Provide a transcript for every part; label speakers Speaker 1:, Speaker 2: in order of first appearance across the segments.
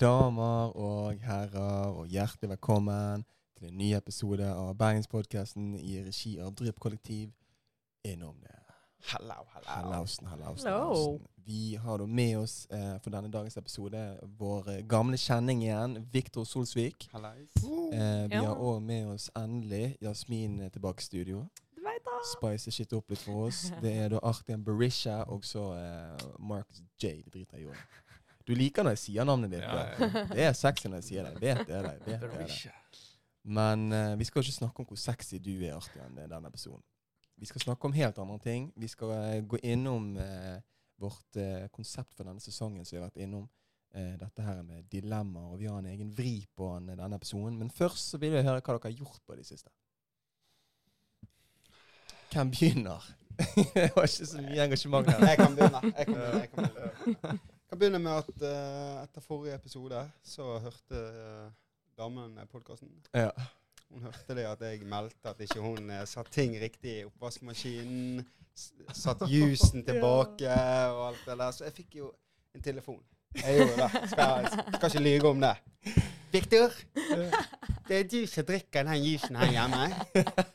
Speaker 1: damer og herrer, og hjertelig velkommen til en ny episode av Bergenspodkasten i regi av Drypp kollektiv. Innom det.
Speaker 2: Hello, hello.
Speaker 1: Hallausen, hallausen,
Speaker 3: Hello.
Speaker 1: hallausen. Vi har da med oss eh, for denne dagens episode vår eh, gamle kjenning igjen, Viktor Solsvik.
Speaker 2: Hallais.
Speaker 1: Eh, vi
Speaker 3: Ja.
Speaker 1: har òg med oss endelig Jasmin eh, tilbake i studio.
Speaker 3: Du veit da.
Speaker 1: Spice shit opp litt for oss. Det er da Artian Berisha og så eh, Marcus J. Det driter jeg i. Du liker når jeg sier navnet ditt.
Speaker 2: Ja,
Speaker 1: det. Det er sexy når jeg sier det. Vet jeg det. Vet jeg det.
Speaker 2: Berisha.
Speaker 1: Men eh, vi skal ikke snakke om hvor sexy du er, Artian, i denne episoden. Vi skal snakke om helt andre ting. Vi skal eh, gå innom eh, vårt eh, konsept for denne sesongen som vi har vært innom. Eh, dette her med dilemmaer, og vi har en egen vri på den i denne episoden. Men først så vil jeg høre hva dere har gjort på det siste. Hvem begynner? det var ikke så mye engasjement der.
Speaker 4: Jeg kan begynne. Jeg kan begynne, jeg kan begynne. kan begynne med at eh, etter forrige episode så hørte eh, damen podkasten.
Speaker 1: Ja.
Speaker 4: Hun hørte det at jeg meldte at ikke hun eh, satt ting riktig i oppvaskmaskinen. s- Satt juicen tilbake og alt det der. Så jeg fikk jo en telefon. Jeg gjorde det. Skal, skal ikke lyve om det. Victor, det er du som drikker den juicen her hjemme.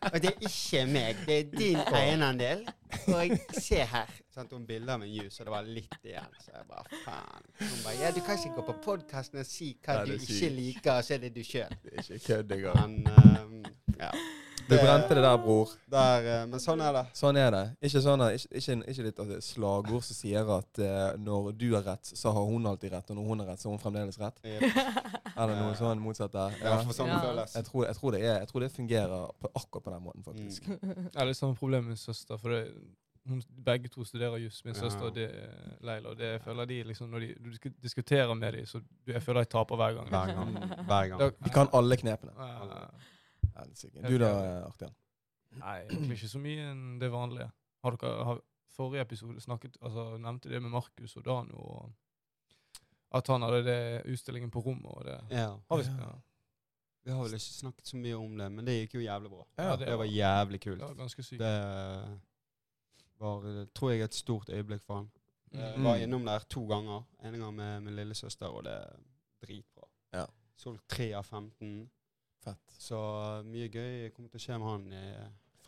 Speaker 4: Og det er ikke meg. Det er din egenandel. Og se her. Sendte hun bilder av en juice, og det var litt igjen. Så jeg bare faen. Hun bare ja, du kan ikke gå på podkasten og si hva
Speaker 1: Nei,
Speaker 4: du
Speaker 1: det er
Speaker 4: ikke
Speaker 1: sykt.
Speaker 4: liker, og så er det du sjøl.
Speaker 1: Det er ikke kødd engang.
Speaker 4: Men ehm, ja.
Speaker 1: Du brente det der, bror.
Speaker 4: Der, eh, men sånn er det.
Speaker 1: Sånn er det. Ikke, sånn, at- ikke, ikke, ikke litt av det slagord som sier at eh, når du har rett, så har hun alltid rett, og når hun har rett, så har hun fremdeles rett.
Speaker 4: Jepp.
Speaker 1: Eller noe
Speaker 4: Ja.
Speaker 1: sånn motsatt der. Ja.
Speaker 4: Ja, for sånn
Speaker 3: Ja.
Speaker 4: føles.
Speaker 1: Jeg, tror, jeg, tror det er, jeg tror det fungerer på, akkurat på den måten, faktisk.
Speaker 4: Mm.
Speaker 2: Jeg har litt samme problem med søster. For det, hun, begge to studerer juss. Min
Speaker 4: Ja.
Speaker 2: søster og det er Leila. Og det jeg føler de liksom, når de, du disku- diskuterer med dem, så du, jeg føler jeg taper hver gang.
Speaker 4: Hver gang. Hver gang.
Speaker 2: Da-
Speaker 1: Vi kan alle knepene.
Speaker 2: Eh,
Speaker 1: Helsike. Du da, Artian?
Speaker 2: Nei, egentlig ikke så mye enn det vanlige. Har dere har, Forrige episode snakket, altså, nevnte det med Markus og Dano. Og at han hadde det utstillingen på rommet. og det...
Speaker 4: Ja.
Speaker 1: Har vi-
Speaker 2: Ja,
Speaker 4: Vi har vel ikke snakket så mye om det, men det gikk jo jævlig bra.
Speaker 2: Ja,
Speaker 4: Det var jævlig
Speaker 2: det
Speaker 4: kult.
Speaker 2: var ganske sykt.
Speaker 4: Det eh, var, eh, tror jeg, et stort øyeblikk for han. Jeg
Speaker 2: Mm.
Speaker 4: Eh, var innom der to ganger. En gang med min lillesøster, og det er dritbra.
Speaker 1: Ja.
Speaker 4: Solgt 3 av 15.
Speaker 1: Fett.
Speaker 4: Så eh, mye gøy kommer til å skje med han i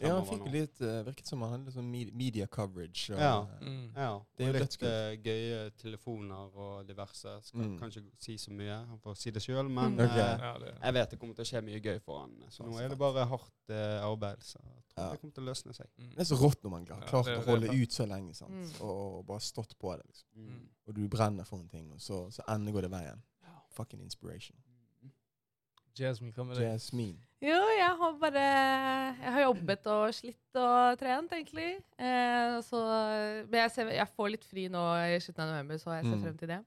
Speaker 1: Ja, han
Speaker 4: fremover
Speaker 1: fikk
Speaker 4: nå.
Speaker 1: litt, eh, virket som han hadde litt sånn me- media coverage. Og, eh,
Speaker 4: Ja.
Speaker 2: Mm.
Speaker 4: Ja,
Speaker 1: Det er
Speaker 4: og
Speaker 1: jo
Speaker 4: litt
Speaker 1: dødskult.
Speaker 4: eh, gøye telefoner og diverse. Skal
Speaker 1: Mm.
Speaker 4: kanskje si så mye, han får si det sjøl, men
Speaker 3: Mm.
Speaker 1: Ok.
Speaker 4: eh,
Speaker 2: Ja, det,
Speaker 4: jeg vet det kommer til å skje mye gøy for han. eh, Så nå
Speaker 1: Fett,
Speaker 4: er
Speaker 1: fett.
Speaker 4: det bare hardt eh, arbeid, så jeg tror
Speaker 1: Ja.
Speaker 4: det kommer til å løsne seg.
Speaker 2: mm.
Speaker 1: Det er så rått når man har
Speaker 2: Ja,
Speaker 1: klart
Speaker 2: det-
Speaker 1: å
Speaker 2: det er
Speaker 1: holde
Speaker 2: fett.
Speaker 1: ut så lenge sant?
Speaker 3: Mm.
Speaker 1: Og, og bare stått på det. liksom.
Speaker 4: Mm.
Speaker 1: Og du brenner for en ting, og så, så ender går det veien. Fucking inspiration.
Speaker 2: Jasmine, hva med deg?
Speaker 1: Jasmin.
Speaker 3: Jo, jeg har bare Jeg har jobbet og slitt og trent, egentlig. Eh, så, men jeg, ser, jeg får litt fri nå i slutten av november, så jeg ser
Speaker 1: Mm.
Speaker 3: frem til det.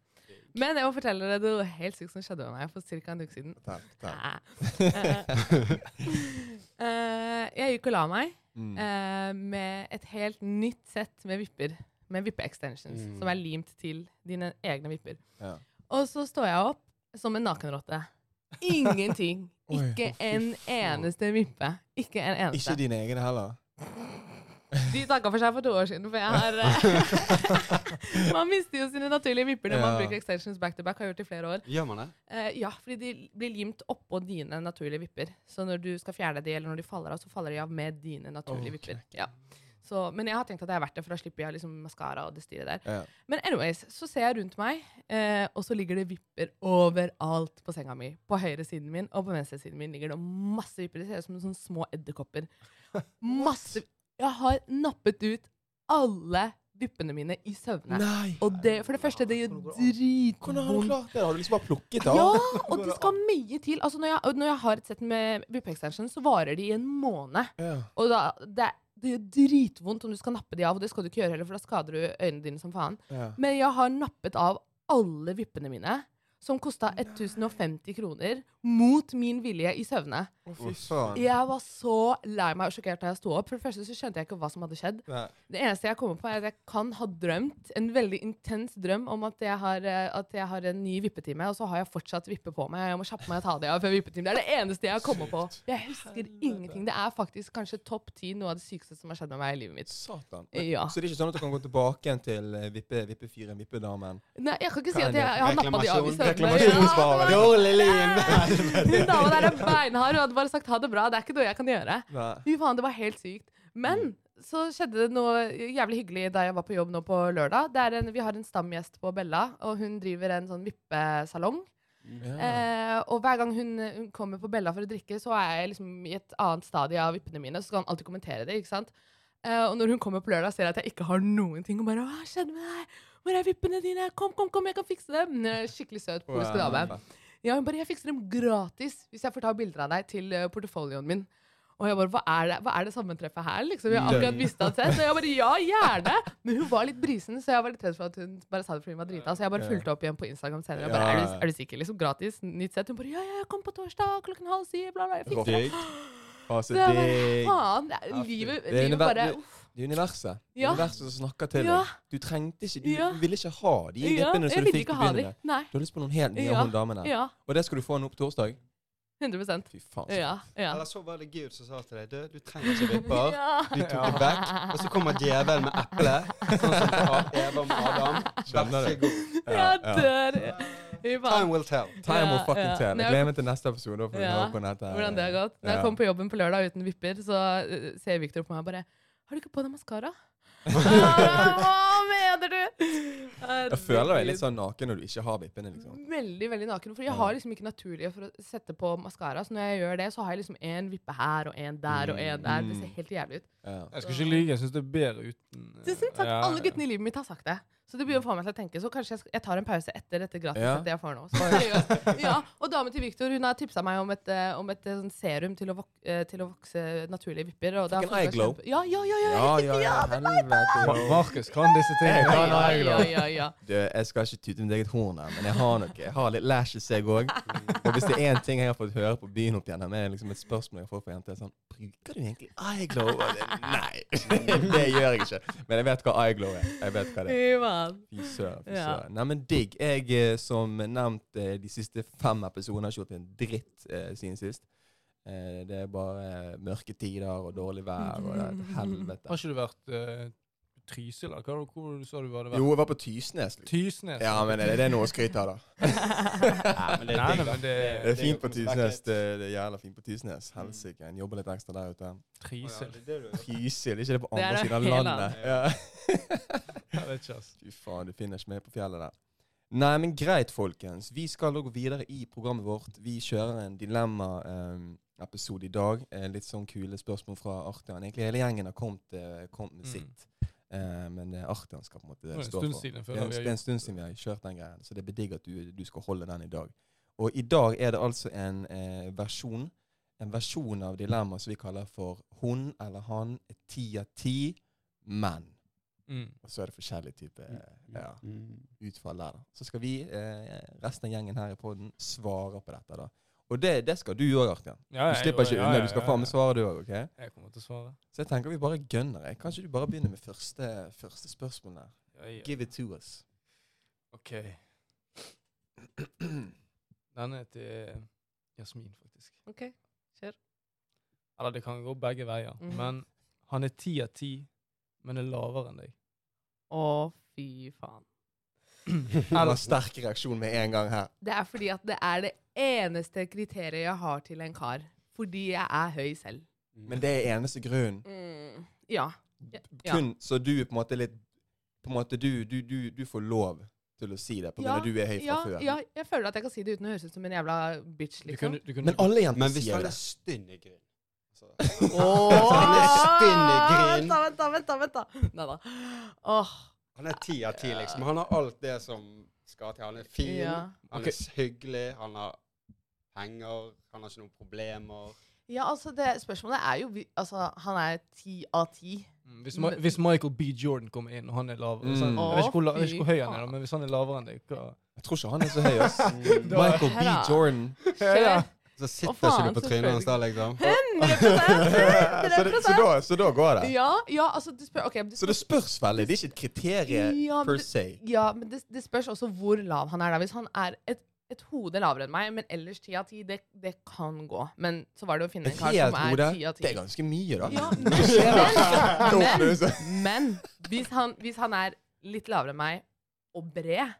Speaker 3: Men jeg må fortelle dere det er noe helt sykt som skjedde med meg for ca. en uke siden.
Speaker 1: Takk, takk.
Speaker 3: Eh, jeg gikk og la meg
Speaker 1: Mm.
Speaker 3: eh, med et helt nytt sett med vipper. Med vippe-extensions,
Speaker 4: Mm.
Speaker 3: som er limt til dine egne vipper.
Speaker 1: Ja.
Speaker 3: Og så står jeg opp som en nakenrotte. Ingenting.
Speaker 1: Oi,
Speaker 3: Ikke en eneste vippe. Ikke en eneste.
Speaker 1: Ikke dine egne heller.
Speaker 3: De takka for seg for to år siden, for jeg har eh, Man mister jo sine naturlige vipper når man
Speaker 1: Ja.
Speaker 3: bruker extensions back to back. Har gjort i flere år.
Speaker 4: Gjør man det?
Speaker 3: Eh, ja, fordi de blir limt oppå dine naturlige vipper. Så når du skal fjerne de, eller når de faller av, så faller de av med dine naturlige
Speaker 1: Åh,
Speaker 3: vipper. Ja. Så, men jeg har tenkt at det er verdt det, for da slipper jeg liksom maskara og det styret der.
Speaker 1: Ja.
Speaker 3: Men anyways, så ser jeg rundt meg, eh, og så ligger det vipper overalt på senga mi. På høyre siden min og på venstre siden min ligger det masse vipper. Det ser ut som sånne små edderkopper. Masse. Jeg har nappet ut alle vippene mine i søvne.
Speaker 1: Nei!
Speaker 3: Og det, for det første, det gjør
Speaker 1: Hvordan har du
Speaker 3: dritvondt.
Speaker 1: klart det? Har du liksom bare plukket av?
Speaker 3: Ja, og det skal mye til. Altså, når, jeg, når jeg har et sett med vippe-extension, så varer de i en måned.
Speaker 1: Ja.
Speaker 3: Og da, det, det gjør dritvondt om du skal nappe de av, og det skal du ikke gjøre heller, for da skader du øynene dine som faen.
Speaker 1: Ja.
Speaker 3: Men jeg har nappet av alle vippene mine, som kosta 1050 kroner, mot min vilje i søvne.
Speaker 1: Å, fy
Speaker 4: Uff.
Speaker 1: faen.
Speaker 3: Jeg var så lei meg og sjokkert da jeg sto opp. For det første så skjønte jeg ikke hva som hadde skjedd.
Speaker 1: Nei.
Speaker 3: Det eneste jeg kommer på, er at jeg kan ha drømt en veldig intens drøm om at jeg har, eh, at jeg har en ny vippetime, og så har jeg fortsatt vippe på meg. Jeg må kjappe meg og ta det av før vippetime. Det er det eneste jeg kommer på. Jeg husker ingenting. Det er faktisk kanskje topp ti noe av det sykeste som har skjedd med meg i livet mitt.
Speaker 1: Satan. Men-
Speaker 3: Ja.
Speaker 1: Så det er ikke sånn at du kan gå tilbake igjen til eh, vippe, vippefyren, vippedamen?
Speaker 3: Nei, jeg kan ikke si
Speaker 1: Hva er
Speaker 3: at jeg, jeg har nappa de av i søvne.
Speaker 1: Reklamasjonsvare.
Speaker 3: Ja,
Speaker 4: Dårlig lim!
Speaker 3: det var- Hun dama der er beinhard og hadde bare sagt ha det bra. Det er ikke noe jeg kan gjøre.
Speaker 1: Nei.
Speaker 3: Fy faen, det var helt sykt. Men så skjedde det noe jævlig hyggelig da jeg var på jobb nå på lørdag. Det er en, vi har en stamgjest på Bella, og hun driver en sånn vippesalong.
Speaker 1: Ja.
Speaker 3: Eh, og hver gang hun, hun kommer på Bella for å drikke, så er jeg liksom i et annet stadie av vippene mine, så skal han alltid kommentere det, ikke sant? Eh, og når hun kommer på lørdag, ser jeg at jeg ikke har noen ting, og bare Hva skjedde med deg? Hvor er vippene dine? Kom, kom, kom, jeg kan fikse dem! Eh, Skikkelig søt polsk dame. Ja, hun bare, jeg fikser dem gratis hvis jeg får ta bilder av deg til eh, portefolioen min. Og jeg bare, hva er det, hva er det sammentreffet her, liksom? Jeg har akkurat visst det sett. Og jeg bare, ja, gjerne! Men hun var litt brisen, så jeg var litt redd for at hun bare sa det fordi hun var drita. Så jeg bare
Speaker 1: Ja.
Speaker 3: fulgte opp igjen på Instagram senere.
Speaker 1: Ja,
Speaker 3: Og bare, er
Speaker 1: ja.
Speaker 3: du, er du sikker, liksom? Gratis? Nytt sett? Hun bare, ja, ja, jeg kom på torsdag klokken halv syv, bla, bla. Jeg fikser det.
Speaker 1: Digg. Altså,
Speaker 3: Så jeg bare,
Speaker 1: digg.
Speaker 3: faen, det er-
Speaker 1: Ja, fy.
Speaker 3: livet,
Speaker 1: Det er
Speaker 3: livet
Speaker 1: univer-
Speaker 3: bare
Speaker 1: det- Det er universet. Det er
Speaker 3: Ja.
Speaker 1: Universet som snakker til
Speaker 3: Ja.
Speaker 1: deg. Du trengte ikke, du
Speaker 3: Ja.
Speaker 1: ville ikke ha de
Speaker 3: Ja,
Speaker 1: vippene
Speaker 3: jeg
Speaker 1: som du
Speaker 3: ville
Speaker 1: fikk på
Speaker 3: ikke ha de.
Speaker 1: begynnelsen.
Speaker 3: Nei.
Speaker 1: Du har lyst på noen helt nye
Speaker 3: Ja.
Speaker 1: av hun damene.
Speaker 3: Ja,
Speaker 1: Og det skal du få nå på torsdag?
Speaker 3: 100
Speaker 1: Fy faen. så-
Speaker 3: Ja. ja.
Speaker 4: Eller så var det Gud som sa til deg Du, du trenger ikke vipper.
Speaker 3: Ja.
Speaker 4: Du tok det vekk. Og så kommer djevelen med eplet. Sånn som fra Eva med Adam.
Speaker 1: Skjønner
Speaker 4: Vær så god.
Speaker 3: Jeg dør. Fy faen.
Speaker 4: Time will tell.
Speaker 1: Time will
Speaker 3: Ja,
Speaker 1: fucking
Speaker 3: ja.
Speaker 1: tell.
Speaker 3: Når
Speaker 1: Jeg
Speaker 3: jeg
Speaker 1: gleder meg til neste episode. da får vi
Speaker 3: Ja,
Speaker 1: høre hvordan dette-
Speaker 3: Hvordan det har gått. Når
Speaker 1: Ja.
Speaker 3: jeg kom på jobben på lørdag uten vipper, så eh, ser Victor på meg og bare 'Har du ikke på deg maskara?' Hva mener du?!
Speaker 1: Jeg føler deg litt sånn naken når du ikke har vippene. liksom.
Speaker 3: Veldig veldig naken. For
Speaker 1: Ja.
Speaker 3: jeg har liksom ikke naturlige for å sette på maskara. Så når jeg gjør det, så har jeg liksom én vippe her og én der og én der. Det
Speaker 1: Mm.
Speaker 3: ser helt jævlig ut.
Speaker 1: Ja.
Speaker 2: Jeg skal ikke lyve, jeg syns det er bedre uten eh,
Speaker 3: Tusen takk.
Speaker 2: ja,
Speaker 3: Alle
Speaker 2: ja.
Speaker 3: guttene i livet mitt har sagt det. Så det begynner å få meg til å tenke, så kanskje jeg, sk- jeg tar en pause etter dette
Speaker 1: Ja.
Speaker 3: gratissettet jeg får nå. Så, ja. Og damen til Victor hun har tipsa meg om et, eh, om et eh, sånn serum til å, vok eh, til å vokse naturlige vipper. Og det har
Speaker 1: Fucking
Speaker 3: fått meg
Speaker 1: eye glow.
Speaker 3: kjempe- Ja, ja, ja, ja,
Speaker 1: Ja,
Speaker 3: riktig,
Speaker 1: ja,
Speaker 3: ja,
Speaker 1: ja,
Speaker 3: det-
Speaker 1: helvete.
Speaker 2: Ma-
Speaker 1: ja.
Speaker 2: Markus kan disse tingene.
Speaker 1: Ja,
Speaker 3: ja,
Speaker 1: eye
Speaker 3: ja,
Speaker 1: glow.
Speaker 3: ja, ja.
Speaker 1: Du, jeg skal ikke tute mitt eget horn her, men jeg har noe. Jeg har litt lashes, jeg òg. Og hvis det er én ting jeg har fått høre på byen opp igjennom, er liksom et spørsmål jeg får fra jenter, er sånn Bruker du egentlig eyeglow? Og det, nei, det gjør jeg ikke. Men jeg vet hva eyeglow er. Jeg vet hva det er.
Speaker 3: Fy faen.
Speaker 1: Fy søren. fy
Speaker 3: Ja.
Speaker 1: søren. Nei, men digg. Jeg, eh, som nevnt eh, de siste fem episodene, har ikke gjort en dritt eh, siden sist. Eh, det er bare eh, mørke tider og dårlig vær og det er et helvete.
Speaker 2: Har ikke du vært eh, Trysil, eller hva- hvor sa du var det
Speaker 1: Jo,
Speaker 2: vært?
Speaker 1: jeg var på Tysnes. liksom.
Speaker 2: Tysnes.
Speaker 1: Ja, men er det- det er noe å skryte av, da?
Speaker 4: Nei, men det
Speaker 2: Nei, nei,
Speaker 4: er digg, da.
Speaker 2: men det-
Speaker 1: Det er fint på
Speaker 4: jo noe
Speaker 1: Tysnes.
Speaker 4: spesielt.
Speaker 1: Det, det er jævla fint på Tysnes. Helsike. En jobber litt ekstra der ute.
Speaker 4: Å, ja,
Speaker 2: Trysil.
Speaker 4: det er det du gjør.
Speaker 1: Trysil, ikke det på
Speaker 3: Det er
Speaker 1: andre
Speaker 3: det
Speaker 1: siden av
Speaker 3: hele
Speaker 1: landet? Ja.
Speaker 4: landet.
Speaker 2: Jeg vet ikke, ass.
Speaker 1: Fy faen, du finner ikke med på fjellet der. Nei, men greit, folkens. Vi skal da gå videre i programmet vårt. Vi kjører en dilemma-episode i dag. Eh, litt sånn kule spørsmål fra Artian. Egentlig hele gjengen har kommet, eh, kommet med
Speaker 2: Mm.
Speaker 1: sitt. Eh, men eh, Artian skal på en
Speaker 2: Det er
Speaker 1: måte
Speaker 2: en
Speaker 1: stå
Speaker 2: stund
Speaker 1: for.
Speaker 2: siden.
Speaker 1: Det er, en,
Speaker 2: vi har
Speaker 1: det er en
Speaker 2: gjort
Speaker 1: stund siden vi har kjørt den greien, så det er bedigg at du, du skal holde den i dag. Og i dag er det altså en eh, versjon en versjon av dilemmaet som vi kaller for 'hun eller han ti av ti menn'.
Speaker 2: Mm.
Speaker 1: Og så er det forskjellige typer eh, ja,
Speaker 4: Mm.
Speaker 1: utfall der. da. Så skal vi, eh, resten av gjengen her i poden, svare på dette. da. Og det, det skal du òg, Artian.
Speaker 2: Ja,
Speaker 1: Du
Speaker 2: jeg-
Speaker 1: slipper ikke
Speaker 2: ja,
Speaker 1: unna.
Speaker 2: ja,
Speaker 1: Du skal
Speaker 2: ja,
Speaker 1: faen
Speaker 2: ja.
Speaker 1: meg svare, du òg. ok?
Speaker 2: Jeg kommer til å svare.
Speaker 1: Så jeg tenker vi bare gønner. Jeg. Kanskje du bare begynner med første, første spørsmål der.
Speaker 2: Ja, ja.
Speaker 1: Give it to us.
Speaker 2: OK. Denne er til Jasmin, faktisk.
Speaker 3: Ok, kjør.
Speaker 2: Eller det kan gå begge veier.
Speaker 3: Mhm.
Speaker 2: Men han er ti av ti, men er lavere enn deg.
Speaker 3: Å, fy faen.
Speaker 1: Det var
Speaker 2: Eller,
Speaker 1: sterk reaksjon med en gang her.
Speaker 3: Det er fordi at det er det eneste kriteriet jeg har til en kar. Fordi jeg er høy selv.
Speaker 1: Men det er eneste grunnen. Mm.
Speaker 3: Ja. Ja.
Speaker 1: Kun så du er på en måte litt på en måte du, du, du, du får lov til å si det, på grunn av
Speaker 3: Ja,
Speaker 1: at du er høy fra
Speaker 3: Ja,
Speaker 1: før.
Speaker 3: ja, jeg føler at jeg kan si det uten å høres ut som en jævla bitch,
Speaker 2: du
Speaker 3: liksom.
Speaker 2: kunne, du kunne,
Speaker 1: Men alle jenter
Speaker 4: Men hvis
Speaker 1: sier
Speaker 4: han
Speaker 1: det.
Speaker 4: er stygg i grunn så-
Speaker 3: Åh!
Speaker 4: Han er stinn i grin.
Speaker 3: Vent, da, vent, da, vent, da, vent da. Neida. Åh,
Speaker 4: Han er ti av ti, liksom. Han har alt det som skal til. Han er fin,
Speaker 3: Ja.
Speaker 4: han
Speaker 2: Ok.
Speaker 4: er hyggelig, han har penger, han har ikke noen problemer.
Speaker 3: ja, altså, det, spørsmålet er jo vi- Altså, han er ti av ti.
Speaker 2: Mm, hvis, Ma hvis Michael B. Jordan kommer inn, og han er lavere så han,
Speaker 1: Mm.
Speaker 2: jeg, vet ikke hvor, la- jeg vet ikke hvor høy han er,
Speaker 3: Å,
Speaker 2: da,
Speaker 3: fy
Speaker 2: men hvis han er lavere enn deg hva?
Speaker 1: Jeg tror ikke han er så høy, ass.
Speaker 4: Mm.
Speaker 1: Michael B.
Speaker 3: Her da.
Speaker 1: Jordan.
Speaker 3: Kjør.
Speaker 4: Så sitter
Speaker 3: faen,
Speaker 4: ikke du på trynet hans da, liksom.
Speaker 3: 100%,
Speaker 1: så, det, så, da, så da går det?
Speaker 3: Ja, ja, altså du spør, ok, men du
Speaker 1: Så
Speaker 3: spør,
Speaker 1: det spørs veldig. Det er ikke et kriterium
Speaker 3: Ja, men
Speaker 1: per
Speaker 3: det-
Speaker 1: se.
Speaker 3: ja, men det, det spørs også hvor lav han er. da. Hvis han er et, et hode lavere enn meg, men ellers ti av ti, det, det kan gå. Men så var det å finne en
Speaker 1: Et
Speaker 3: kar
Speaker 1: helt
Speaker 3: som
Speaker 1: hode,
Speaker 3: er ti av
Speaker 1: det er
Speaker 3: ti.
Speaker 1: ganske mye, da.
Speaker 3: Ja,
Speaker 1: Nå
Speaker 3: men,
Speaker 1: åpner det seg.
Speaker 3: men, men hvis, han, hvis han er litt lavere enn meg, og bred,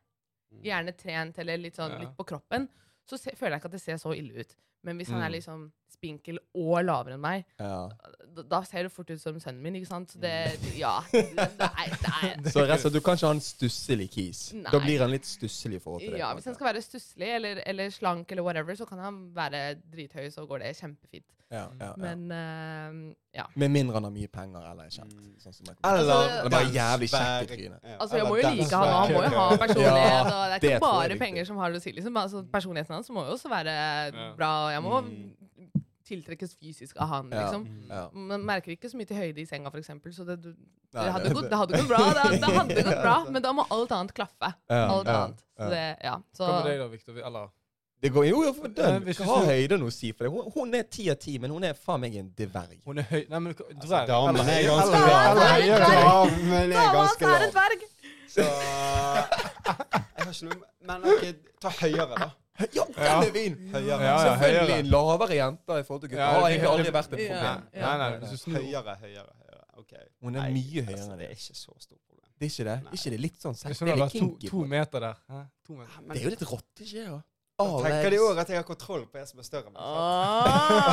Speaker 1: Mm.
Speaker 3: gjerne trent eller litt, sånn,
Speaker 2: Ja.
Speaker 3: litt på kroppen, så se, føler jeg ikke at det ser så ille ut. Men hvis han
Speaker 1: Mm.
Speaker 3: er liksom spinkel og lavere enn meg,
Speaker 1: Ja.
Speaker 3: da, da ser det fort ut som sønnen min, ikke sant? Så det,
Speaker 1: Mm.
Speaker 3: ja, det, det er, det er
Speaker 1: Så rett og slett, du kan ikke ha en stusslig kis. Da
Speaker 3: Nei.
Speaker 1: blir han litt stusslig i forhold til det.
Speaker 3: Ja,
Speaker 1: på en
Speaker 3: hvis han
Speaker 1: måte.
Speaker 3: skal være stusslig eller, eller slank eller whatever, så kan han være drithøy, så går det kjempefint.
Speaker 1: ja, ja, ja.
Speaker 3: Men Mm. eh, ja.
Speaker 1: Med mindre han har mye penger eller er kjent. Sånn som jeg kommer.
Speaker 4: liksom. Eller
Speaker 3: Altså,
Speaker 1: Det er bare jævlig kjekk i
Speaker 4: Berg-
Speaker 1: trynet.
Speaker 4: Ja,
Speaker 3: Altså, jeg
Speaker 4: eller
Speaker 3: må jo
Speaker 4: den
Speaker 3: like han, og han må jo ha
Speaker 4: svære-
Speaker 3: personlighet, og det er
Speaker 1: det tror
Speaker 3: ikke
Speaker 1: jeg er
Speaker 3: bare
Speaker 1: viktig.
Speaker 3: penger som har det å si, liksom. Altså, personligheten hans må jo også være
Speaker 2: Ja.
Speaker 3: bra, og jeg må
Speaker 4: Mm.
Speaker 3: tiltrekkes fysisk av han,
Speaker 1: Ja.
Speaker 3: liksom.
Speaker 1: Ja.
Speaker 3: Man merker ikke så mye til høyde i senga, for eksempel, så det, du,
Speaker 1: Nei,
Speaker 3: det, hadde
Speaker 1: det-
Speaker 3: gått, det hadde gått bra, det, det hadde gått bra,
Speaker 4: Ja.
Speaker 3: men da må alt annet klaffe.
Speaker 1: Ja,
Speaker 3: Alt
Speaker 1: ja,
Speaker 3: annet. Så
Speaker 1: ja.
Speaker 3: det, ja. Så,
Speaker 2: Hva med deg da, Victor? Eller
Speaker 1: Det går jo jo, for
Speaker 2: Nei,
Speaker 1: den.
Speaker 2: hvis
Speaker 1: Hva har
Speaker 2: du-
Speaker 1: høyde noe å si for deg? Hun, hun er ti av ti, men hun er faen meg en dverg.
Speaker 2: Hun er høy Nei, men hva-
Speaker 4: Altså,
Speaker 2: dverg.
Speaker 4: damen er
Speaker 2: eller-
Speaker 4: ganske
Speaker 3: eller-
Speaker 4: lav.
Speaker 3: eller- eller-
Speaker 4: Damen er
Speaker 3: Thomas
Speaker 4: ganske
Speaker 3: er en
Speaker 4: lav.
Speaker 3: dverg!
Speaker 4: Så Jeg har ikke noe Men ok, ta høyere, da.
Speaker 1: Ja,
Speaker 2: Ja.
Speaker 1: den er fin!
Speaker 4: Høyere.
Speaker 2: Ja, ja,
Speaker 1: Selvfølgelig
Speaker 2: høyere.
Speaker 1: lavere jenter i forhold til gutter.
Speaker 2: Ja,
Speaker 1: har
Speaker 2: det-
Speaker 1: egentlig aldri
Speaker 2: det-
Speaker 1: vært et
Speaker 3: Ja.
Speaker 1: problem.
Speaker 2: Nei, nei, hvis du snur
Speaker 4: Høyere, høyere, høyere. Ok.
Speaker 1: Hun er
Speaker 4: Nei,
Speaker 1: mye
Speaker 4: altså,
Speaker 1: høyere enn
Speaker 4: Det
Speaker 1: det.
Speaker 4: er ikke så stort problem.
Speaker 1: Det er ikke det?
Speaker 4: Nei.
Speaker 1: Ikke det litt sånn
Speaker 2: Hvis
Speaker 1: sexy?
Speaker 2: hun
Speaker 1: Det
Speaker 2: hadde
Speaker 1: er
Speaker 2: vært to,
Speaker 1: kinky.
Speaker 2: to
Speaker 1: på en måte.
Speaker 2: meter der Hæ? To meter.
Speaker 1: Det
Speaker 4: Men
Speaker 1: er jo litt rotteskje, da.
Speaker 4: da tenker de
Speaker 1: Alex.
Speaker 4: òg at jeg har kontroll på en som er større. enn meg, sant?
Speaker 3: Ah. Ja.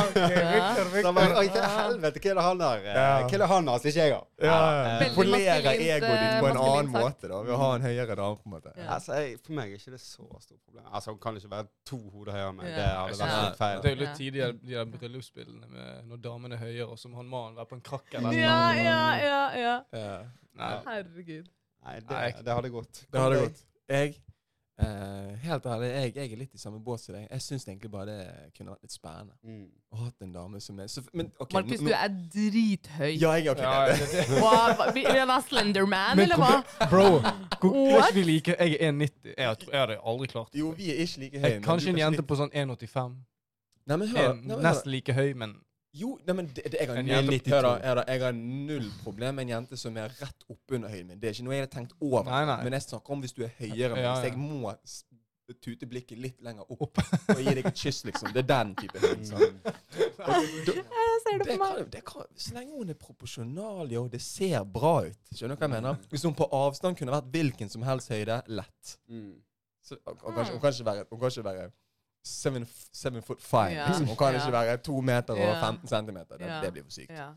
Speaker 4: Så bare, Oi, til helvete, hva er det han der eh,
Speaker 1: Ja.
Speaker 4: Hva er det han har som ikke jeg har? Eh,
Speaker 1: Ja,
Speaker 3: Veldig
Speaker 1: Polere
Speaker 3: maskulint,
Speaker 1: egoet ditt
Speaker 3: eh,
Speaker 1: på en
Speaker 3: maskulint
Speaker 1: annen
Speaker 3: sagt.
Speaker 1: måte, da. Ved å ha en høyere dame, på en måte.
Speaker 3: Ja.
Speaker 4: Altså, jeg, for meg er ikke det så stort problem. Altså, Hun kan ikke være to hoder høyere enn meg.
Speaker 3: Ja.
Speaker 4: Det hadde vært
Speaker 1: Ja.
Speaker 4: helt feil.
Speaker 2: Det er jo litt
Speaker 3: Ja.
Speaker 2: tidlig de der bryllupsbildene med når damen er høyere, og så må han mannen være på en krakk eller
Speaker 3: Ja, ja, ja, ja.
Speaker 1: Ja.
Speaker 2: Nei.
Speaker 3: Herregud.
Speaker 4: Nei, det,
Speaker 2: Nei.
Speaker 4: det hadde gått.
Speaker 1: Det hadde gått. Jeg eh, Helt ærlig, jeg, jeg er litt i samme båt som deg. Jeg syns egentlig bare det kunne vært litt spennende.
Speaker 4: Mm.
Speaker 1: Å ha en dame som er så, Men OK
Speaker 3: Markus,
Speaker 1: nå-
Speaker 3: du er drithøy.
Speaker 1: Ja, jeg er ok.
Speaker 2: Ja, det, det.
Speaker 3: Hva, hva- vil jeg være Slenderman,
Speaker 2: Men
Speaker 3: eller
Speaker 2: kom-
Speaker 3: hva?
Speaker 2: Bro, hvor er
Speaker 3: What?
Speaker 2: ikke vi like? Jeg er 1,90. Jeg, tror- jeg hadde aldri klart det.
Speaker 1: Jo, vi er ikke like høye.
Speaker 2: Jeg,
Speaker 1: men
Speaker 2: kanskje
Speaker 1: du
Speaker 2: en
Speaker 1: er
Speaker 2: jente
Speaker 1: litt-
Speaker 2: på sånn 1,85.
Speaker 1: Nei, men hør,
Speaker 2: En-
Speaker 1: nei, men, hør.
Speaker 2: Nesten like høy, men
Speaker 1: Jo, nei, men det, det, jeg, har
Speaker 2: En
Speaker 1: null,
Speaker 2: jente på-
Speaker 1: hør da, hør da, jeg har null problem med en jente som er rett oppunder høyden min. Det er ikke noe jeg har tenkt over.
Speaker 2: Nei, nei.
Speaker 1: Men jeg snakker om hvis du er høyere. Men
Speaker 2: Ja,
Speaker 1: hvis
Speaker 2: ja.
Speaker 1: jeg må s- tute blikket litt lenger opp
Speaker 2: opp. Mm.
Speaker 1: og gi deg et kyss, liksom. Det er den type høyden. sant? Du-
Speaker 3: Jeg ser det
Speaker 1: Det
Speaker 3: for meg.
Speaker 1: kan, det kan, så lenge hun er proporsjonal ja, og det ser bra ut. Skjønner du hva jeg
Speaker 2: Mm.
Speaker 1: mener? Hvis hun på avstand kunne vært hvilken som helst høyde, lett.
Speaker 4: Mm.
Speaker 1: Så, og,
Speaker 3: Ah.
Speaker 1: og kanskje, hun, kan ikke være, hun kan ikke være seven, f- seven foot five.
Speaker 3: Ja.
Speaker 1: Liksom. Hun kan
Speaker 3: Ja.
Speaker 1: ikke være to meter og
Speaker 3: Ja.
Speaker 1: 15 centimeter. Det,
Speaker 3: Ja.
Speaker 1: det blir for sykt.
Speaker 3: Ja.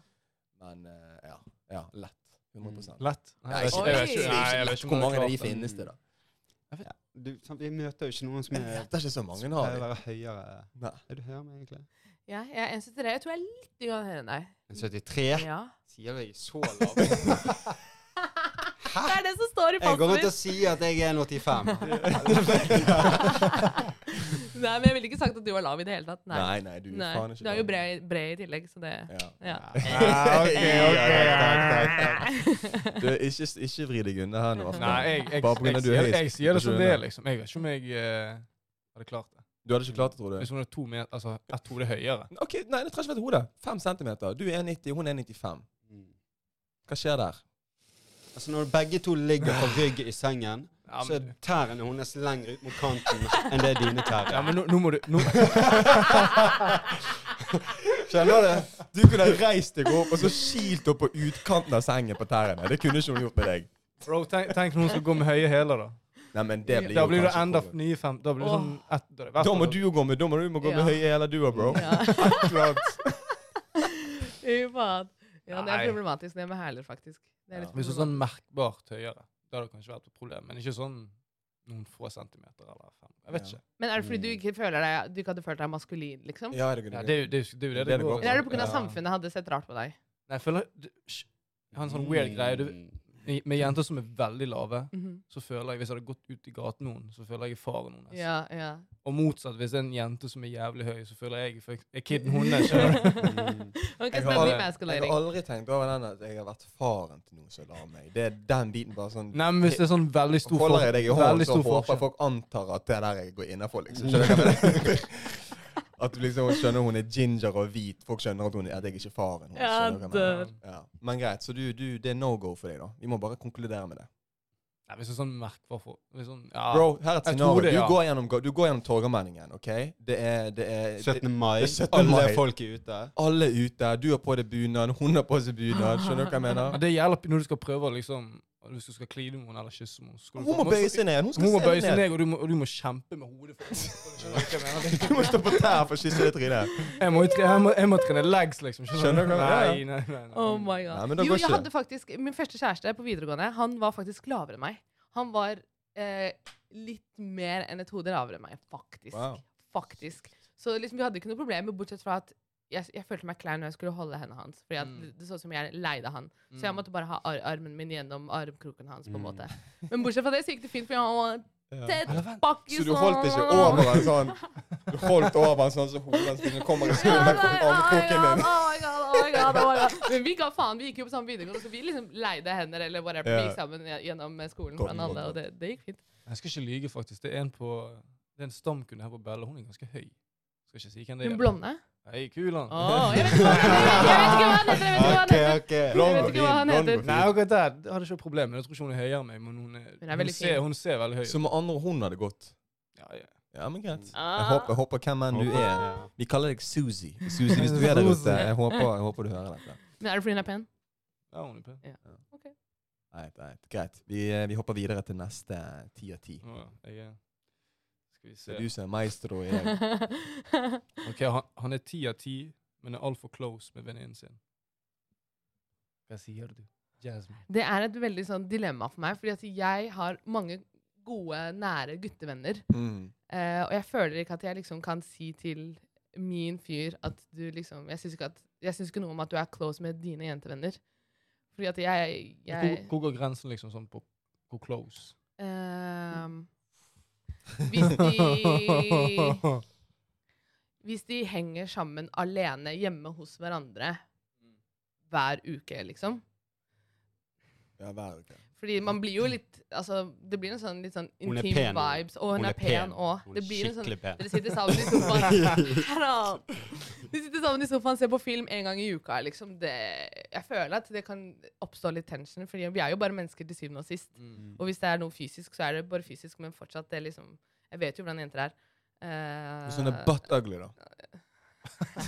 Speaker 1: Men eh, ja. ja, lett. 100
Speaker 2: Mm. Lett.
Speaker 1: Nei,
Speaker 2: jeg vet
Speaker 3: ikke-
Speaker 2: ikke- jeg
Speaker 3: Oi.
Speaker 2: vet ikke-
Speaker 3: Det er
Speaker 2: nei, jeg
Speaker 1: ikke
Speaker 2: vet
Speaker 1: lett
Speaker 2: ikke
Speaker 1: hvor mange av de
Speaker 2: jeg klarte. Mm.
Speaker 1: finnes det, da.
Speaker 4: Du, sant, vi møter jo ikke noen som
Speaker 1: Jeg
Speaker 4: er
Speaker 1: vet ikke så mange
Speaker 4: som
Speaker 1: har
Speaker 4: pleier å
Speaker 1: det.
Speaker 4: være høyere.
Speaker 1: Nei.
Speaker 4: Er du høyere enn meg, egentlig?
Speaker 3: Ja, jeg er 1,73. Jeg tror jeg er litt grann høyere enn deg.
Speaker 4: En 73?
Speaker 3: Ja.
Speaker 4: Sier jeg så lav?
Speaker 3: Det er det som står i
Speaker 4: Jeg går
Speaker 3: passet
Speaker 4: rundt og
Speaker 3: mitt.
Speaker 4: sier at jeg er 1,85.
Speaker 3: Nei, men jeg ville ikke sagt at du var lav i det hele tatt. Nei.
Speaker 1: Nei, nei, du er
Speaker 3: Nei.
Speaker 1: faen ikke
Speaker 3: Du er jo
Speaker 1: dum.
Speaker 3: bred, bred i tillegg, så det
Speaker 1: Ja.
Speaker 3: Ja. Eh,
Speaker 2: Ah, ok, ok.
Speaker 1: Du, ikke, ikke vri deg unna her nå. Aften.
Speaker 2: Nei, jeg, jeg,
Speaker 1: Bare på grunn av
Speaker 2: jeg,
Speaker 1: at du er
Speaker 2: sier-
Speaker 1: høyest.
Speaker 2: jeg sier det som
Speaker 1: Skjønner.
Speaker 2: det er, liksom. Jeg vet ikke om jeg eh, hadde klart det.
Speaker 1: Du hadde ikke klart det, tror du?
Speaker 2: Hvis hun er to meter, altså ett hode høyere.
Speaker 1: Ok, Nei, det trenger ikke være et hode. Fem centimeter. Du er 1,90, hun er 95.
Speaker 4: Mm.
Speaker 1: Hva skjer der?
Speaker 4: Altså Når begge to ligger på rygg i sengen,
Speaker 2: Ja,
Speaker 4: så er
Speaker 2: men,
Speaker 4: tærne hennes lenger ut mot kanten enn det er dine
Speaker 2: ja,
Speaker 4: tær.
Speaker 2: men nå, nå må du nå,
Speaker 1: Skjønner du? Du kunne reist deg opp og så kilt opp på utkanten av sengen på tærne. Det kunne ikke hun gjort med deg.
Speaker 2: Bro, tenk, tenk når hun skal gå med høye hæler, da.
Speaker 1: Nei, men det blir
Speaker 2: Da
Speaker 1: jo
Speaker 2: blir du
Speaker 1: kanskje
Speaker 2: enda
Speaker 1: for-
Speaker 2: nye fem... Da blir det
Speaker 3: Åh.
Speaker 2: sånn ett da er det i hvert
Speaker 1: Da må
Speaker 2: fall-
Speaker 1: du jo gå med, da må du må gå med
Speaker 3: Ja.
Speaker 1: høye hæler, du òg, bro.
Speaker 3: Ja.
Speaker 1: Klart.
Speaker 3: Fy faen. Ja, det er
Speaker 2: Nei.
Speaker 3: problematisk det med hæler, faktisk. Det er litt
Speaker 2: Hvis hun er
Speaker 3: problematisk.
Speaker 2: sånn merkbart høyere, da hadde det kanskje vært et problem. Men ikke sånn noen få centimeter eller fem. Jeg vet
Speaker 1: Ja.
Speaker 2: ikke.
Speaker 3: Men er det fordi du ikke, føler deg, du ikke hadde følt deg maskulin, liksom?
Speaker 1: Ja, det kunne
Speaker 2: Ja,
Speaker 1: jeg
Speaker 2: det, er jo- det, er jo- det er jo det det går
Speaker 1: på.
Speaker 3: Eller er det pga.
Speaker 2: Ja.
Speaker 3: samfunnet hadde sett rart på deg?
Speaker 1: Mm.
Speaker 4: Mm.
Speaker 2: Nei, jeg føler du- Jeg har en sånn weird greie. Du, I- Med jenter som er veldig lave,
Speaker 3: Mhm.
Speaker 2: så føler jeg hvis jeg hadde gått ut i gaten med henne, så føler jeg jeg er faren hennes.
Speaker 3: Ja, ja.
Speaker 2: Og motsatt, hvis det er en jente som er jævlig høy, så føler jeg jeg er kiden hennes. skjønner du?
Speaker 3: Ok,
Speaker 1: Jeg
Speaker 3: så det
Speaker 1: har-
Speaker 3: blir
Speaker 1: Jeg
Speaker 3: mansplaining.
Speaker 1: har aldri tenkt over den at jeg har vært faren til noen som la meg. Det er den biten bare sånn
Speaker 2: Nei, men hvis det er sånn veldig stor
Speaker 1: Holder jeg deg i hånden,
Speaker 2: veldig
Speaker 1: så
Speaker 2: stor
Speaker 1: håper jeg
Speaker 2: forskjell.
Speaker 1: folk antar at det er der jeg går innafor, liksom. Skjønner du hva jeg mener? At du liksom skjønner hun er ginger og hvit. Folk skjønner at, hun, at jeg ikke er faren hennes.
Speaker 3: Ja,
Speaker 1: Skjønner du hva jeg mener?
Speaker 3: dør.
Speaker 1: Ja. Men greit, så du, du, det er no go for deg, da. Vi må bare konkludere med det.
Speaker 2: Nei, hvis det er sånn merkbar for... Hvis sånn, ja.
Speaker 1: Bro, her er et
Speaker 2: Jeg
Speaker 1: scenario.
Speaker 2: tror det, ja.
Speaker 1: Du går gjennom, du går gjennom Torgallmenningen, OK? Det er, det er det,
Speaker 4: 17. mai.
Speaker 1: Det er 17.
Speaker 4: Alle
Speaker 1: mai.
Speaker 4: folk er ute.
Speaker 1: Alle er ute. Du har på deg bunad, hun har på seg bunad. Skjønner du hva jeg
Speaker 2: Ja,
Speaker 1: mener?
Speaker 2: det gjelder når du skal prøve å liksom... Hvis du skal kline med henne eller kysse med henne. så skal du-
Speaker 1: Hun må bøye seg ned. Hun
Speaker 2: Hun
Speaker 1: skal
Speaker 2: må
Speaker 1: se
Speaker 2: bøye
Speaker 1: ned.
Speaker 2: seg ned, og du må, og du må kjempe med hodet. For for skjønner du hva jeg,
Speaker 1: Du
Speaker 2: mener?
Speaker 1: må stå på tær for å kysse det trynet.
Speaker 2: jeg, må, jo tre- jeg, må, jeg må trene legs, liksom.
Speaker 1: Skjønner du hva
Speaker 2: Nei,
Speaker 1: jeg
Speaker 2: nei, nei, nei.
Speaker 3: Oh my god.
Speaker 1: Nei, men det
Speaker 3: jo,
Speaker 1: går
Speaker 3: jeg
Speaker 1: ikke.
Speaker 3: hadde faktisk, Min første kjæreste på videregående han var faktisk lavere enn meg. Han var eh, litt mer enn et hode lavere enn meg, faktisk.
Speaker 1: Wow.
Speaker 3: faktisk. Så liksom, vi hadde ikke noe problem, bortsett fra at jeg, jeg følte meg klein når jeg skulle holde hendene hans. Fordi at
Speaker 2: Mm.
Speaker 3: det, det så ut som jeg leide han. Så jeg
Speaker 2: Mm.
Speaker 3: måtte bare ha ar armen min gjennom armkroken hans. på en
Speaker 4: Mm.
Speaker 3: måte. Men bortsett fra det så gikk det fint. for han var tett
Speaker 2: Mm. Eller vent,
Speaker 3: pakke sånn.
Speaker 1: Så du holdt ikke over en sånn Du holdt over en sånn så hodet hans dine kommer i
Speaker 3: Ja,
Speaker 1: skolen
Speaker 3: nei,
Speaker 1: kommer
Speaker 3: oh my
Speaker 1: armkroken
Speaker 3: god,
Speaker 1: din.
Speaker 3: oh my god, oh my god, oh my god. Men vi ga faen, vi gikk jo på samme videregående, så vi liksom leide hender eller whatever.
Speaker 1: Ja.
Speaker 3: Vi gikk sammen gje- gjennom eh, skolen
Speaker 1: Godt,
Speaker 3: fra alle,
Speaker 1: godt,
Speaker 3: og det, det gikk fint.
Speaker 2: Jeg skal ikke lyge, faktisk. Det er en på Det er en stamkunde her på Bella. Hun er ganske høy. Skal ikke si hvem det er.
Speaker 3: Hun blonde?
Speaker 2: Hei, kulan.
Speaker 3: Åh, jeg vet ikke hva han heter! Jeg vet ikke hva han heter! Jeg vet ikke hva han
Speaker 4: OK,
Speaker 3: heter.
Speaker 4: OK.
Speaker 3: Jeg vet ikke hva han
Speaker 1: Blond og
Speaker 3: heter.
Speaker 1: fin.
Speaker 2: Nei, akkurat der hadde jeg ikke noe problem. men Jeg tror ikke hun er høyere enn meg, men hun er,
Speaker 3: Hun er veldig
Speaker 2: ser,
Speaker 3: fin.
Speaker 2: hun ser veldig høy ut.
Speaker 1: Så med andre ord, hun hadde gått.
Speaker 2: Ja, ja.
Speaker 1: Ja, men greit. Jeg
Speaker 3: Ah.
Speaker 1: håper, jeg håper hvem enn du er.
Speaker 4: Ja.
Speaker 1: Vi kaller deg Suzy. Suzy, hvis du er der ute, jeg håper, jeg håper du hører dette.
Speaker 3: Men er det fordi hun er pen?
Speaker 2: ja, hun er pen.
Speaker 1: Greit, greit. greit. Vi, eh, vi hopper videre til neste ti av ti.
Speaker 2: Å, ja, jeg er Skal vi
Speaker 1: Det
Speaker 2: se
Speaker 1: er du som er maestro. og Jeg.
Speaker 2: Ok, han, han er ti av ti, men er altfor close med venninnen sin. Hva sier du? Jasmine.
Speaker 3: Det er et veldig sånn dilemma for meg, fordi at jeg har mange gode, nære guttevenner.
Speaker 1: Mm.
Speaker 3: Eh, og jeg føler ikke at jeg liksom kan si til min fyr at du liksom Jeg syns ikke, at- jeg syns ikke noe om at du er close med dine jentevenner. Fordi at jeg,
Speaker 2: Hvor,
Speaker 3: jeg
Speaker 2: hvor går grensen liksom sånn på hvor close?
Speaker 3: ehm, hvis, de, hvis de henger sammen alene hjemme hos hverandre hver uke, liksom.
Speaker 1: Ja, hver uke.
Speaker 3: Fordi man blir jo litt altså, Det blir en sånn litt sånn
Speaker 4: Mm. Hun er
Speaker 3: intim
Speaker 4: pen.
Speaker 3: vibes. Og hun, er pen òg.
Speaker 4: Hun
Speaker 3: Det
Speaker 4: er
Speaker 3: blir en sånn
Speaker 4: skikkelig pen.
Speaker 3: Dere sitter sammen i sofaen. Herald. De sitter sammen i sofaen og ser på film en gang i uka. Liksom. Det, jeg føler at det kan oppstå litt tension, for vi er jo bare mennesker til syvende og sist.
Speaker 2: Mm.
Speaker 3: Og hvis det er noe fysisk, så er det bare fysisk, men fortsatt det er liksom Jeg vet jo hvordan jenter er. Eh,
Speaker 1: Hvis hun er butt ugly, da.
Speaker 3: I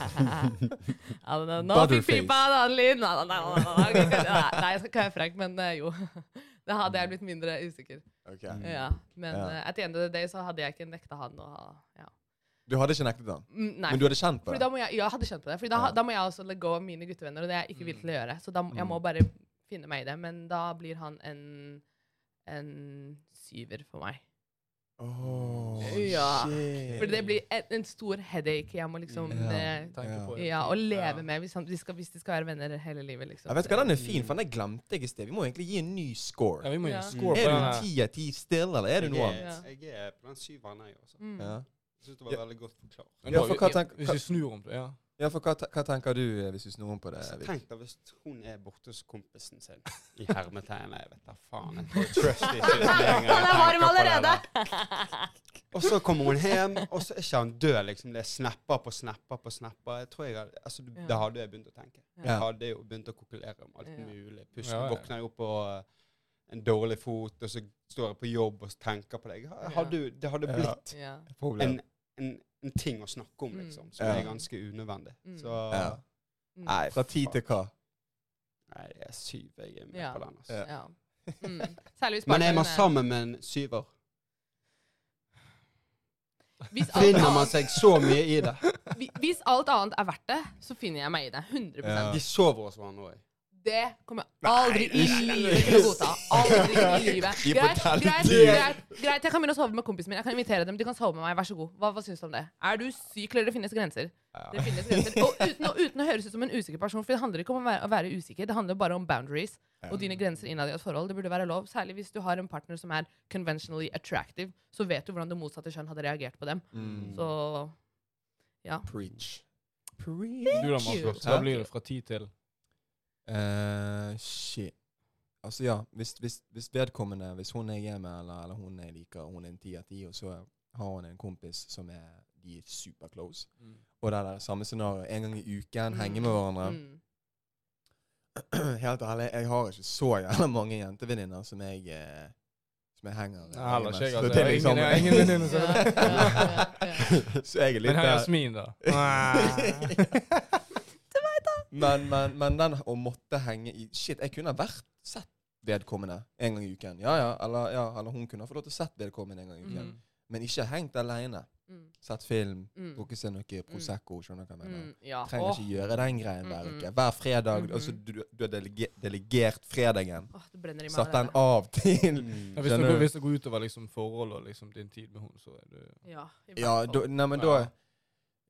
Speaker 3: don't know. eh, Nå fikk
Speaker 1: Butterface.
Speaker 3: pipa en annen lyd! Nei, nei, nei, nei, nei, nei, nei, nei, jeg skal ikke være frekk, men eh, jo. Da hadde jeg blitt mindre usikker.
Speaker 1: Ok.
Speaker 4: Mm.
Speaker 3: Ja, men
Speaker 1: Ja.
Speaker 3: eh, at the end of the day så hadde jeg ikke nekta han å ha ja.
Speaker 1: Du hadde ikke nektet han,
Speaker 3: Mm, Nei,
Speaker 1: men du hadde kjent på
Speaker 3: Fordi
Speaker 1: det?
Speaker 3: da må jeg, jeg hadde kjent på det. Fordi da,
Speaker 1: Ja. Mm.
Speaker 3: da må jeg også let go av mine guttevenner, og det er jeg ikke villig til å gjøre. Så da, må- jeg må bare finne meg i det. Men da blir han en, en syver for meg.
Speaker 1: Åh,
Speaker 3: Ja.
Speaker 1: shit.
Speaker 3: For det blir en, en stor headache jeg må liksom
Speaker 1: Ja.
Speaker 3: eh,
Speaker 2: Tenker på det.
Speaker 3: ja, å leve
Speaker 2: Ja.
Speaker 3: med hvis, han, de skal, hvis de skal være venner hele livet, liksom.
Speaker 1: Jeg vet hva, den er fin, for den glemte jeg i sted. Vi må egentlig gi en ny
Speaker 2: Ja,
Speaker 1: score.
Speaker 2: vi må gi
Speaker 3: Ja.
Speaker 2: en score
Speaker 1: Er
Speaker 2: på
Speaker 1: du
Speaker 2: den. her.
Speaker 1: ti av ti still, eller er du noe annet?
Speaker 3: annet?
Speaker 4: Jeg er på den syveren, jeg også.
Speaker 3: Mm.
Speaker 1: Ja.
Speaker 4: Jeg syns det var veldig godt forklart.
Speaker 2: Men
Speaker 1: Ja,
Speaker 2: da-
Speaker 1: for hva tenk-
Speaker 2: Hvis
Speaker 1: hva-
Speaker 2: vi snur om det, ja.
Speaker 1: Ja, for hva, te- hva tenker du eh, hvis du snur om på det?
Speaker 3: Altså,
Speaker 4: Så
Speaker 1: Vic?
Speaker 4: Tenk deg hvis hun er borte hos kompisen sin i hermetegn. Jeg vet da
Speaker 1: Mm.
Speaker 4: faen. Jeg får trust issues med en gang jeg
Speaker 3: Han er varm
Speaker 4: tenker på det
Speaker 3: allerede!
Speaker 4: der. Og så kommer hun hjem, og så er ikke han død, liksom. Det er snapper på snapper på snapper. Jeg tror jeg hadde, altså, du-
Speaker 3: Ja.
Speaker 4: Da hadde jeg begynt å tenke.
Speaker 1: Ja.
Speaker 4: Jeg hadde jo begynt å kokulere om alt
Speaker 3: Ja.
Speaker 4: mulig. Plutselig
Speaker 2: Ja, ja.
Speaker 4: våkner jeg opp på eh, en dårlig fot, og så står jeg på jobb og tenker på det. Jeg ha-
Speaker 3: Ja.
Speaker 4: Hadde, jo- det hadde
Speaker 1: Ja.
Speaker 4: blitt
Speaker 3: Ja.
Speaker 1: Problem.
Speaker 4: en, en, en ting å snakke om,
Speaker 3: Mm.
Speaker 4: liksom, som
Speaker 1: Ja.
Speaker 4: er ganske unødvendig.
Speaker 3: Mm.
Speaker 4: Så
Speaker 1: Ja.
Speaker 3: Mm.
Speaker 4: Nei,
Speaker 1: Fra ti
Speaker 4: faen.
Speaker 1: til hva?
Speaker 4: Nei, det er syv jeg er med
Speaker 3: Ja. eh,
Speaker 4: på den. Altså.
Speaker 1: Ja.
Speaker 3: Ja. Mm. Særlig hvis
Speaker 4: Men er man
Speaker 3: partneren er-
Speaker 4: sammen med en syver?
Speaker 3: Hvis alt
Speaker 4: Finner man
Speaker 3: annet-
Speaker 4: seg så mye i det?
Speaker 3: Hvi- Hvis alt annet er verdt det, så finner jeg meg i det. 100
Speaker 1: Ja.
Speaker 4: De sover hos hverandre òg.
Speaker 3: Det kommer jeg aldri i livet til å godta. Aldri i livet.
Speaker 1: Gi
Speaker 3: Greit,
Speaker 1: fortell
Speaker 3: greit,
Speaker 1: til.
Speaker 3: greit, greit, jeg kan begynne å sove med kompisen min. Jeg kan invitere dem. De kan sove med meg. Vær så god. Hva, hva syns du om det? Er du syk, eller det finnes grenser? Det finnes grenser. Og uten, og uten å høres ut som en usikker person, for det handler ikke om å være, å være usikker. Det handler bare om boundaries og dine grenser innad i et forhold. Det burde være lov. Særlig hvis du har en partner som er conventionally attractive, så vet du hvordan det motsatte kjønn hadde reagert på dem.
Speaker 1: Mm.
Speaker 3: Så ja.
Speaker 1: Preach.
Speaker 2: Du da, Markus. Da
Speaker 1: Hæ?
Speaker 2: blir det fra ti til.
Speaker 1: Eh, shit. Altså, ja. Hvis, hvis, hvis vedkommende, hvis hun jeg er med, eller, eller hun jeg liker, hun er en ti av ti, og så har hun en kompis som er de er super close, og det er det samme scenario en gang i uken,
Speaker 3: Mm.
Speaker 1: henge med hverandre
Speaker 3: Mm.
Speaker 1: Helt ærlig, jeg har ikke så gjerne mange jentevenninner som jeg eh, Som jeg henger
Speaker 2: Nei, heller ikke jeg,
Speaker 1: Så
Speaker 2: altså.
Speaker 1: det
Speaker 2: Jeg
Speaker 1: er
Speaker 2: har ingen-
Speaker 1: liksom-
Speaker 2: jeg har ingen venninner
Speaker 3: som- Ja, ja,
Speaker 1: Så jeg er litt
Speaker 2: Men her er
Speaker 1: der.
Speaker 2: Jasmin, da.
Speaker 1: Men, men, men den å måtte henge i Shit, jeg kunne ha vært sett vedkommende en gang i uken. Ja, ja, eller, ja, eller hun kunne ha fått lov til å sett vedkommende en gang i uken.
Speaker 3: Mm.
Speaker 1: Men ikke hengt aleine.
Speaker 3: Mm.
Speaker 1: Sett film,
Speaker 3: Mm.
Speaker 1: drukket seg noe Prosecco. Skjønner du hva jeg mener?
Speaker 3: Mm, ja.
Speaker 1: Trenger
Speaker 3: Åh,
Speaker 1: ikke gjøre den greien hver
Speaker 3: Mm, mm.
Speaker 1: uke. Hver fredag.
Speaker 3: Mhm.
Speaker 1: altså, du, du har delege, delegert fredagen.
Speaker 3: åh, det brenner i meg.
Speaker 1: Satt den
Speaker 3: allerede.
Speaker 1: av til
Speaker 2: Ja,
Speaker 4: Mm.
Speaker 2: hvis, det
Speaker 1: Skjønner
Speaker 2: går,
Speaker 1: du?
Speaker 2: hvis det går utover liksom, forhold og liksom, din tid med henne, så er du
Speaker 3: Ja, i hvert
Speaker 1: Ja,
Speaker 3: fall.
Speaker 1: da, nei, men
Speaker 2: Ja.
Speaker 1: da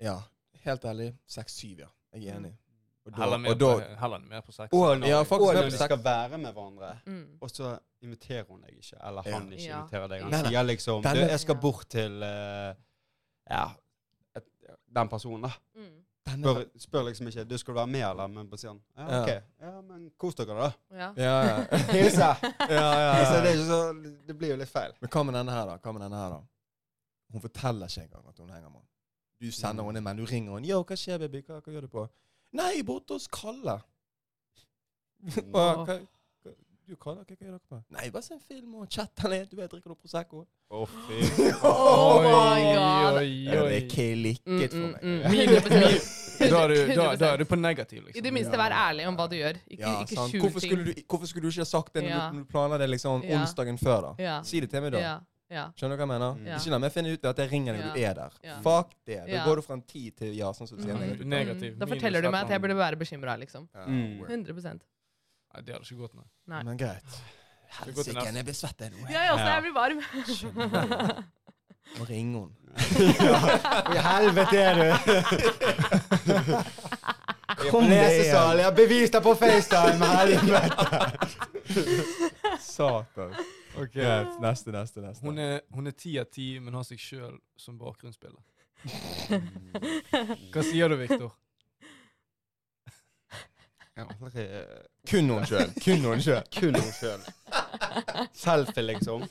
Speaker 1: Ja, helt ærlig. Seks-syv, ja. Jeg
Speaker 3: Mm.
Speaker 1: er enig. Og da,
Speaker 2: heller mer,
Speaker 1: og da
Speaker 2: på, heller mer på sex.
Speaker 1: Og- ja, faktisk
Speaker 4: Og
Speaker 1: mer
Speaker 4: når
Speaker 1: på
Speaker 4: de
Speaker 1: sex.
Speaker 4: skal være med hverandre,
Speaker 3: Mm.
Speaker 4: og så inviterer hun deg ikke. Eller
Speaker 1: Ja.
Speaker 4: han ikke
Speaker 3: Ja.
Speaker 4: inviterer
Speaker 1: Nei,
Speaker 4: deg. Han
Speaker 1: nei.
Speaker 4: sier liksom
Speaker 1: Den
Speaker 4: Du,
Speaker 1: er-
Speaker 4: jeg skal
Speaker 3: Ja.
Speaker 4: bort til eh, Ja, et, den personen, da.
Speaker 3: Mm.
Speaker 1: Denne-
Speaker 4: Spør, spør liksom ikke Du skal du være med, eller? Men bare sier han ja,
Speaker 1: Ja.
Speaker 4: OK. Ja, men kos dere, da.
Speaker 3: Ja.
Speaker 1: Ja, ja.
Speaker 4: Hilse!
Speaker 1: ja, ja,
Speaker 4: Hilse,
Speaker 1: ja.
Speaker 4: det, er ikke så, det blir jo litt feil.
Speaker 1: Men hva med denne her, da? Hva med denne her da? Hun forteller ikke engang at hun henger med han. Du sender
Speaker 4: Mm.
Speaker 1: henne en melding, du ringer henne. 'Yo, hva skjer, baby? Hva, hva gjør du på?' 'Nei, borte hos Kalle'.
Speaker 4: Mm.
Speaker 1: Hva- hva, hva, du, Kalle, hva, hva gjør dere på? 'Nei, bare se en film og chatte litt. Du vet, drikker noe Prosecco'.
Speaker 4: Å, fy.
Speaker 3: Oh my god!
Speaker 2: Oi,
Speaker 1: Ja,
Speaker 2: oi,
Speaker 1: det er
Speaker 2: oi.
Speaker 1: klikket for meg.
Speaker 3: Mm, mm, mm. 100%.
Speaker 2: Da er, du, da, da er du på negativ, liksom.
Speaker 3: I det minste være ærlig om hva du gjør. Ikke,
Speaker 1: Ja,
Speaker 3: ikke
Speaker 1: sant.
Speaker 3: skjul
Speaker 1: Hvorfor
Speaker 3: ting.
Speaker 1: skulle, du, hvorfor skulle du ikke ha sagt det når
Speaker 3: Ja.
Speaker 1: du, når du planla det liksom
Speaker 3: Ja.
Speaker 1: onsdagen før? da?
Speaker 3: Ja.
Speaker 1: Si det til meg, da.
Speaker 3: Ja. Ja.
Speaker 1: Skjønner du hva jeg mener?
Speaker 4: Ja.
Speaker 1: Ikke la meg finne ut ved at jeg ringer deg når du
Speaker 3: Ja.
Speaker 1: er der.
Speaker 3: Ja.
Speaker 1: Fuck det. Da
Speaker 3: Ja.
Speaker 1: går du fra en 10 til ja, sånn som du sier.
Speaker 3: Mm.
Speaker 1: egentlig.
Speaker 2: Negativ.
Speaker 3: Mm. Da
Speaker 2: Minus
Speaker 3: forteller du
Speaker 2: at
Speaker 3: meg at jeg
Speaker 2: han-
Speaker 3: burde være bekymra, liksom.
Speaker 1: Ja,
Speaker 4: Mm.
Speaker 1: word.
Speaker 3: 100
Speaker 2: Nei, det hadde ikke gått, nei.
Speaker 3: Nei.
Speaker 1: Men greit.
Speaker 2: Vi går til
Speaker 1: Helsike,
Speaker 2: neste.
Speaker 1: jeg blir svett jeg nå.
Speaker 3: Jeg også,
Speaker 4: Ja.
Speaker 3: jeg blir varm.
Speaker 1: Må ringe hun.
Speaker 4: I helvete er du!
Speaker 1: Kom deg
Speaker 4: Lesesal. Jeg har bevist det på FaceTime! Helvete!
Speaker 1: Satan. Greit. Neste, neste, neste.
Speaker 2: Hun er, hun er 10 av 10, men har seg sjøl som bakgrunnsspiller.
Speaker 4: Mm.
Speaker 2: Hva sier du, Viktor?
Speaker 4: Jeg har aldri eh,
Speaker 1: Kun hun sjøl. Kun hun sjøl.
Speaker 4: kun hun sjøl. Selfie, liksom.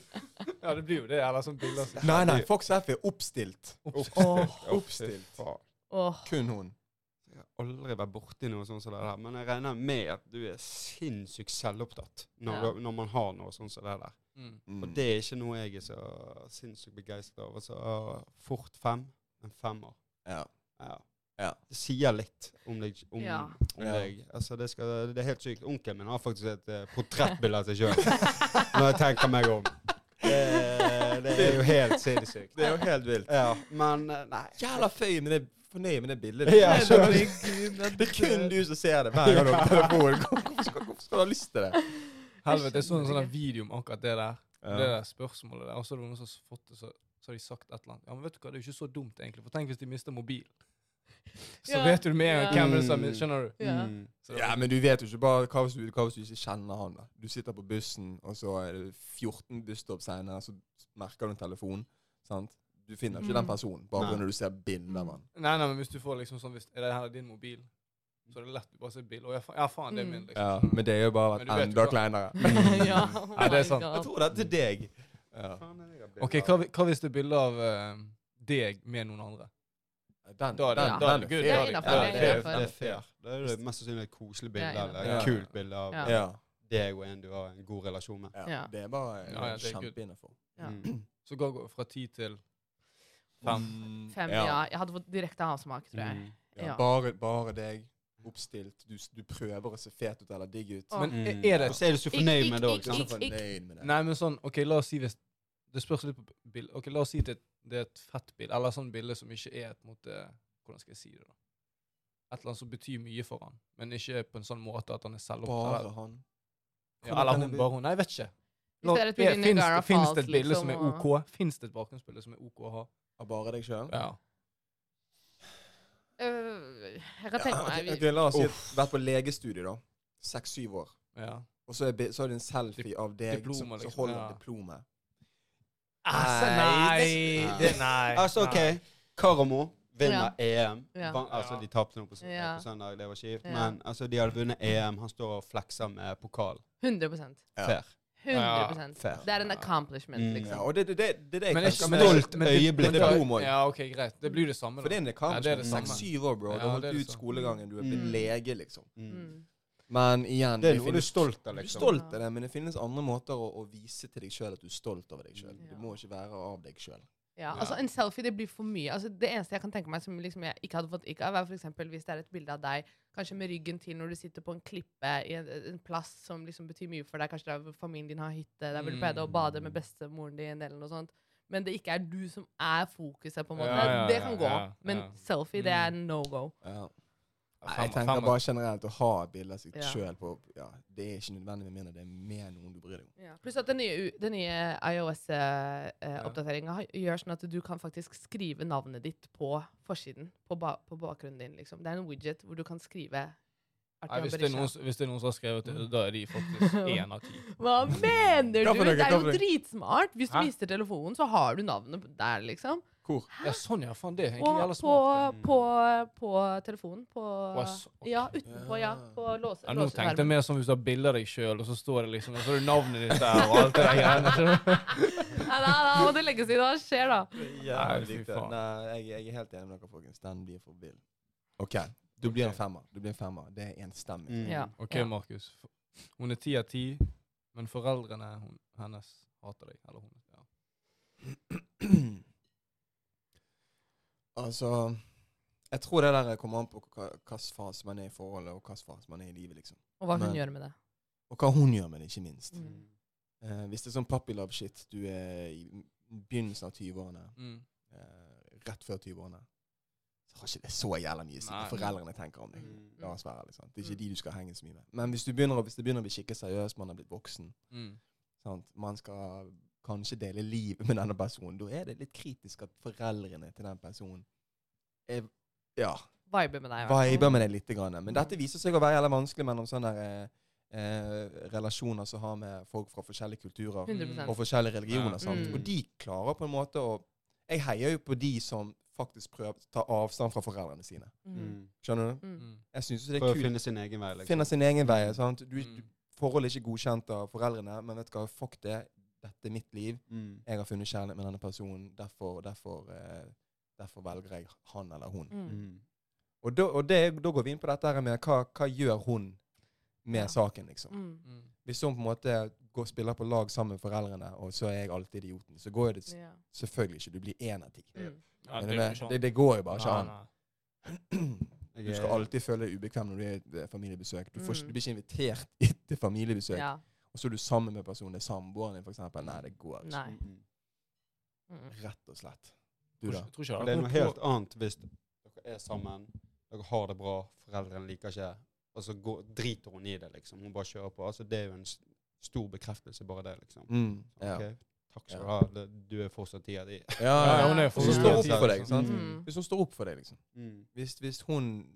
Speaker 2: Ja, det blir jo det. Eller sånn bilder. som-
Speaker 1: Nei, nei, Fox F er oppstilt.
Speaker 4: Oppstilt.
Speaker 1: Oppstilt.
Speaker 4: Faen.
Speaker 3: Åh,
Speaker 1: Kun hun.
Speaker 4: Jeg har aldri vært borti noe sånt som det der. Men jeg regner med at du er sinnssykt selvopptatt når,
Speaker 3: Ja.
Speaker 4: du- når man har noe sånt som det der.
Speaker 2: Mm.
Speaker 4: Og det er ikke noe jeg er så sinnssykt begeistra over. Så ah, fort fem, en femmer.
Speaker 1: Ja.
Speaker 4: Ja.
Speaker 1: Ja.
Speaker 4: Det sier litt om deg. Om,
Speaker 3: Ja.
Speaker 4: om
Speaker 1: Ja.
Speaker 4: deg. Altså, det, skal, det er helt sykt. Onkelen min har faktisk et eh, portrettbilde av seg sjøl, når jeg tenker meg om. Det, det er jo helt sinnssykt.
Speaker 1: Det er jo helt vilt.
Speaker 4: Ja, men eh, nei.
Speaker 1: Jævla føy med det, fornøyd med det bildet.
Speaker 4: Ja, skjønner.
Speaker 1: Herregud, det er kun du som ser det hver gang du har telefon. Hvorfor skal- Hvorfor skal du ha lyst til det?
Speaker 2: Helvete, det er sånn,
Speaker 3: skjønner
Speaker 2: sånn
Speaker 3: ikke.
Speaker 2: video om akkurat det der.
Speaker 1: Ja.
Speaker 2: Det der spørsmålet der. Og så er det noen som har fått det, så, så har de sagt et eller annet. Ja, men vet du hva, det er jo ikke så dumt, egentlig. For tenk hvis de mister mobilen. Så
Speaker 3: Ja.
Speaker 2: vet du med en gang hvem det er som
Speaker 4: Mm.
Speaker 2: Skjønner du?
Speaker 3: ja.
Speaker 4: Mm.
Speaker 2: Så det-
Speaker 1: Ja, men du vet jo ikke bare hva hvis du, hva hvis du ikke kjenner han. da. Du sitter på bussen, og så er det 14 busstopp senere, så merker du en telefon. sant? Du finner ikke
Speaker 3: Mm.
Speaker 1: den personen bare
Speaker 4: Nei.
Speaker 1: når du ser bilder av han.
Speaker 2: Nei, nei, men hvis du får liksom sånn hvis, Er det her din mobil? Så er det lett du bare ser bilde. Å, ja, fa- ja, faen, det er min, liksom.
Speaker 1: Ja, men det er jo bare
Speaker 2: Men
Speaker 1: vært
Speaker 2: du vet jo
Speaker 1: enda
Speaker 2: hva-
Speaker 1: kleinere.
Speaker 3: ja. oh
Speaker 2: Ja, det er
Speaker 3: my
Speaker 2: sant.
Speaker 3: God.
Speaker 1: Jeg tror det er til deg. Ja.
Speaker 4: Faen, er det jeg har
Speaker 2: Ok,
Speaker 4: bilder
Speaker 2: hva,
Speaker 4: av?
Speaker 2: hvi- hva hvis det er bilde av eh, deg med noen andre?
Speaker 1: Den,
Speaker 2: Da er det- da er det good,
Speaker 1: fair.
Speaker 3: Det er
Speaker 2: da
Speaker 3: innenfor,
Speaker 1: Ja,
Speaker 4: Ja, det er,
Speaker 1: det er
Speaker 4: det er fair. Det er jo mest sannsynlig et koselig bilde
Speaker 3: Ja,
Speaker 4: eller
Speaker 1: ja.
Speaker 4: et kult bilde av
Speaker 3: Ja.
Speaker 1: Ja,
Speaker 4: deg og en du har en god relasjon med.
Speaker 1: ja.
Speaker 3: Ja.
Speaker 1: Det er bare
Speaker 2: Ja, ja, det er good.
Speaker 1: kjempeinnafor.
Speaker 3: Ja.
Speaker 4: Mm.
Speaker 2: Så går går fra ti til fem.
Speaker 3: Fem, ja. Jeg hadde fått direkte avsmak, tror jeg.
Speaker 4: Mm.
Speaker 1: Ja,
Speaker 3: Ja.
Speaker 1: bare, bare deg. Oppstilt. Du, s- du prøver å se fet ut eller digg ut.
Speaker 3: Å.
Speaker 2: Men
Speaker 4: Mm.
Speaker 2: er det
Speaker 4: Og så er du så fornøyd med det
Speaker 1: Du er
Speaker 4: òg.
Speaker 1: så fornøyd med det.
Speaker 2: Nei, men sånn OK, la oss si hvis Det spørs litt på bildet. Ok, la oss si det, det er et fett bilde, eller sånn bilde som ikke er et måte Hvordan skal jeg si det, da? et eller annet som betyr mye for han, men ikke på en sånn måte at han er selvopptatt.
Speaker 1: Bare
Speaker 2: Eller,
Speaker 1: han.
Speaker 2: ja, eller hun bare hun. Nei, jeg vet ikke.
Speaker 3: Hvis det er et bilde inni
Speaker 2: Fins
Speaker 3: Niagara
Speaker 2: det, finnes det
Speaker 3: Falls,
Speaker 2: et bilde
Speaker 3: liksom,
Speaker 2: som er
Speaker 3: og-
Speaker 2: OK? Fins det et bakgrunnsbilde som er OK å ha?
Speaker 1: Av bare deg sjøl?
Speaker 2: Ja.
Speaker 3: Øh, jeg kan tenke meg
Speaker 1: ok, la oss si at vært på legestudie, da. Seks-syv år.
Speaker 2: ja.
Speaker 1: Og så er, bi- så er det en selfie av deg
Speaker 2: Diploma,
Speaker 1: som, som
Speaker 2: liksom,
Speaker 1: holder
Speaker 2: ja.
Speaker 1: diplomet.
Speaker 2: Altså,
Speaker 4: Nei, det-
Speaker 2: nei.
Speaker 4: Altså, OK. Karamo vinner EM.
Speaker 3: Ja.
Speaker 4: Van, altså,
Speaker 2: Ja.
Speaker 4: de tapte nå på, sø-
Speaker 3: Ja.
Speaker 4: på søndag, det var kjipt.
Speaker 3: Ja.
Speaker 4: Men altså, de hadde vunnet EM. Han står og flekser med pokal.
Speaker 3: 100
Speaker 1: Ja.
Speaker 4: Fair.
Speaker 3: 100
Speaker 4: Fair.
Speaker 3: Det er en accomplishment,
Speaker 4: Mm.
Speaker 1: Ja,
Speaker 3: liksom.
Speaker 1: og det det- det- det er det jeg
Speaker 2: Men er ikke
Speaker 1: tenker med-
Speaker 4: stolt
Speaker 2: men det-
Speaker 4: øyeblikk.
Speaker 2: men det-
Speaker 1: Diplom også.
Speaker 2: Ja, OK, greit. Det blir det samme.
Speaker 1: For det
Speaker 2: da.
Speaker 1: er en
Speaker 2: Ja, det er
Speaker 1: accomplishment.
Speaker 2: det
Speaker 4: samme.
Speaker 1: Seks-syv år, bro.
Speaker 2: Ja,
Speaker 1: du har
Speaker 2: det
Speaker 1: holdt
Speaker 2: er det
Speaker 1: ut
Speaker 2: samme.
Speaker 1: skolegangen. Du er blitt
Speaker 4: Mm.
Speaker 1: lege, liksom.
Speaker 4: Mm.
Speaker 3: Mm.
Speaker 1: Men igjen
Speaker 4: Det er noe
Speaker 1: finnes-
Speaker 4: du er stolt av,
Speaker 1: Du er
Speaker 4: liksom.
Speaker 1: stolt av det, men det finnes andre måter å, å vise til deg sjøl at du er stolt over deg sjøl.
Speaker 3: Mm, Ja.
Speaker 1: Det må ikke være av deg sjøl.
Speaker 3: Ja, altså En selfie det blir for mye. Altså Det eneste jeg kan tenke meg som liksom jeg ikke hadde fått ikke av, er for eksempel hvis det er et bilde av deg kanskje med ryggen til når du sitter på en klippe i en, en plass som liksom betyr mye for deg. Kanskje der hvor familien din har hytte, der hvor du pleide å bade
Speaker 2: Mm.
Speaker 3: med bestemoren din. eller noe sånt Men det ikke er du som er fokuset, på en måte.
Speaker 2: Ja, ja,
Speaker 3: det
Speaker 2: ja,
Speaker 3: kan gå.
Speaker 2: ja, Mm.
Speaker 3: Men
Speaker 2: ja.
Speaker 3: selfie, det er no go.
Speaker 1: Ja. Nei,
Speaker 2: Fem-
Speaker 1: jeg tenker
Speaker 2: fem-
Speaker 1: bare generelt å ha et bilde av seg
Speaker 3: Ja.
Speaker 1: sjøl på ja, Det er ikke nødvendig med mindre det er med noen du bryr deg om.
Speaker 3: Pluss at den nye, u- den nye eh, IOS-oppdateringa gjør sånn at du kan faktisk skrive navnet ditt på forsiden. På, ba på bakgrunnen din, liksom. Det er en widget hvor du kan skrive
Speaker 2: Nei,
Speaker 3: Artyom
Speaker 2: hvis, det er
Speaker 3: Berisha.
Speaker 2: noen, s- hvis det er noen som har skrevet det, da er de faktisk én av ti.
Speaker 3: Hva
Speaker 1: Hva for noe,
Speaker 3: mener du? Det er
Speaker 1: hva for
Speaker 3: jo
Speaker 1: noe?
Speaker 3: dritsmart. Hvis du
Speaker 2: Hæ?
Speaker 3: mister telefonen, så har du navnet der, liksom.
Speaker 1: Hvor?
Speaker 2: Ja, sånn, ja. Faen, det er egentlig
Speaker 3: Og
Speaker 2: jævla
Speaker 3: på,
Speaker 2: smart. det.
Speaker 3: på, på telefonen. På
Speaker 2: ass, ok.
Speaker 3: Ja, utenpå, ja. På låse,
Speaker 2: Ja, nå tenkte jeg
Speaker 3: låseskjermen.
Speaker 2: mer som hvis du har bilde av deg sjøl, og så står det liksom, og så er det navnet ditt der, og alt det der greiene. skjønner du?
Speaker 3: Nei, nei, nei, må det legges i. Hva skjer da?
Speaker 2: Mm. Nei, fy
Speaker 1: likt det.
Speaker 2: faen.
Speaker 1: Nei, jeg, jeg er helt enig med dere, folkens. Den blir for vill. OK. Du blir en femmer. Du blir en femmer. Det er enstemmig.
Speaker 4: Mm.
Speaker 3: Ja.
Speaker 2: OK,
Speaker 3: ja.
Speaker 2: Markus. Hun er ti av ti, men foreldrene hun, hennes hater deg. Eller hun. Ja. Mm.
Speaker 1: altså Jeg tror det der kommer an på hvilken fase man er i forholdet, og hvilken fase man er i livet, liksom.
Speaker 3: Og hva hun
Speaker 1: Men-
Speaker 3: gjør med det.
Speaker 1: Og hva hun gjør med det, ikke minst.
Speaker 3: Mm.
Speaker 1: Eh, hvis det er sånn pappilab-shit du er i begynnelsen av 20-årene,
Speaker 2: Mm.
Speaker 1: eh, rett før 20-årene, så har ikke det så jævla mye å si hva
Speaker 2: Nei.
Speaker 1: foreldrene tenker om deg.
Speaker 4: Mm.
Speaker 1: La oss være, liksom. Det er
Speaker 3: Mm.
Speaker 1: ikke de du skal henge så mye med. Men hvis, du begynner, å- hvis det begynner å bli skikkelig seriøst, man har blitt voksen,
Speaker 2: Mm.
Speaker 1: sant? man skal kanskje dele livet med denne personen, da er det litt kritisk at foreldrene til den personen er, ja,
Speaker 3: Viber med deg. i hvert fall.
Speaker 1: viber med det litt. Grann. Men dette viser seg å være jævla vanskelig mellom sånne der, eh, eh, relasjoner som har med folk fra forskjellige kulturer
Speaker 3: 100%.
Speaker 1: og forskjellige religioner.
Speaker 2: Ja.
Speaker 1: Sant?
Speaker 3: Mm.
Speaker 1: Og de klarer på en måte å Jeg heier jo på de som faktisk prøver å ta avstand fra foreldrene sine.
Speaker 3: Mm.
Speaker 4: Mm.
Speaker 1: Skjønner du?
Speaker 3: Mm.
Speaker 2: Mm.
Speaker 1: Jeg synes jo det
Speaker 4: For
Speaker 1: er
Speaker 4: å
Speaker 1: kult.
Speaker 4: finne sin egen vei, liksom.
Speaker 1: Finner sin egen vei. sant? Du,
Speaker 2: Mm.
Speaker 1: du, forholdet er ikke godkjent av foreldrene, men vet du hva, fuck det. Dette er mitt liv.
Speaker 4: Mm.
Speaker 1: Jeg har funnet kjærlighet med denne personen. Derfor, derfor, eh, derfor velger jeg han eller hun.
Speaker 3: Mm.
Speaker 4: Mm.
Speaker 1: Og, da, og det, da går vi inn på dette her med hva, hva gjør hun med
Speaker 3: Ja.
Speaker 1: saken, liksom.
Speaker 3: Mm.
Speaker 2: Mm.
Speaker 1: Hvis hun på en måte går, spiller på lag sammen med foreldrene, og så er jeg alltid idioten, så går jo det s-
Speaker 3: Ja.
Speaker 1: selvfølgelig ikke. Du blir én av ti.
Speaker 3: Mm.
Speaker 2: Ja,
Speaker 1: Men
Speaker 2: det, er jo
Speaker 1: det,
Speaker 2: ikke
Speaker 1: det, det går jo bare ikke
Speaker 2: sånn.
Speaker 1: an.
Speaker 2: Nei, nei.
Speaker 1: Du skal alltid føle deg ubekvem når du er i et eh, familiebesøk. Du, får, ikke-
Speaker 3: Mm.
Speaker 1: du blir ikke invitert til familiebesøk,
Speaker 3: ja.
Speaker 1: og så er du sammen med personen. Det er samboeren din, for eksempel. Nei, det går ikke.
Speaker 3: Nei.
Speaker 4: Mm.
Speaker 3: Mm.
Speaker 1: Rett og slett. Du, da?
Speaker 2: Jeg tror ikke jeg
Speaker 4: Og det er
Speaker 2: hadde
Speaker 4: noe
Speaker 2: kommet
Speaker 4: helt annet hvis dere er sammen, dere har det bra, foreldrene liker ikke, og så går, driter hun i det, liksom. Hun bare kjører på. Altså, det er jo en s- stor bekreftelse, bare det, liksom.
Speaker 1: Mm, ja.
Speaker 4: Ok, Takk skal du
Speaker 1: Ja.
Speaker 4: ha. Det- Du er fortsatt ti av de.
Speaker 1: Ja,
Speaker 2: på-
Speaker 1: ja.
Speaker 2: hun er
Speaker 3: Hvis
Speaker 1: Hvis hun står opp for deg,
Speaker 2: Mm.
Speaker 1: sant?
Speaker 3: Mm.
Speaker 1: Hvis hun står opp for deg, liksom.
Speaker 4: Mm.
Speaker 1: Hvis, hvis hun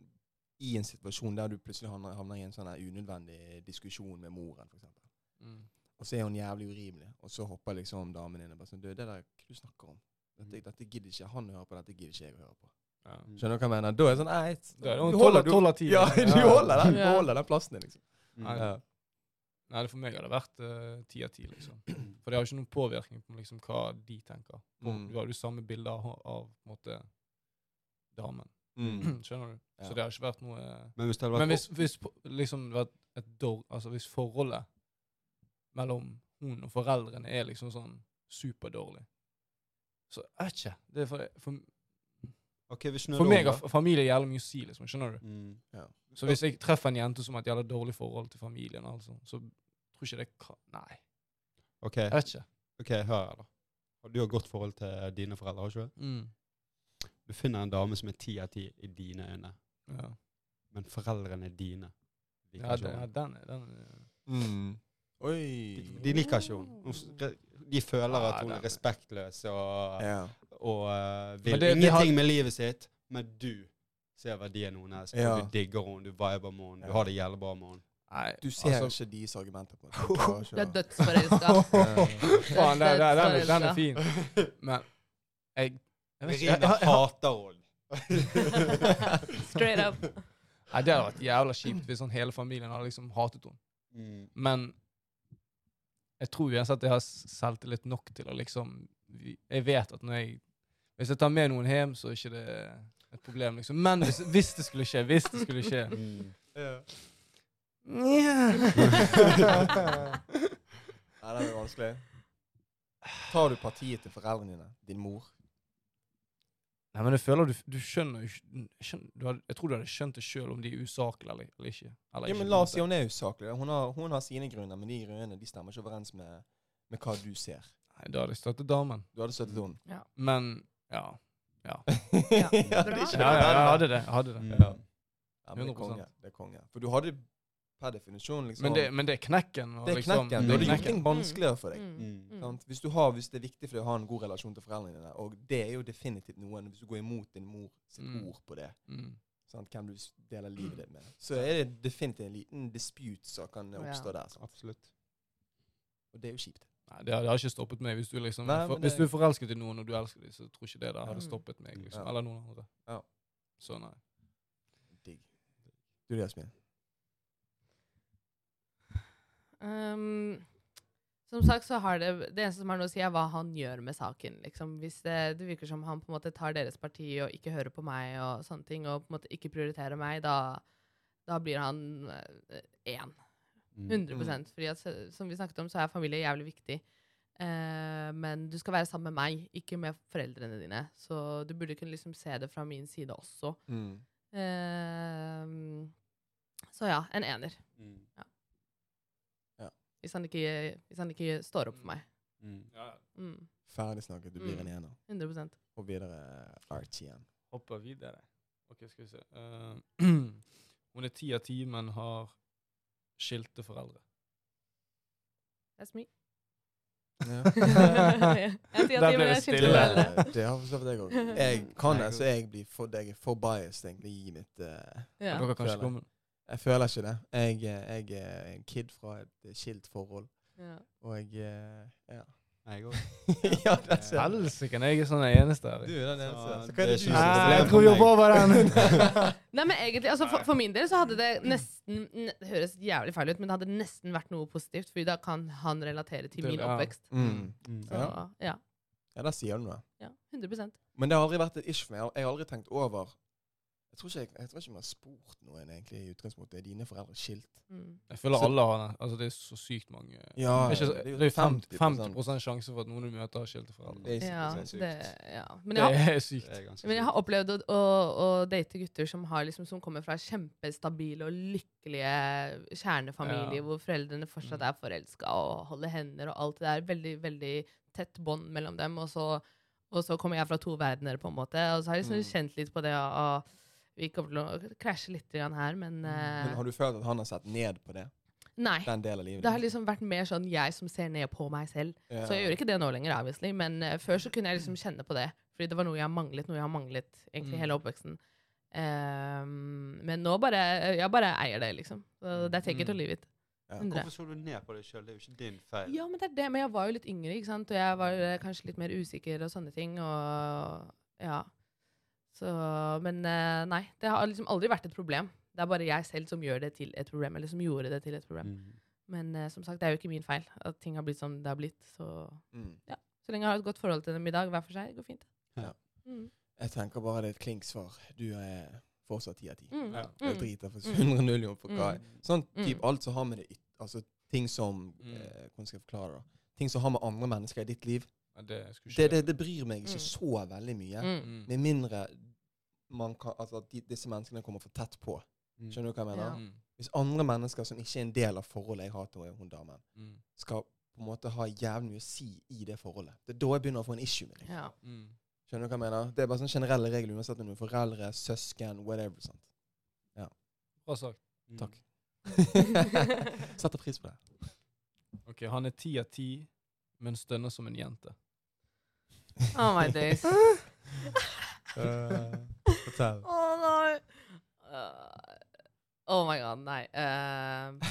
Speaker 1: i en situasjon der du plutselig havner, havner i en sånn her unødvendig diskusjon med moren, for eksempel.
Speaker 2: Mm.
Speaker 1: og så er hun jævlig urimelig, og så hopper liksom damen inn og bare sånn Du, det der hva du snakker om, dette, dette gidder ikke han å høre på, dette gidder ikke jeg å høre på.
Speaker 2: Ja.
Speaker 1: Skjønner du hva jeg mener? Da er det sånn Nei,
Speaker 2: Da er det hun
Speaker 1: du
Speaker 2: tolv
Speaker 1: holder-
Speaker 2: av- tolv av ti.
Speaker 1: Ja, du holder den, du
Speaker 3: Ja.
Speaker 1: holder den plassen din, liksom.
Speaker 4: Mm.
Speaker 2: Nei,
Speaker 1: Ja.
Speaker 2: Nei, det for meg hadde vært eh, ti av ti, liksom. For det har jo ikke noen påvirkning på liksom, hva de tenker. For
Speaker 1: Mm.
Speaker 2: Du har jo samme bilde av, av på en måte, damen.
Speaker 1: Mm.
Speaker 2: Skjønner du?
Speaker 1: Ja.
Speaker 2: Så det har ikke vært noe eh,
Speaker 4: Men hvis det hadde vært
Speaker 2: Men hvis, hvis på- liksom det hadde vært et dår, altså hvis forholdet mellom hun og foreldrene er liksom sånn superdårlig, så jeg vet ikke. Det er for, for,
Speaker 4: Ok, vi snur
Speaker 2: for
Speaker 4: det
Speaker 2: meg
Speaker 4: om,
Speaker 2: har
Speaker 4: da.
Speaker 2: f- familie jævlig mye å si, liksom. Skjønner du?
Speaker 4: Mm.
Speaker 2: Så hvis jeg treffer en jente som har et jævla dårlig forhold til familien, altså, så tror ikke det kan Nei,
Speaker 4: Ok,
Speaker 2: jeg vet ikke.
Speaker 4: ok, hør her, da. Og Du har godt forhold til dine foreldre, har ikke du?
Speaker 2: Mm.
Speaker 4: Du finner en dame som er ti av ti i dine øyne.
Speaker 2: Ja.
Speaker 4: men foreldrene dine liker
Speaker 2: Ja,
Speaker 4: ikke
Speaker 2: den, ja,
Speaker 4: henne.
Speaker 2: den, er- den er-
Speaker 1: Mm.
Speaker 4: De,
Speaker 1: Oi.
Speaker 4: de liker ikke henne. Hun s- re- De føler
Speaker 2: Ja,
Speaker 4: at hun
Speaker 2: den-
Speaker 4: er respektløs og,
Speaker 1: Ja.
Speaker 4: og eh,
Speaker 2: Men det-
Speaker 4: vil
Speaker 2: de har-
Speaker 4: ingenting med livet sitt, men du ser verdien hennes. og
Speaker 1: Ja.
Speaker 4: Du digger henne, du viber med henne,
Speaker 1: Ja.
Speaker 4: du har det jævlig bra med henne.
Speaker 2: Nei,
Speaker 1: Du ser
Speaker 2: altså,
Speaker 1: ikke deres argumenter på det. Jeg klarer
Speaker 3: Du er
Speaker 1: ikke å-
Speaker 3: dødsforelska.
Speaker 2: Faen, den, den, den, er- den er
Speaker 3: Dødsforelska.
Speaker 2: fin. Men jeg, jeg vet ikke,
Speaker 4: Rina
Speaker 2: jeg, jeg,
Speaker 4: hater henne.
Speaker 3: Straight up.
Speaker 2: Nei, Det hadde vært jævla kjipt hvis sånn hele familien hadde liksom hatet henne.
Speaker 4: Mm.
Speaker 2: Men jeg tror uansett jeg har s- selvtillit nok til å liksom vi- Jeg vet at når jeg Hvis jeg tar med noen hjem, så er ikke det et problem, liksom. Men hvis, hvis det skulle skje, hvis det skulle skje
Speaker 4: Mm.
Speaker 1: Nei, det er vanskelig. Tar du partiet til foreldrene dine? Din mor?
Speaker 2: Nei, men jeg føler du, du skjønner jo ikke skjønn- du hadde, Jeg tror du hadde skjønt det sjøl om de er usaklige eller, eller ikke. Eller
Speaker 1: Ja,
Speaker 2: ikke,
Speaker 1: men
Speaker 2: på
Speaker 1: La
Speaker 2: en
Speaker 1: oss si
Speaker 2: måte.
Speaker 1: hun er usaklig. Hun har, hun har sine grunner, men de grunnene de stemmer ikke overens med, med hva du ser.
Speaker 2: Nei, da hadde jeg støttet damen.
Speaker 1: Du hadde støttet henne.
Speaker 2: Men ja.
Speaker 1: Ja, det
Speaker 3: Bra.
Speaker 1: er ikke
Speaker 2: Ja, ja, jeg
Speaker 1: det.
Speaker 2: hadde det. Jeg hadde det.
Speaker 4: Mm.
Speaker 1: Ja, men det
Speaker 2: 100%.
Speaker 1: er konge. Det er konge. For du hadde per definisjon liksom
Speaker 2: Men det, men det er knekken. Og
Speaker 1: Det er
Speaker 2: liksom,
Speaker 1: knekken. Du
Speaker 2: det er
Speaker 1: hadde gjort
Speaker 2: knekken.
Speaker 1: ting vanskeligere for deg.
Speaker 3: Mm.
Speaker 4: Mm.
Speaker 3: Mm.
Speaker 1: Sant? Hvis, du har, hvis det er viktig for deg å ha en god relasjon til foreldrene dine, og det er jo definitivt noen Hvis du går imot din mor sitt
Speaker 2: Mm.
Speaker 1: ord på det,
Speaker 2: Mm.
Speaker 1: sant? hvem du s- deler livet ditt med, så er det definitivt en liten dispute som kan
Speaker 3: Ja.
Speaker 1: oppstå der. Sant?
Speaker 4: Absolutt.
Speaker 1: Og det er jo kjipt.
Speaker 2: Nei, det har, det har ikke stoppet meg. Hvis du, liksom,
Speaker 1: Nei,
Speaker 2: for,
Speaker 1: men
Speaker 2: hvis
Speaker 1: det-
Speaker 2: du er forelsket i noen og du elsker dem, så tror ikke det der hadde
Speaker 3: Mm.
Speaker 2: stoppet meg. Liksom.
Speaker 1: Ja.
Speaker 2: Eller noen andre.
Speaker 1: Ja.
Speaker 2: Så nei.
Speaker 1: Digg. Du det, Jasmin?
Speaker 3: Um, som sagt så har det Det eneste som har noe å si, er hva han gjør med saken. Liksom. Hvis det, det virker som han på en måte tar deres parti og ikke hører på meg, og sånne ting, og på en måte ikke prioriterer meg, da, da blir han eh, én.
Speaker 4: Mm.
Speaker 3: 100 Fordi at, s- som vi snakket om, så er familie jævlig viktig. Eh, men du skal være sammen med meg, ikke med foreldrene dine. Så du burde kunne liksom se det fra min side også.
Speaker 1: Mm.
Speaker 3: Eh, så ja, en ener.
Speaker 4: Mm.
Speaker 3: Hvis han ikke, hvis han ikke står opp for meg.
Speaker 4: Mm.
Speaker 3: Mm,
Speaker 1: Ferdig snakket. Du blir
Speaker 3: Mm.
Speaker 1: en ener.
Speaker 3: 100
Speaker 1: Og videre eh, RTM.
Speaker 2: Hopper videre. Ok, skal vi se. Eh, hun er ti av ti, men har skilte foreldre.
Speaker 3: That's me.
Speaker 1: Ja.
Speaker 2: Der ble det stille.
Speaker 3: foreldre.
Speaker 1: Det har for så vidt jeg òg. Jeg kan det, så jeg blir for, jeg er for biased egentlig i mitt eh,
Speaker 3: Ja.
Speaker 2: Dere kan
Speaker 1: Føler.
Speaker 2: ikke komme
Speaker 1: Jeg føler ikke det. Jeg, eh, jeg er en kid fra et skilt forhold,
Speaker 3: Ja.
Speaker 1: og jeg eh, Ja.
Speaker 4: Jeg òg.
Speaker 1: ja, det ser du.
Speaker 2: Helsike, jeg er sånn den eneste her.
Speaker 1: Du er den eneste.
Speaker 4: Så
Speaker 1: Så hva er
Speaker 4: det er
Speaker 1: det
Speaker 4: ikke
Speaker 1: du
Speaker 2: Nei, jeg tror
Speaker 1: som
Speaker 4: noe problem.
Speaker 2: jo på over den.
Speaker 3: Nei, men egentlig, altså for, for min del så hadde det
Speaker 2: Mm.
Speaker 3: nesten ne- Det høres jævlig feil ut, men det hadde nesten vært noe positivt, Fordi da kan han relatere til
Speaker 2: Til-
Speaker 3: min
Speaker 2: ja.
Speaker 3: oppvekst.
Speaker 1: mm.
Speaker 3: Så
Speaker 1: Ja.
Speaker 3: ja.
Speaker 1: Ja, der sier du noe.
Speaker 3: ja 100
Speaker 1: Men det har aldri vært et issue for meg. Jeg har aldri tenkt over Jeg tror ikke jeg, jeg tror ikke vi har spurt noen egentlig i utgangspunktet. Er dine foreldre skilt?
Speaker 3: mm.
Speaker 2: Jeg føler
Speaker 1: Så-
Speaker 2: alle har den. Altså, det er så sykt mange.
Speaker 1: Ja,
Speaker 2: det, er ikke, så-
Speaker 1: det er jo
Speaker 2: det er jo 50,
Speaker 1: 50%.
Speaker 2: 50 sjanse for at noen du møter, har skilte foreldre.
Speaker 1: Det er
Speaker 3: ja,
Speaker 1: sikkert
Speaker 3: det, ja. Men
Speaker 2: Det
Speaker 3: jeg har
Speaker 2: er sykt.
Speaker 3: Men jeg har opplevd å, å, å date gutter som, har liksom, som kommer fra kjempestabile og lykkelige kjernefamilier,
Speaker 2: Ja.
Speaker 3: hvor foreldrene fortsatt er forelska og holder hender og alt det der. Veldig veldig tett bånd mellom dem. Og så, og så kommer jeg fra to verdener, på en måte. Og så har jeg liksom
Speaker 1: Mm.
Speaker 3: kjent litt på det og, og Vi kommer til å krasje litt grann her, men, eh,
Speaker 1: Men har du følt at han har sett ned på det?
Speaker 3: Nei.
Speaker 1: Den delen av livet
Speaker 3: Det har liksom vært mer sånn jeg som ser ned på meg selv. Så jeg gjør ikke det nå lenger, obviously, men eh, før så kunne jeg liksom kjenne på det. Fordi det var noe jeg har manglet, noe jeg har manglet
Speaker 2: Mm.
Speaker 3: egentlig hele oppveksten. Ehm, men nå bare Jeg bare eier det, liksom. Så Det er take it or
Speaker 2: Mm.
Speaker 3: leave it.
Speaker 1: Ja.
Speaker 3: 100.
Speaker 4: Hvorfor så du ned på deg sjøl? Det er jo ikke din feil.
Speaker 3: Ja, men det er det. Men jeg var jo litt yngre, ikke sant. Og jeg var eh, kanskje litt mer usikker og sånne ting. Og ja. Så Men eh, nei. Det har liksom aldri vært et problem. Det er bare jeg selv som gjør det til et problem, eller som gjorde det til et problem.
Speaker 4: Mm.
Speaker 3: Men eh, som sagt, det er jo ikke min feil at ting har blitt som det har blitt. Så
Speaker 1: Mm.
Speaker 3: Så lenge jeg har et godt forhold til dem i dag, hver for seg, går fint.
Speaker 4: Ja.
Speaker 3: Mm.
Speaker 1: Jeg tenker bare det er et klinksvar. Du er fortsatt ti av ti.
Speaker 3: Mm.
Speaker 2: Ja.
Speaker 1: Jeg
Speaker 3: Mm.
Speaker 1: driter for 100 om for hva er. Sånn typ
Speaker 3: Mm.
Speaker 1: alt som har med det yt- Altså ting som
Speaker 2: Mm.
Speaker 1: eh, Hvordan skal jeg forklare det? Ting som har med andre mennesker i ditt liv.
Speaker 2: Ja, det skulle
Speaker 1: Det,
Speaker 2: ikke
Speaker 1: det, det bryr meg ikke
Speaker 3: Mm.
Speaker 1: så veldig mye.
Speaker 3: Mm.
Speaker 2: Mm.
Speaker 1: Med mindre man kan, altså, at de, disse menneskene kommer for tett på.
Speaker 4: Mm.
Speaker 1: Skjønner du hva jeg mener?
Speaker 3: Ja.
Speaker 2: Mm.
Speaker 1: Hvis andre mennesker som ikke er en del av forholdet jeg har til hun damen,
Speaker 2: Mm.
Speaker 1: skal på en måte ha jævlig mye å si i det forholdet, det er da jeg begynner å få en issue med det.
Speaker 3: Ja.
Speaker 2: Mm.
Speaker 1: Skjønner du hva jeg mener? Det er bare sånn generelle regler uansett om du er foreldre, søsken, whatever. sant? Ja.
Speaker 2: Bra sagt.
Speaker 1: Takk. Setter pris på det.
Speaker 2: Ok, Han er ti av ti, men stønner som en jente.
Speaker 3: Oh my days. Å
Speaker 1: Eh, fortell.
Speaker 3: nei. Uh, oh my god, nei. Um,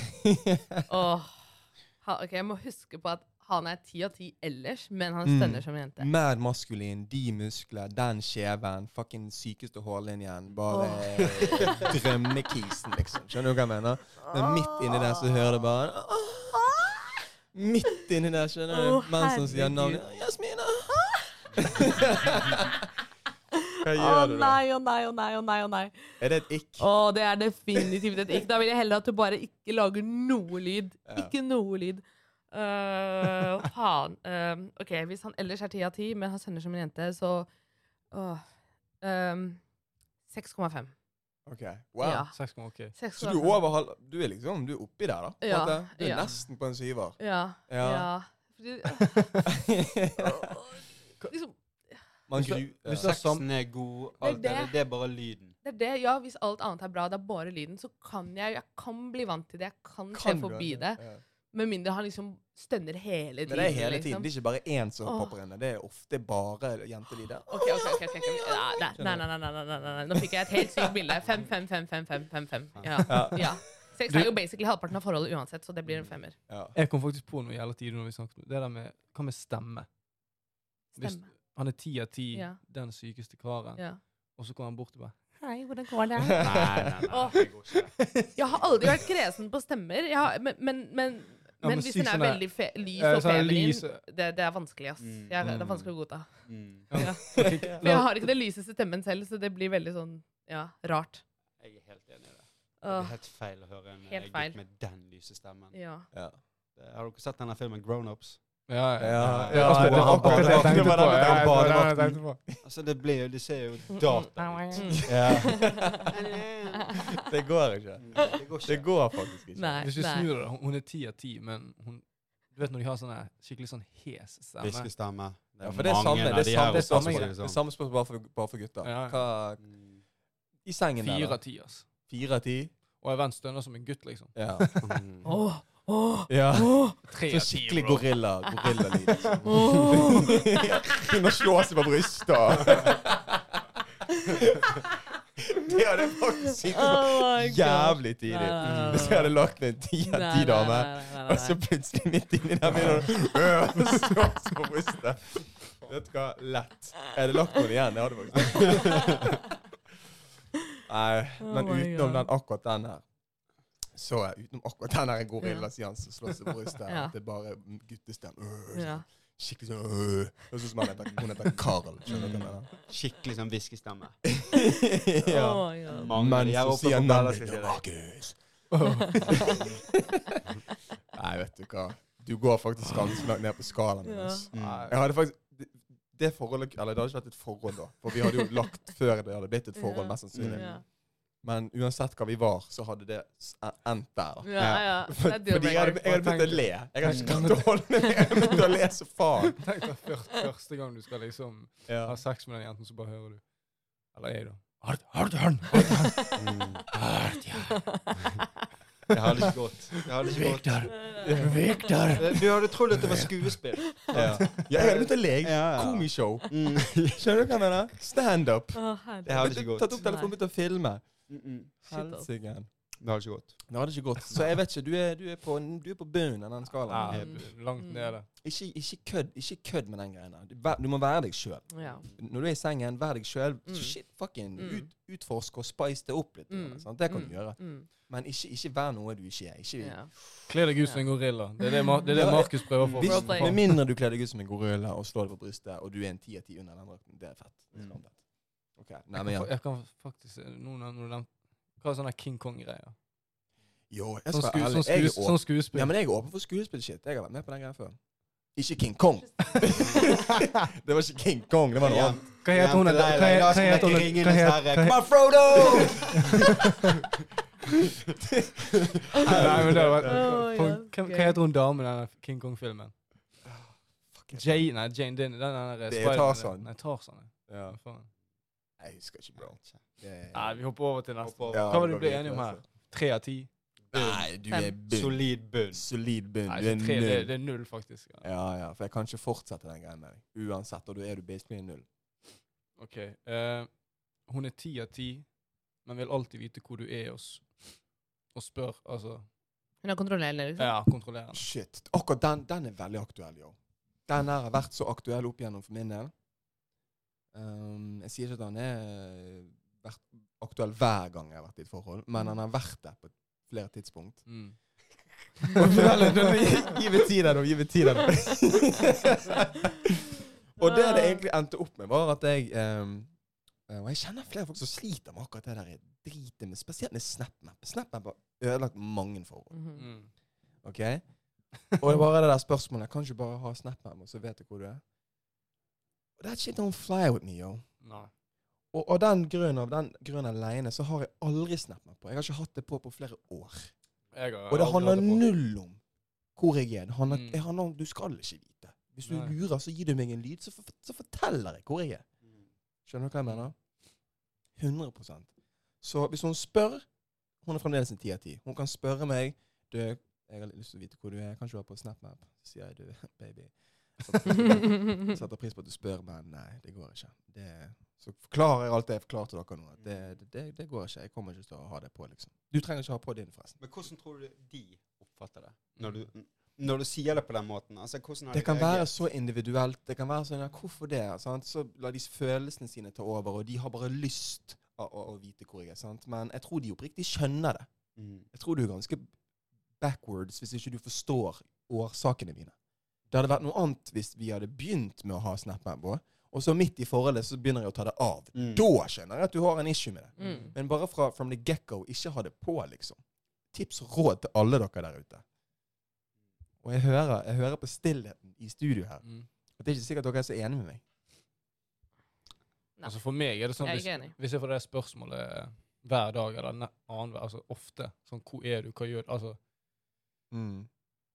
Speaker 3: åh. Ha- ok, jeg må huske på at han er ti av ti ellers, men han
Speaker 1: Mm.
Speaker 3: stønner som en jente.
Speaker 1: Mad maskulin, de muskler, den kjeven, fucking sykeste hårlinjen. Bare drømmekisen, liksom. Skjønner du hva jeg mener? Men midt inni der så hører du bare Midt inni der, skjønner du?
Speaker 3: Å,
Speaker 1: Menn som sier
Speaker 3: herregud.
Speaker 1: navnet Jasmina! Hva
Speaker 3: Å
Speaker 1: gjør du da?
Speaker 3: nei, å nei, å nei, å nei. Å nei.
Speaker 1: Er det et ikk?
Speaker 3: Å, det er definitivt et ikke. Da vil jeg heller at du bare ikke lager noe lyd.
Speaker 1: Ja.
Speaker 3: Ikke noe lyd. Øh, faen. Øhm, ok, hvis han ellers er ti av ti, men han sender som en jente, så åh, Ehm, øhm, 6,5.
Speaker 1: Ok, wow.
Speaker 3: Ja.
Speaker 2: Seks kommer ok.
Speaker 3: 6,5.
Speaker 1: Så du er over halv... Du er liksom du er oppi der, da? på en
Speaker 3: Ja,
Speaker 1: måte. Du er
Speaker 3: ja.
Speaker 1: nesten på en syver.
Speaker 3: Ja. ja.
Speaker 1: Ja.
Speaker 3: Fordi, liksom,
Speaker 1: Man
Speaker 2: Hvis du-
Speaker 1: gru... eh,
Speaker 2: hvis du-
Speaker 1: Ja.
Speaker 4: Sexen er god, alt
Speaker 3: Det
Speaker 4: det
Speaker 3: er
Speaker 4: er
Speaker 3: det.
Speaker 4: det, det er bare lyden.
Speaker 3: det er det, ja, hvis alt annet er bra, det er bare lyden, så kan jeg jeg kan bli vant til det. Jeg kan,
Speaker 1: Kan
Speaker 3: se
Speaker 1: du
Speaker 3: forbi det.
Speaker 1: det? Ja.
Speaker 3: Med mindre han liksom stønner hele
Speaker 1: Men
Speaker 3: tiden.
Speaker 1: det er hele
Speaker 3: liksom.
Speaker 1: tiden. Det er ikke bare én som
Speaker 3: Åh.
Speaker 1: popper inn. Det er ofte bare jentelyder.
Speaker 3: Ok, ok, ok. ok, ok. Ja, Nei, nei, nei, nei, nei, nei, nei, nei. Nå fikk jeg et helt sykt bilde. 5, 5, 5, 5, 5, 5, 5. Ja. ja. Sex er jo basically halvparten av forholdet uansett, så det blir en femmer.
Speaker 1: Ja.
Speaker 2: Jeg kom faktisk på noe jævla tidlig når vi snakket om det. der med, Hva med stemme? Hvis-
Speaker 3: Stemme.
Speaker 2: Han er ti av ti,
Speaker 3: Ja.
Speaker 2: den sykeste karen.
Speaker 3: Ja.
Speaker 2: Og så kommer han bort og bare
Speaker 3: Hei, hvordan går det?
Speaker 4: Nei, nei, nei.
Speaker 3: Åh.
Speaker 4: det går ikke.
Speaker 3: Jeg har aldri vært kresen på stemmer. Jeg har, men men, men,
Speaker 2: Ja,
Speaker 3: men
Speaker 2: men
Speaker 3: hvis
Speaker 2: sykt
Speaker 3: den er
Speaker 2: sånn der-
Speaker 3: veldig fe lys
Speaker 2: Eh,
Speaker 3: og
Speaker 2: sånn
Speaker 3: feminin,
Speaker 2: lys, eh.
Speaker 3: det, det er vanskelig, ass.
Speaker 4: Mm.
Speaker 3: Jeg, det er
Speaker 2: Mm.
Speaker 3: vanskelig å godta.
Speaker 4: Mm.
Speaker 3: Ja.
Speaker 2: «Ok,
Speaker 3: For jeg
Speaker 2: la-
Speaker 3: har ikke den lyseste stemmen selv, så det blir veldig sånn, ja, rart.
Speaker 4: Jeg er helt enig i det. Det er
Speaker 3: Åh,
Speaker 4: helt feil å høre en
Speaker 3: Helt
Speaker 4: eh,
Speaker 3: feil.
Speaker 4: gutt med den lyse stemmen.
Speaker 3: ja.
Speaker 1: Ja.
Speaker 4: Eh, Har dere sett denne filmen Grownups?
Speaker 2: Ja, ja.
Speaker 4: Ja,
Speaker 2: Ja,
Speaker 4: altså,
Speaker 2: det var
Speaker 4: han
Speaker 2: akkurat det jeg
Speaker 4: badevakten.
Speaker 2: tenkte
Speaker 1: Det var
Speaker 2: på.
Speaker 1: den
Speaker 2: Ja,
Speaker 1: med
Speaker 2: det var den jeg
Speaker 1: badevakten.
Speaker 2: tenkte på.
Speaker 4: Altså, det blir jo, det ser jo data ut.
Speaker 1: Det går ikke.
Speaker 4: Mm, Det går
Speaker 1: Det
Speaker 4: ikke.
Speaker 1: går faktisk ikke.
Speaker 3: Nei,
Speaker 2: Hvis du
Speaker 3: nei.
Speaker 2: snur det, da, hun er ti av ti, men hun Du vet når de har sånn her skikkelig sånn hes stemme?
Speaker 4: Hviskestemme.
Speaker 1: Ja, for det er samme,
Speaker 4: mange
Speaker 1: det
Speaker 4: av
Speaker 1: er
Speaker 4: de
Speaker 1: samme,
Speaker 4: her
Speaker 1: det er samme,
Speaker 4: også,
Speaker 1: greie.
Speaker 4: liksom.
Speaker 1: Det er samme spørsmål bare for, bare for gutter.
Speaker 2: Ja, ja.
Speaker 1: Hva,
Speaker 4: Mm.
Speaker 1: I sengen der,
Speaker 2: Fire
Speaker 1: da?
Speaker 2: av ti, ass.
Speaker 1: Fire av ti?
Speaker 2: Og jeg venn stønner som en gutt, liksom.
Speaker 1: Ja.
Speaker 4: Mm.
Speaker 3: Åh, åh,
Speaker 1: ja.
Speaker 3: åh.
Speaker 2: Tre
Speaker 1: Så
Speaker 2: av ti,
Speaker 1: skikkelig
Speaker 2: bro.
Speaker 1: gorilla gorillalyd. liksom.
Speaker 3: Åh.
Speaker 1: Begynner å slå seg på brystet. Det hadde jeg faktisk sittet
Speaker 3: Oh my God.
Speaker 1: jævlig
Speaker 3: Nei,
Speaker 1: tidlig.
Speaker 3: nei, nei,
Speaker 1: Hvis jeg hadde lagt ned en ti av
Speaker 3: Nei,
Speaker 1: ti
Speaker 3: nei,
Speaker 1: dame,
Speaker 3: nei, nei, nei,
Speaker 1: og så
Speaker 3: nei.
Speaker 1: plutselig midt inni der begynner hun å øh, slå seg på brystet. Vet du hva? Lett. Jeg hadde lagt noen igjen. Det hadde jeg faktisk. Nei, men
Speaker 3: Oh my
Speaker 1: utenom
Speaker 3: God.
Speaker 1: den akkurat den her så eh, utenom akkurat den her gorillasiansen som slår seg på brystet,
Speaker 3: Ja.
Speaker 1: at det er bare guttestem. Øh,
Speaker 3: Ja.
Speaker 1: Skikkelig sånn øh. Høres ut som han heter, hun heter Carl. Skjønner du hva jeg
Speaker 4: Skikkelig sånn hviskestemme.
Speaker 1: mener? ja.
Speaker 3: Oh my God.
Speaker 1: Men
Speaker 4: Jeg er
Speaker 1: så
Speaker 4: oppe
Speaker 1: sier
Speaker 4: på Bella,
Speaker 1: navnet
Speaker 4: skal
Speaker 1: mitt
Speaker 4: jeg si deg.
Speaker 1: Markus. Nei, vet du hva. Du går faktisk ganske langt ned på skalaen min.
Speaker 3: Ja.
Speaker 1: ass.
Speaker 4: Mm.
Speaker 1: Jeg hadde faktisk det- det forholdet, eller det hadde ikke vært et forhold da, for vi hadde jo lagt før det hadde blitt et forhold,
Speaker 3: Ja.
Speaker 1: mest sannsynlig.
Speaker 3: Ja.
Speaker 1: Men uansett hva vi var, så hadde det s- e, endt der. da.
Speaker 3: Ja, Mm, ja.
Speaker 1: For,
Speaker 3: Det er
Speaker 1: fordi jeg hadde, jeg hadde begynt å le. Jeg hadde ikke klart å holde meg. Jeg hadde begynt å le så faen.
Speaker 2: Tenk deg først, første gang du skal liksom ha sex med den jenten, så bare hører du Eller jeg, da. Har du- Har du han? Har du han? Har du han?
Speaker 4: Det hadde ikke gått. Det hadde ikke gått.
Speaker 2: Victor! Victor!
Speaker 4: Eh, Du hadde trodd at det var skuespill.
Speaker 1: Ja. Jeg hadde begynt å le.
Speaker 4: Ja, ja.
Speaker 1: Komishow.
Speaker 4: Mm.
Speaker 1: Skjønner du hva jeg mener? Standup.
Speaker 3: Å, herregud.
Speaker 4: Det hadde ikke gått.
Speaker 1: Tatt opp telefonen, begynt å filme.
Speaker 4: Mm-mm.
Speaker 3: Shit, altså. ass.
Speaker 1: Helsike.
Speaker 4: mm, Det hadde ikke gått.
Speaker 1: Det hadde ikke gått. Så jeg vet ikke. Du er, du er på, du er på bunnen av den skalaen.
Speaker 2: Ja, langt nede.
Speaker 1: Ikke, ikke, kødd, ikke kødd med den greia der. Du, vær- du må være deg sjøl.
Speaker 3: Ja.
Speaker 1: Når du er i sengen, vær deg sjøl.
Speaker 3: Mm.
Speaker 1: Shit, fucking
Speaker 3: Mm.
Speaker 1: ut, utforsk og spice det opp litt.
Speaker 3: Mm.
Speaker 1: Sant? Det kan du
Speaker 3: Mm.
Speaker 1: gjøre.
Speaker 3: Mm.
Speaker 1: Men ikke, ikke vær noe du ikke er. Ikke,
Speaker 3: Ja.
Speaker 2: Kle deg ut som en gorilla. Det er det, Mar det, er det
Speaker 1: Ja.
Speaker 2: Markus prøver å få
Speaker 1: Hvis,
Speaker 3: Roleplay.
Speaker 1: med mindre du kler deg ut som en gorilla og slår deg på brystet, og du er en ti av ti under den drakten. Det er fett. Det er
Speaker 4: Mm.
Speaker 1: fett. Ok, Nei, men ja.
Speaker 2: Jeg kan faktisk Noen av noen Hva er sånne King Kong-greier?
Speaker 1: Jo, jeg
Speaker 2: Sånn,
Speaker 1: skal
Speaker 2: sku,
Speaker 1: være
Speaker 2: sånn,
Speaker 1: ærlig. Jeg
Speaker 2: skues-
Speaker 1: er
Speaker 2: sånn
Speaker 1: åpen.
Speaker 2: skuespill.
Speaker 1: Ja, men jeg er åpen for skuespillshit. Jeg har vært med på den greia før. Ikke King Kong. det var ikke King Kong, det var noe annet.
Speaker 2: Hva heter hun?
Speaker 4: Hjem til deg, Leila,
Speaker 2: Hva heter
Speaker 4: knekke
Speaker 2: hun? Hva
Speaker 4: Ringenes
Speaker 2: heter hva
Speaker 4: herre. Kom
Speaker 2: heter-
Speaker 4: on, Frodo!
Speaker 2: Nei, men det var-
Speaker 3: Å, ja,
Speaker 2: Hva hva- hva
Speaker 3: gøy.
Speaker 2: heter hun damen i den King Kong-filmen?
Speaker 1: Fuck, jeg-
Speaker 2: Jane, nei, Jane Dinner. Den er
Speaker 1: Det er Tarzan.
Speaker 2: Nei, Tarzan. ja.
Speaker 1: Ja.
Speaker 2: Hva faen?
Speaker 1: Jeg husker ikke, bro. Det-
Speaker 2: Nei, vi hopper over til neste.
Speaker 4: Hopper over.
Speaker 1: Ja,
Speaker 2: Hva var
Speaker 1: vi
Speaker 2: det du
Speaker 1: går
Speaker 2: ble
Speaker 1: videre,
Speaker 2: enige om her?
Speaker 1: altså.
Speaker 2: Tre av ti.
Speaker 1: Nei, du er bunn.
Speaker 4: Solid bunn.
Speaker 1: Solid bunn.
Speaker 2: Nei,
Speaker 1: Du er
Speaker 2: ikke tre, det,
Speaker 1: null.
Speaker 2: det er null, faktisk. Ja.
Speaker 1: eh, Ja, ja, for jeg kan ikke fortsette den greien med deg. Uansett, og da er du basically null.
Speaker 2: Ok. eh, hun er ti av ti, men vil alltid vite hvor du er og, s- og spør. Altså
Speaker 3: Hun er kontrollerende, liksom.
Speaker 2: Ja, kontrollerende.
Speaker 1: Shit. Akkurat den, den er veldig aktuell, yo. Den her har vært så aktuell opp igjennom for min del. Ehm, jeg sier ikke at den er eh, vært aktuell hver gang jeg har vært i et forhold, men den har vært det på flere tidspunkt.
Speaker 2: Mm.
Speaker 1: Og vel, den- gi- Gi meg tid der, nå. Gi meg tid der. nå. og det det egentlig endte opp med, var at jeg ehm, eh, Og jeg kjenner flere folk som sliter med akkurat det der dritet med Spesielt med SnapMap. SnapMap har ødelagt mange forhold.
Speaker 3: Mhm.
Speaker 2: Mm.
Speaker 1: Ok? Og det er bare det der spørsmålet Kan du ikke bare ha SnapMap, og så vet du hvor du er? Og That shit don't fly with me, yo.
Speaker 2: Nei.
Speaker 1: Og av den grunn av den grunn alene, så har jeg aldri SnapMap på. Jeg har ikke hatt det på på flere år.
Speaker 2: Jeg har
Speaker 1: Og det
Speaker 2: aldri
Speaker 1: handler
Speaker 2: hatt det på.
Speaker 1: null om hvor jeg er. Det handler,
Speaker 2: Mm.
Speaker 1: det handler om Du skal ikke vite. Hvis du
Speaker 2: Nei.
Speaker 1: lurer, så gir du meg en lyd, så, for, så forteller jeg hvor jeg er. Skjønner du hva jeg mener? 100 Så hvis hun spør Hun er fremdeles en ti av ti. Hun kan spørre meg Du, jeg har litt lyst til å vite hvor du er. Kan ikke du være på SnapMap? Så sier jeg du, baby. jeg setter pris på det. Jeg setter pris på at du spør, men nei, det går ikke. Det, så forklarer jeg alt det jeg forklarte dere nå. at Det, det, det, det går ikke. Jeg kommer ikke til å ha det på, liksom. Du trenger ikke ha på din, forresten.
Speaker 4: Men hvordan tror du de oppfatter det?
Speaker 1: Mm.
Speaker 4: Når du, når du sier det på den måten? Altså, hvordan har
Speaker 1: Det
Speaker 4: de
Speaker 1: kan være
Speaker 4: reagert?
Speaker 1: så individuelt. Det kan være sånn, ja, Hvorfor det? Sant? Så lar de følelsene sine ta over, og de har bare lyst å, å, å vite hvor jeg er. Sant? Men jeg tror de oppriktig skjønner det.
Speaker 4: Mm.
Speaker 1: Jeg tror du er ganske backwards hvis ikke du forstår årsakene mine. Det hadde vært noe annet hvis vi hadde begynt med å ha SnapMap på, og så midt i forholdet så begynner jeg å ta det av.
Speaker 4: Mm.
Speaker 1: Da skjønner jeg at du har en issue med det.
Speaker 3: Mm.
Speaker 1: Men bare fra from the get-go, ikke ha det på, liksom. Tips og råd til alle dere der ute. Og jeg hører, jeg hører på stillheten i studio her.
Speaker 2: Mm.
Speaker 1: Og Det er ikke sikkert dere er så enige med meg.
Speaker 3: Nei.
Speaker 2: Altså For meg er det sånn
Speaker 3: Jeg er
Speaker 2: hvis,
Speaker 3: ikke enig.
Speaker 2: hvis jeg får det spørsmålet eh, hver dag eller ne- annenhver, altså ofte Sånn 'Hvor er du? Hva gjør du?' Altså, Mm.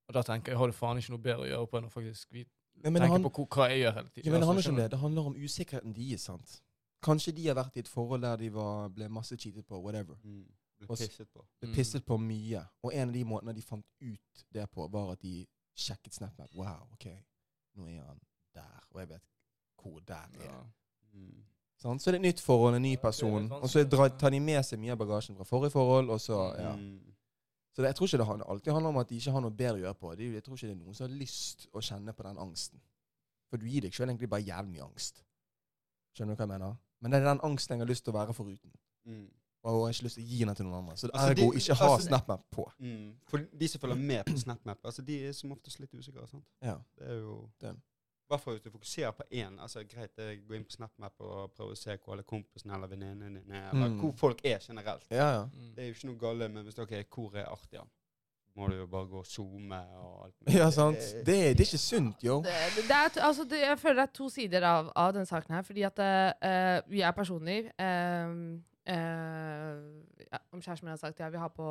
Speaker 2: og da tenker jeg har du faen ikke noe bedre å gjøre på enn å faktisk vite
Speaker 1: Nei, men det,
Speaker 2: tenke
Speaker 1: han,
Speaker 2: på hvor, hva jeg gjør hele tiden.
Speaker 1: ja, men det
Speaker 2: Altså,
Speaker 1: handler ikke om
Speaker 2: skjønner
Speaker 1: det. Det handler om usikkerheten deres. sant? Kanskje de har vært i et forhold der de var, ble masse cheatet på, whatever.
Speaker 4: Mm.
Speaker 1: Og
Speaker 4: Blir
Speaker 1: s-
Speaker 4: pisset på.
Speaker 1: Ble
Speaker 2: Mm.
Speaker 1: pisset på mye. Og en av de måtene de fant ut det på, var at de sjekket SnapMap. Wow, OK, nå er han der. Og jeg vet hvor der
Speaker 2: du?
Speaker 1: er.
Speaker 2: Ja.
Speaker 4: Mm.
Speaker 1: Sant? Så det er et nytt forhold, en ny
Speaker 2: Ja, det er
Speaker 1: person.
Speaker 2: litt
Speaker 1: Og så dra-
Speaker 2: vanskelig.
Speaker 1: tar de med seg mye av bagasjen fra forrige forhold. Og så, ja.
Speaker 4: Mm.
Speaker 1: så det, jeg tror ikke det handler, alltid handler om at de ikke har noe bedre å gjøre på. Det, er jo- jeg tror ikke det er noen som har lyst å kjenne på den angsten. For du gir deg sjøl egentlig bare jævlig mye angst. Skjønner du hva jeg mener? Men det er den angsten jeg har lyst til å være foruten.
Speaker 4: Mm.
Speaker 1: Og jeg har ikke lyst til å gi den til noen andre. Så det
Speaker 4: Altså,
Speaker 1: er
Speaker 4: de-
Speaker 1: ergo ikke ha
Speaker 4: altså, det-
Speaker 1: SnapMap på.
Speaker 4: Mm. For de som følger med på SnapMap, altså de er som oftest litt usikre. sant?
Speaker 1: Ja.
Speaker 4: Det er jo
Speaker 1: Den.
Speaker 4: I hvert fall hvis du fokuserer på én. Altså, greit, eh, gå inn på SnapMap og prøve å se hvor alle kompisene eller venninnene dine er, eller
Speaker 1: Mm.
Speaker 4: hvor folk er generelt.
Speaker 1: Ja, ja.
Speaker 2: Mm.
Speaker 4: Det er jo ikke noe gale, men hvis dere er hvor er Artian, må du jo bare gå og zoome og alt.
Speaker 1: Ja, sant? Det, er- det er ikke sunt, yo.
Speaker 3: Det, det er, to- altså, det, jeg føler det er to sider av, av denne saken her. Fordi at eh, vi er personlig. eh, ja, om kjæresten min hadde sagt ja, vi har på,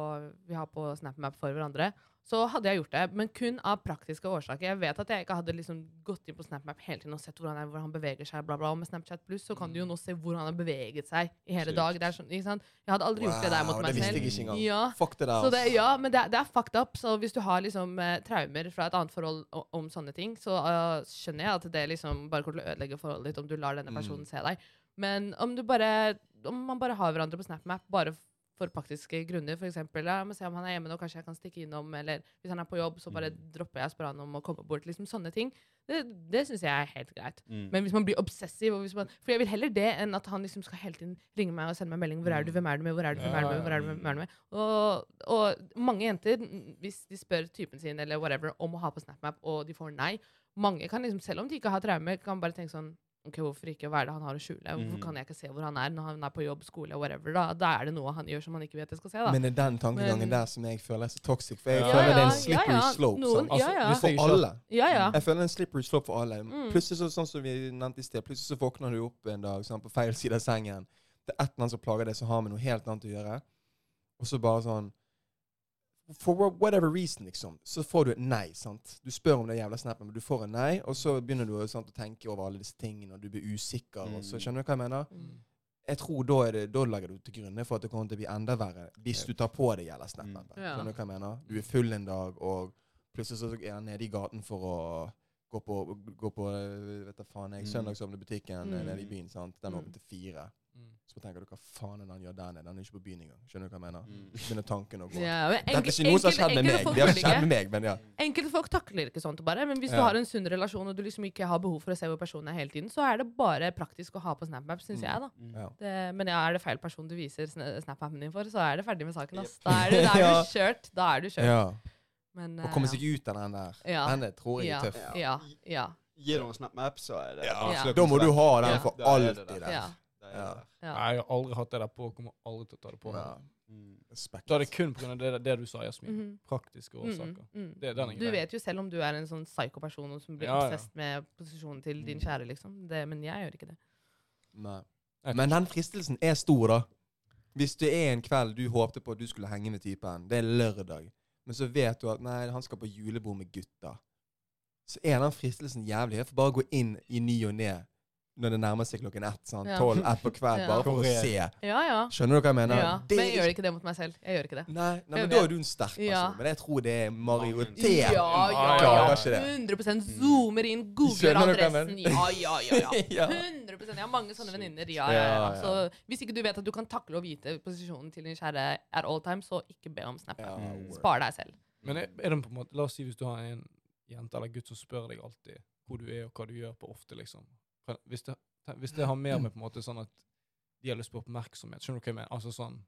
Speaker 3: vi har på SnapMap for hverandre, så hadde jeg gjort det. Men kun av praktiske årsaker. Jeg vet at jeg ikke hadde liksom gått inn på SnapMap hele tiden og sett hvor han er, hvor han beveger seg. Bla, bla. Og med Snapchat pluss så kan du jo
Speaker 1: Mm.
Speaker 3: nå se hvor han har beveget seg i hele
Speaker 4: Sykt.
Speaker 3: dag. Det er sånn, ikke sant? Jeg hadde aldri gjort det der mot
Speaker 1: Wow, det
Speaker 3: meg
Speaker 1: visste
Speaker 3: selv.
Speaker 1: jeg ikke engang.
Speaker 3: Ja,
Speaker 1: Fuck det der. altså.
Speaker 3: så det,
Speaker 1: ass.
Speaker 3: ja, men det, er- det er fucked up. Så hvis du har liksom eh, traumer fra et annet forhold o- om sånne ting, så eh, skjønner jeg at det liksom bare kommer til å ødelegge forholdet ditt om du lar denne personen
Speaker 1: Mm.
Speaker 3: se deg. Men om du bare Om man bare har hverandre på SnapMap bare f- for praktiske grunner, f.eks. Ja, jeg må se om han er hjemme nå, kanskje jeg kan stikke innom, eller hvis han er på jobb, så bare dropper jeg å spørre han om å komme bort. Liksom sånne ting. Det, det syns jeg er helt greit.
Speaker 4: Mm.
Speaker 3: Men hvis man blir obsessiv og hvis man, For jeg vil heller det enn at han liksom skal hele tiden ringe meg og sende meg melding. 'Hvor er du? Hvem er du med? Hvor er du? Hvem er du med? Hvor er du med? Hvem er du med? Og, og mange jenter, mm, hvis de spør typen sin eller whatever om å ha på SnapMap, og de får nei Mange kan liksom, selv om de ikke har traumer, kan bare tenke sånn Ok, hvorfor ikke? Hva er det han har å skjule? Hvorfor
Speaker 4: Mhm.
Speaker 3: kan jeg ikke se hvor han er når han er på jobb, skole, whatever? Da, da er det noe han gjør som han ikke vet jeg skal se, da.
Speaker 1: Men det er den tankegangen
Speaker 3: Men-
Speaker 1: der som jeg føler er så toxic. For jeg
Speaker 2: Ja,
Speaker 1: føler det er
Speaker 3: ja,
Speaker 1: en slippery
Speaker 3: ja, ja.
Speaker 1: slope. sånn.
Speaker 3: Noen-
Speaker 1: sant?
Speaker 2: Altså,
Speaker 3: Ja, ja.
Speaker 2: hvis jeg
Speaker 1: For
Speaker 2: ikke-
Speaker 1: alle.
Speaker 3: ja, ja.
Speaker 1: Jeg føler en slippery slope for alle.
Speaker 3: Mm.
Speaker 1: Plutselig så, sånn som vi nevnte i sted, plutselig så våkner du opp en dag sånn, på feil side av sengen. Det er et eller annet som plager deg, som har med noe helt annet å gjøre. Og så bare sånn For wha- whatever reason, liksom, så får du et nei. sant? Du spør om det jævla snappen, men du får en nei, og så begynner du sant, å tenke over alle disse tingene, og du blir usikker, og så
Speaker 4: Mm.
Speaker 1: skjønner du hva jeg mener?
Speaker 3: Mm.
Speaker 1: jeg tror da, er det, da legger du til grunne for at det kommer til å bli enda verre hvis du tar på deg gjelda snap-appen.
Speaker 3: Mm. Ja.
Speaker 1: Skjønner du hva jeg mener? Du er full en dag, og plutselig så er han nede i gaten for å gå på, gå på eh, vet du faen jeg,
Speaker 4: Mm.
Speaker 1: søndagsåpne butikken eh,
Speaker 3: Mm.
Speaker 1: nede i byen. sant? Den
Speaker 3: Mm.
Speaker 1: er åpen til fire.
Speaker 2: Mm.
Speaker 1: Så tenker du hva faen er det han gjør der nede? Han er ikke på byen engang. Skjønner du hva jeg mener?
Speaker 4: Mm.
Speaker 1: Så begynner tanken å gå.
Speaker 3: Ja, men
Speaker 1: Dette er
Speaker 3: enkel-
Speaker 1: ikke noe som har
Speaker 3: enkel-
Speaker 1: skjedd med
Speaker 3: enkelte
Speaker 1: meg.
Speaker 3: folk
Speaker 1: Det har
Speaker 3: vil
Speaker 1: ikke
Speaker 3: ikke-
Speaker 1: skjedd med meg, men
Speaker 4: Mm.
Speaker 1: ja.
Speaker 3: Enkelte folk takler ikke sånt bare, men hvis du
Speaker 1: Ja.
Speaker 3: har en sunn relasjon og du liksom ikke har behov for å se hvor personen er hele tiden, så er det bare praktisk å ha på SnapMap,
Speaker 1: Mm.
Speaker 3: syns jeg, da.
Speaker 1: ja.
Speaker 3: Det, men ja, er det feil person du viser sna- SnapMapen din for, så er det ferdig med saken, ass. Da er du, da er
Speaker 1: Ja.
Speaker 3: du kjørt. Da er du kjørt.
Speaker 1: ja.
Speaker 3: Men,
Speaker 1: Å komme seg ut av den der,
Speaker 3: Ja.
Speaker 1: den der tror jeg
Speaker 3: Ja.
Speaker 1: er tøff.
Speaker 3: eh, Ja. Ja.
Speaker 4: Gi noen snap-map, så er det
Speaker 3: Ja.
Speaker 1: Da må du ha den
Speaker 3: Ja.
Speaker 1: for
Speaker 4: Da er det
Speaker 1: alltid.
Speaker 4: det.
Speaker 1: der.
Speaker 3: Ja.
Speaker 4: Da er det
Speaker 1: Ja.
Speaker 4: der.
Speaker 3: ja.
Speaker 2: Nei, jeg har aldri hatt det der på, og kommer aldri til å ta det på.
Speaker 1: Ja.
Speaker 2: meg.
Speaker 4: Mm.
Speaker 1: Respekt.
Speaker 2: Da er det kun pga. Det, det du sa, Jasmin.
Speaker 3: Mhm.
Speaker 2: Praktiske
Speaker 3: Mm,
Speaker 2: årsaker.
Speaker 3: mm.
Speaker 2: Det, den er
Speaker 3: Du
Speaker 2: grei.
Speaker 3: vet jo selv om du er en sånn psykoperson som blir
Speaker 2: Ja, ja.
Speaker 3: obsessed med posisjonen til din kjære, liksom. Det, men jeg gjør ikke det.
Speaker 1: Nei.
Speaker 2: Jeg
Speaker 1: Men den fristelsen er stor, da. Hvis det er en kveld du håpte på at du skulle henge med typen, det er lørdag, men så vet du at nei, han skal på julebord med gutta, så er den fristelsen jævlig. Jeg får bare gå inn i ny og ne når det nærmer seg klokken ett, sånn,
Speaker 3: Ja.
Speaker 1: tolv, ett på kveld,
Speaker 3: Ja.
Speaker 1: bare for å
Speaker 4: Korrekt.
Speaker 1: se.
Speaker 3: Ja, ja.
Speaker 1: Skjønner du hva jeg mener?
Speaker 3: ja.
Speaker 1: Det
Speaker 3: Men jeg
Speaker 1: er
Speaker 3: gjør
Speaker 1: ikke-
Speaker 3: ikke det mot meg selv. Jeg gjør ikke det.
Speaker 1: Nei, nei,
Speaker 3: Jeg
Speaker 1: men da
Speaker 3: vet.
Speaker 1: er du en sterk person.
Speaker 3: Ja.
Speaker 1: Men jeg tror det er
Speaker 3: Ja,
Speaker 1: majoritet.
Speaker 3: ja,
Speaker 1: Klarer
Speaker 3: ja.
Speaker 1: ikke det.
Speaker 3: 100 zoomer inn, googler
Speaker 1: Skjønner du hva jeg
Speaker 3: adressen.
Speaker 1: mener?
Speaker 3: Ja, ja, ja. ja.
Speaker 1: Ja.
Speaker 3: 100 Jeg har mange sånne venninner. Ja, ja, ja.
Speaker 1: Ja, ja.
Speaker 3: Så hvis ikke du vet at du kan takle å vite posisjonen til din kjære at all time, så ikke be om snap.
Speaker 1: Ja,
Speaker 4: Mm.
Speaker 1: word.
Speaker 3: Spar deg selv.
Speaker 2: Men er, er det på en måte, la oss si hvis du har en jente eller gutt som spør deg alltid hvor du er og hva du gjør på ofte, liksom. Kan- Hvis det, te- hvis det har mer med på en måte sånn at de har lyst på oppmerksomhet, skjønner du hva jeg mener? Altså sånn,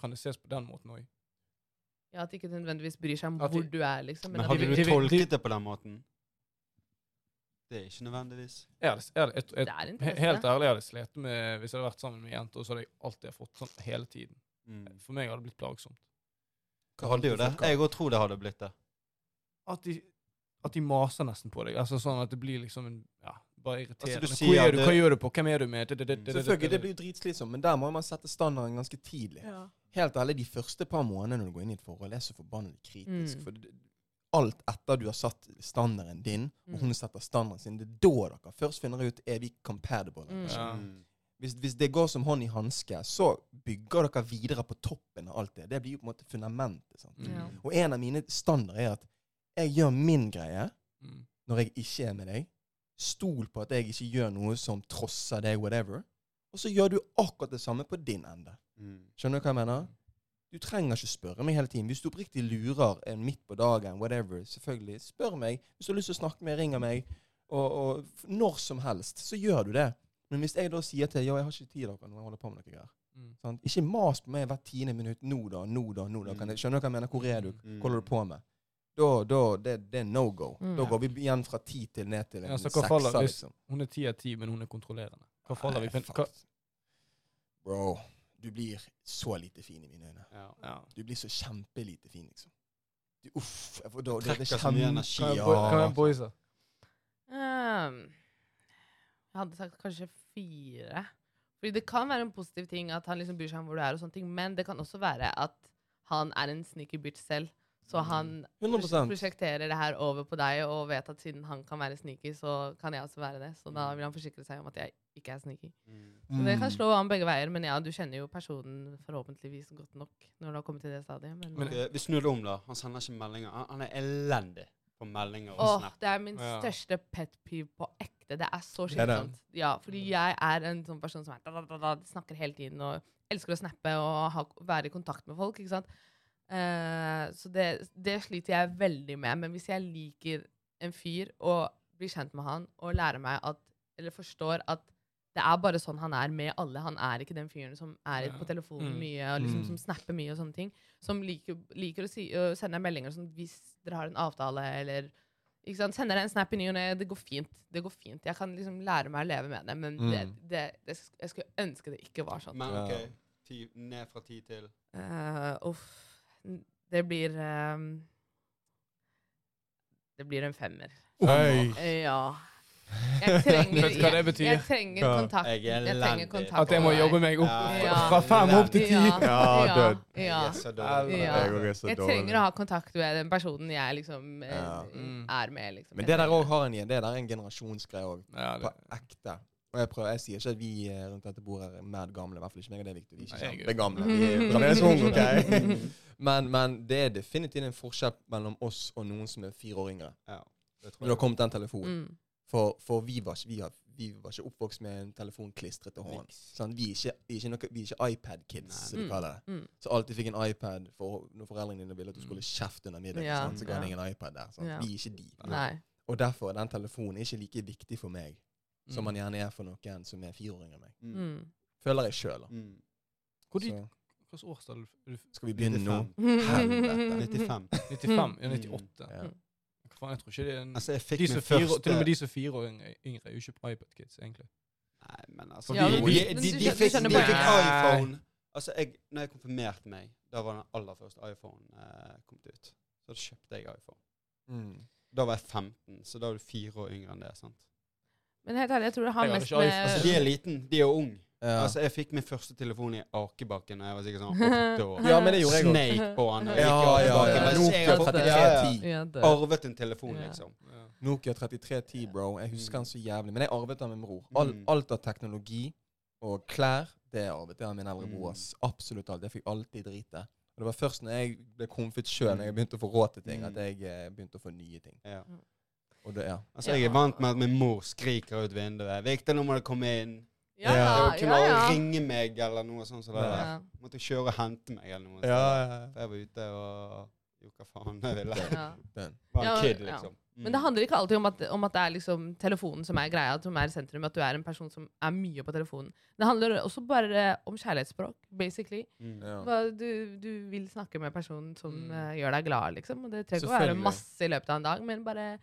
Speaker 2: kan det ses på den måten også?
Speaker 3: Ja, At de ikke nødvendigvis bryr seg om
Speaker 2: At de-
Speaker 3: hvor du er, liksom.
Speaker 4: Men
Speaker 3: Men
Speaker 2: hadde
Speaker 3: at de,
Speaker 4: hadde du
Speaker 2: du
Speaker 4: tolket
Speaker 2: tolket
Speaker 4: det på den måten? Det er ikke nødvendigvis.
Speaker 2: Er det, er det, et,
Speaker 3: det er
Speaker 2: et, he-
Speaker 3: interesse.
Speaker 2: helt ærlig, jeg hadde slet med, hvis jeg hadde vært sammen med en jente, og så hadde jeg alltid fått sånn hele tiden.
Speaker 4: Mm.
Speaker 2: For meg hadde det blitt plagsomt.
Speaker 4: Det hadde jo det. Jeg òg tror det hadde blitt det.
Speaker 2: At de, at de maser nesten på deg. Altså sånn at det blir liksom en, ja, bare irriterende.
Speaker 4: Altså, du
Speaker 2: Hvor
Speaker 4: sier
Speaker 2: er du,
Speaker 4: det- Mm.
Speaker 2: hva gjør du på? Hvem er du med? Det- det- det- det- det-
Speaker 1: Selvfølgelig, det
Speaker 2: det-
Speaker 1: blir jo dritslitsomt, men der må man sette standarden ganske tidlig.
Speaker 3: ja.
Speaker 1: Helt ærlig, de første par månedene når du går inn i et forhold, er så forbannet kritisk.
Speaker 3: Mm.
Speaker 1: For det- alt etter du har satt standarden din, og
Speaker 3: Mm.
Speaker 1: hun setter standarden sin, det er da dere først finner ut er vi compatible. eller
Speaker 3: Mm.
Speaker 1: ikke.
Speaker 2: Ja.
Speaker 1: Hvis, hvis det går som hånd i hanske, så bygger dere videre på toppen av alt det. Det blir jo på en måte fundamentet. Sant?
Speaker 3: Ja.
Speaker 2: Mm.
Speaker 1: Og en av mine standarder er at jeg gjør min greie
Speaker 2: Mm.
Speaker 1: når jeg ikke er med deg. Stol på at jeg ikke gjør noe som trosser deg, whatever. Og så gjør du akkurat det samme på din ende.
Speaker 4: Mm.
Speaker 1: Skjønner du hva jeg mener? Du trenger ikke spørre meg hele tiden. Hvis du oppriktig lurer en midt på dagen, whatever, selvfølgelig, spør meg. Hvis du har lyst til å snakke med meg, ringer meg. Og, og f- når som helst, så gjør du det. Men hvis jeg da sier til ja, jeg har ikke tid dere når jeg holder på med noe greier.
Speaker 2: Mm.
Speaker 1: Sant? Ikke mas på meg hvert tiende minutt. Nå da, nå da, nå da.
Speaker 2: Mm.
Speaker 1: Kan jeg, skjønner du hva jeg mener? Hvor er du?
Speaker 4: Mm.
Speaker 1: Hva holder du på med? Da, da, det, det er no go.
Speaker 3: Mm.
Speaker 1: Da går vi igjen fra ti til ned til en
Speaker 2: Ja, så hva faller-
Speaker 1: sekser,
Speaker 2: hvis-
Speaker 1: liksom.
Speaker 2: Hun er ti av ti, men hun er kontrollerende. Hva faller vi
Speaker 1: Nei,
Speaker 2: på? en-
Speaker 1: fuck.
Speaker 2: Hva?
Speaker 1: Bro, du blir så lite fin i mine øyne.
Speaker 2: Ja.
Speaker 1: Du blir så kjempelite fin, liksom. Du, uff, jeg får da, det, det
Speaker 4: Trekker så mye
Speaker 1: kjem-
Speaker 4: energi,
Speaker 1: Ja.
Speaker 2: Kan jeg boyse?
Speaker 3: Ehm, jeg hadde sagt kanskje fire. Fordi det kan være en positiv ting at han liksom bryr seg om hvor du er, og sånne ting, men det kan også være at han er en sneaky bitch selv. Så han
Speaker 1: 100%.
Speaker 3: prosjekterer det her over på deg og vet at siden han kan være sneaky, så kan jeg også være det. Så da vil han forsikre seg om at jeg ikke er sneaky.
Speaker 4: Mm.
Speaker 1: Mm.
Speaker 3: Så det kan slå an begge veier, men ja, du kjenner jo personen forhåpentligvis godt nok når du har kommet til det stadiet. Men,
Speaker 2: Men-
Speaker 4: Vi snur det om, da. Han sender ikke meldinger. Han, han er elendig på meldinger og
Speaker 3: Åh,
Speaker 4: snap.
Speaker 3: det er min
Speaker 2: sånn, Ja.
Speaker 3: største pet peeve på ekte. Det er så
Speaker 1: Det er det.
Speaker 3: slitsomt. Ja, fordi jeg er en sånn person som er da, da, da, da, snakker hele tiden og elsker å snappe og ha, være i kontakt med folk. ikke sant? Eh, så det, det sliter jeg veldig med. Men hvis jeg liker en fyr og blir kjent med han og lærer meg at, eller forstår at det er bare sånn han er med alle. Han er ikke den fyren som er
Speaker 2: Ja.
Speaker 3: på telefonen
Speaker 2: Mm.
Speaker 3: mye og liksom,
Speaker 1: Mm.
Speaker 3: som snapper mye og sånne ting. Som liker, liker å, si, å sende meldinger sånn hvis dere har en avtale eller ikke sant? Sender deg en snap i ny og ne. Det går fint. Det går fint. Jeg kan liksom lære meg å leve med det, men det,
Speaker 1: Mm.
Speaker 3: det, det, jeg skulle ønske det ikke var sånn.
Speaker 4: Men
Speaker 1: Ja.
Speaker 4: OK, ti, ned fra ti til
Speaker 3: Eh, uff. N- Det blir ehm, Det blir en femmer.
Speaker 1: Oi.
Speaker 3: Eh, Ja. Jeg trenger,
Speaker 2: Vet du hva det betyr?
Speaker 3: Jeg, jeg trenger
Speaker 1: Ja.
Speaker 3: kontakt.
Speaker 4: Jeg er
Speaker 3: jeg trenger
Speaker 4: elendig.
Speaker 3: kontakt
Speaker 2: At jeg må
Speaker 3: med
Speaker 2: jobbe
Speaker 3: deg.
Speaker 2: meg opp
Speaker 4: Ja.
Speaker 2: fra fem opp til ti?
Speaker 3: Ja,
Speaker 1: Ja,
Speaker 3: ja,
Speaker 1: død.
Speaker 3: ja.
Speaker 4: Jeg er så dårlig.
Speaker 3: Ja.
Speaker 1: Jeg òg er så
Speaker 3: Jeg
Speaker 1: dårlig.
Speaker 3: trenger å ha kontakt med den personen jeg liksom eh,
Speaker 1: Ja.
Speaker 2: Mm.
Speaker 3: er med. Liksom.
Speaker 1: Men det der òg har en igjen. Det der er en generasjonsgreie òg.
Speaker 2: Ja,
Speaker 1: På
Speaker 2: det,
Speaker 1: ekte. Og jeg, prøver, jeg sier ikke at vi eh, rundt dette bordet er mad gamle, i hvert fall ikke meg, og det er viktig. Vi er
Speaker 2: Nei,
Speaker 1: ikke
Speaker 2: jeg er-
Speaker 1: kjempegamle. Vi er jo fremdeles unge, ok? Men, men det er definitivt en forskjell mellom oss og noen som er fire år yngre.
Speaker 4: Ja, det
Speaker 1: Når det
Speaker 4: tror
Speaker 1: har
Speaker 4: jeg.
Speaker 1: kommet den telefonen.
Speaker 3: Mm.
Speaker 1: For, for vi, var, ikke- vi, har, vi var ikke oppvokst med en telefon klistret til hånden.
Speaker 4: Niks.
Speaker 1: Sant? vi, er ikke, vi, er ikke noe, vi er ikke iPad-kids,
Speaker 4: Nei,
Speaker 1: som de
Speaker 3: nei.
Speaker 1: kaller det.
Speaker 3: Mm.
Speaker 1: Så alltid fikk en iPad for, når foreldrene dine ville at du skulle
Speaker 4: Mm.
Speaker 1: kjefte under middag.
Speaker 3: Ja,
Speaker 1: sant? Så ga
Speaker 3: ja.
Speaker 1: han ingen iPad der. Sant?
Speaker 3: Ja.
Speaker 1: Vi er ikke de.
Speaker 3: Nei.
Speaker 1: Og derfor er den telefonen ikke like viktig for meg
Speaker 2: Mm.
Speaker 1: som han gjerne er for noen som er fire år yngre enn meg.
Speaker 4: Mm.
Speaker 3: Mm.
Speaker 1: Føler jeg sjøl, da.
Speaker 4: Mm.
Speaker 2: Hvor de,
Speaker 1: Så
Speaker 2: hvilket årstall er du- er du?
Speaker 1: skal vi begynne nå.
Speaker 4: 95.
Speaker 2: Mm.
Speaker 1: Helvete.
Speaker 4: 95.
Speaker 2: 95? Ja, 98?
Speaker 1: Ja.
Speaker 2: Hva faen, jeg tror ikke det er en...
Speaker 4: Altså, jeg fikk
Speaker 2: De
Speaker 4: min
Speaker 2: som fire,
Speaker 4: første
Speaker 2: til og med de som er fire år yngre, yngre er jo ikke på iPad Kids, egentlig.
Speaker 4: Nei, men altså
Speaker 1: For
Speaker 4: de,
Speaker 1: vi-
Speaker 4: de,
Speaker 1: men du-
Speaker 3: du
Speaker 4: de, de, de,
Speaker 3: skjø-
Speaker 4: fikk,
Speaker 3: du skjønner
Speaker 4: de fikk
Speaker 2: poenget.
Speaker 4: iPhone. Altså, jeg, når jeg konfirmerte meg, da var den aller første iPhone eh, kommet ut. Så da kjøpte jeg iPhone.
Speaker 1: Mm.
Speaker 4: Da var jeg 15, så da er du fire år yngre enn det. sant?
Speaker 3: Men helt ærlig, jeg tror det har
Speaker 2: Jeg har
Speaker 3: mest
Speaker 2: ikke
Speaker 3: med
Speaker 2: iPhone.
Speaker 4: Altså, De er liten, de er ung.
Speaker 1: Ja.
Speaker 4: Altså, Jeg fikk min første telefon i akebakken da jeg var sikkert sånn åtte år.
Speaker 1: ja, men det gjorde jeg òg.
Speaker 4: Snake på han. og jeg
Speaker 1: Ja,
Speaker 4: gikk i
Speaker 1: ja,
Speaker 4: akebakken,
Speaker 1: ja.
Speaker 4: mens jeg
Speaker 1: Nokia
Speaker 4: hadde fått- ja, ja.
Speaker 1: 3310.
Speaker 3: Ja, det.
Speaker 4: Arvet en telefon,
Speaker 3: Ja.
Speaker 4: liksom.
Speaker 2: Ja.
Speaker 1: Nokia 3310, bro. Jeg husker han så jævlig. Men jeg arvet den med min bror. All,
Speaker 4: Mm.
Speaker 1: alt av teknologi og klær, det arvet jeg av min eldre bror.
Speaker 4: Mm.
Speaker 1: ass. Absolutt alt. Jeg fikk alltid drite. Og det var først når jeg ble komfet sjøl, når jeg begynte å få råd til ting,
Speaker 4: Mm.
Speaker 1: at jeg eh, begynte å få nye ting.
Speaker 4: Ja.
Speaker 1: Og det, ja.
Speaker 4: Altså, Jeg
Speaker 3: Ja.
Speaker 4: er vant med at min mor skriker ut vinduet. 'Victor, nå må du komme inn.'
Speaker 3: Ja,
Speaker 4: Og
Speaker 3: ja,
Speaker 4: kunne
Speaker 3: ja.
Speaker 4: aldri ringe meg eller noe sånt. som det der.
Speaker 3: Ja.
Speaker 4: Måtte kjøre og hente meg eller noe. sånt. For Jeg var ute og gjorde hva faen jeg ville.
Speaker 3: Ja.
Speaker 1: Den.
Speaker 4: Var en
Speaker 3: Ja,
Speaker 4: kid,
Speaker 3: ja.
Speaker 4: liksom.
Speaker 3: Men det handler ikke alltid om at, om at det er liksom telefonen som er greia, som er i sentrum, at du er en person som er mye på telefonen. Det handler også bare om kjærlighetsspråk, basically.
Speaker 4: Mm.
Speaker 1: Ja.
Speaker 3: Hva, du, du vil snakke med personen som
Speaker 2: Mm.
Speaker 3: eh, gjør deg glad, liksom. Og det trenger ikke å være
Speaker 1: Selvfølgelig.
Speaker 3: masse i løpet av en dag, men bare,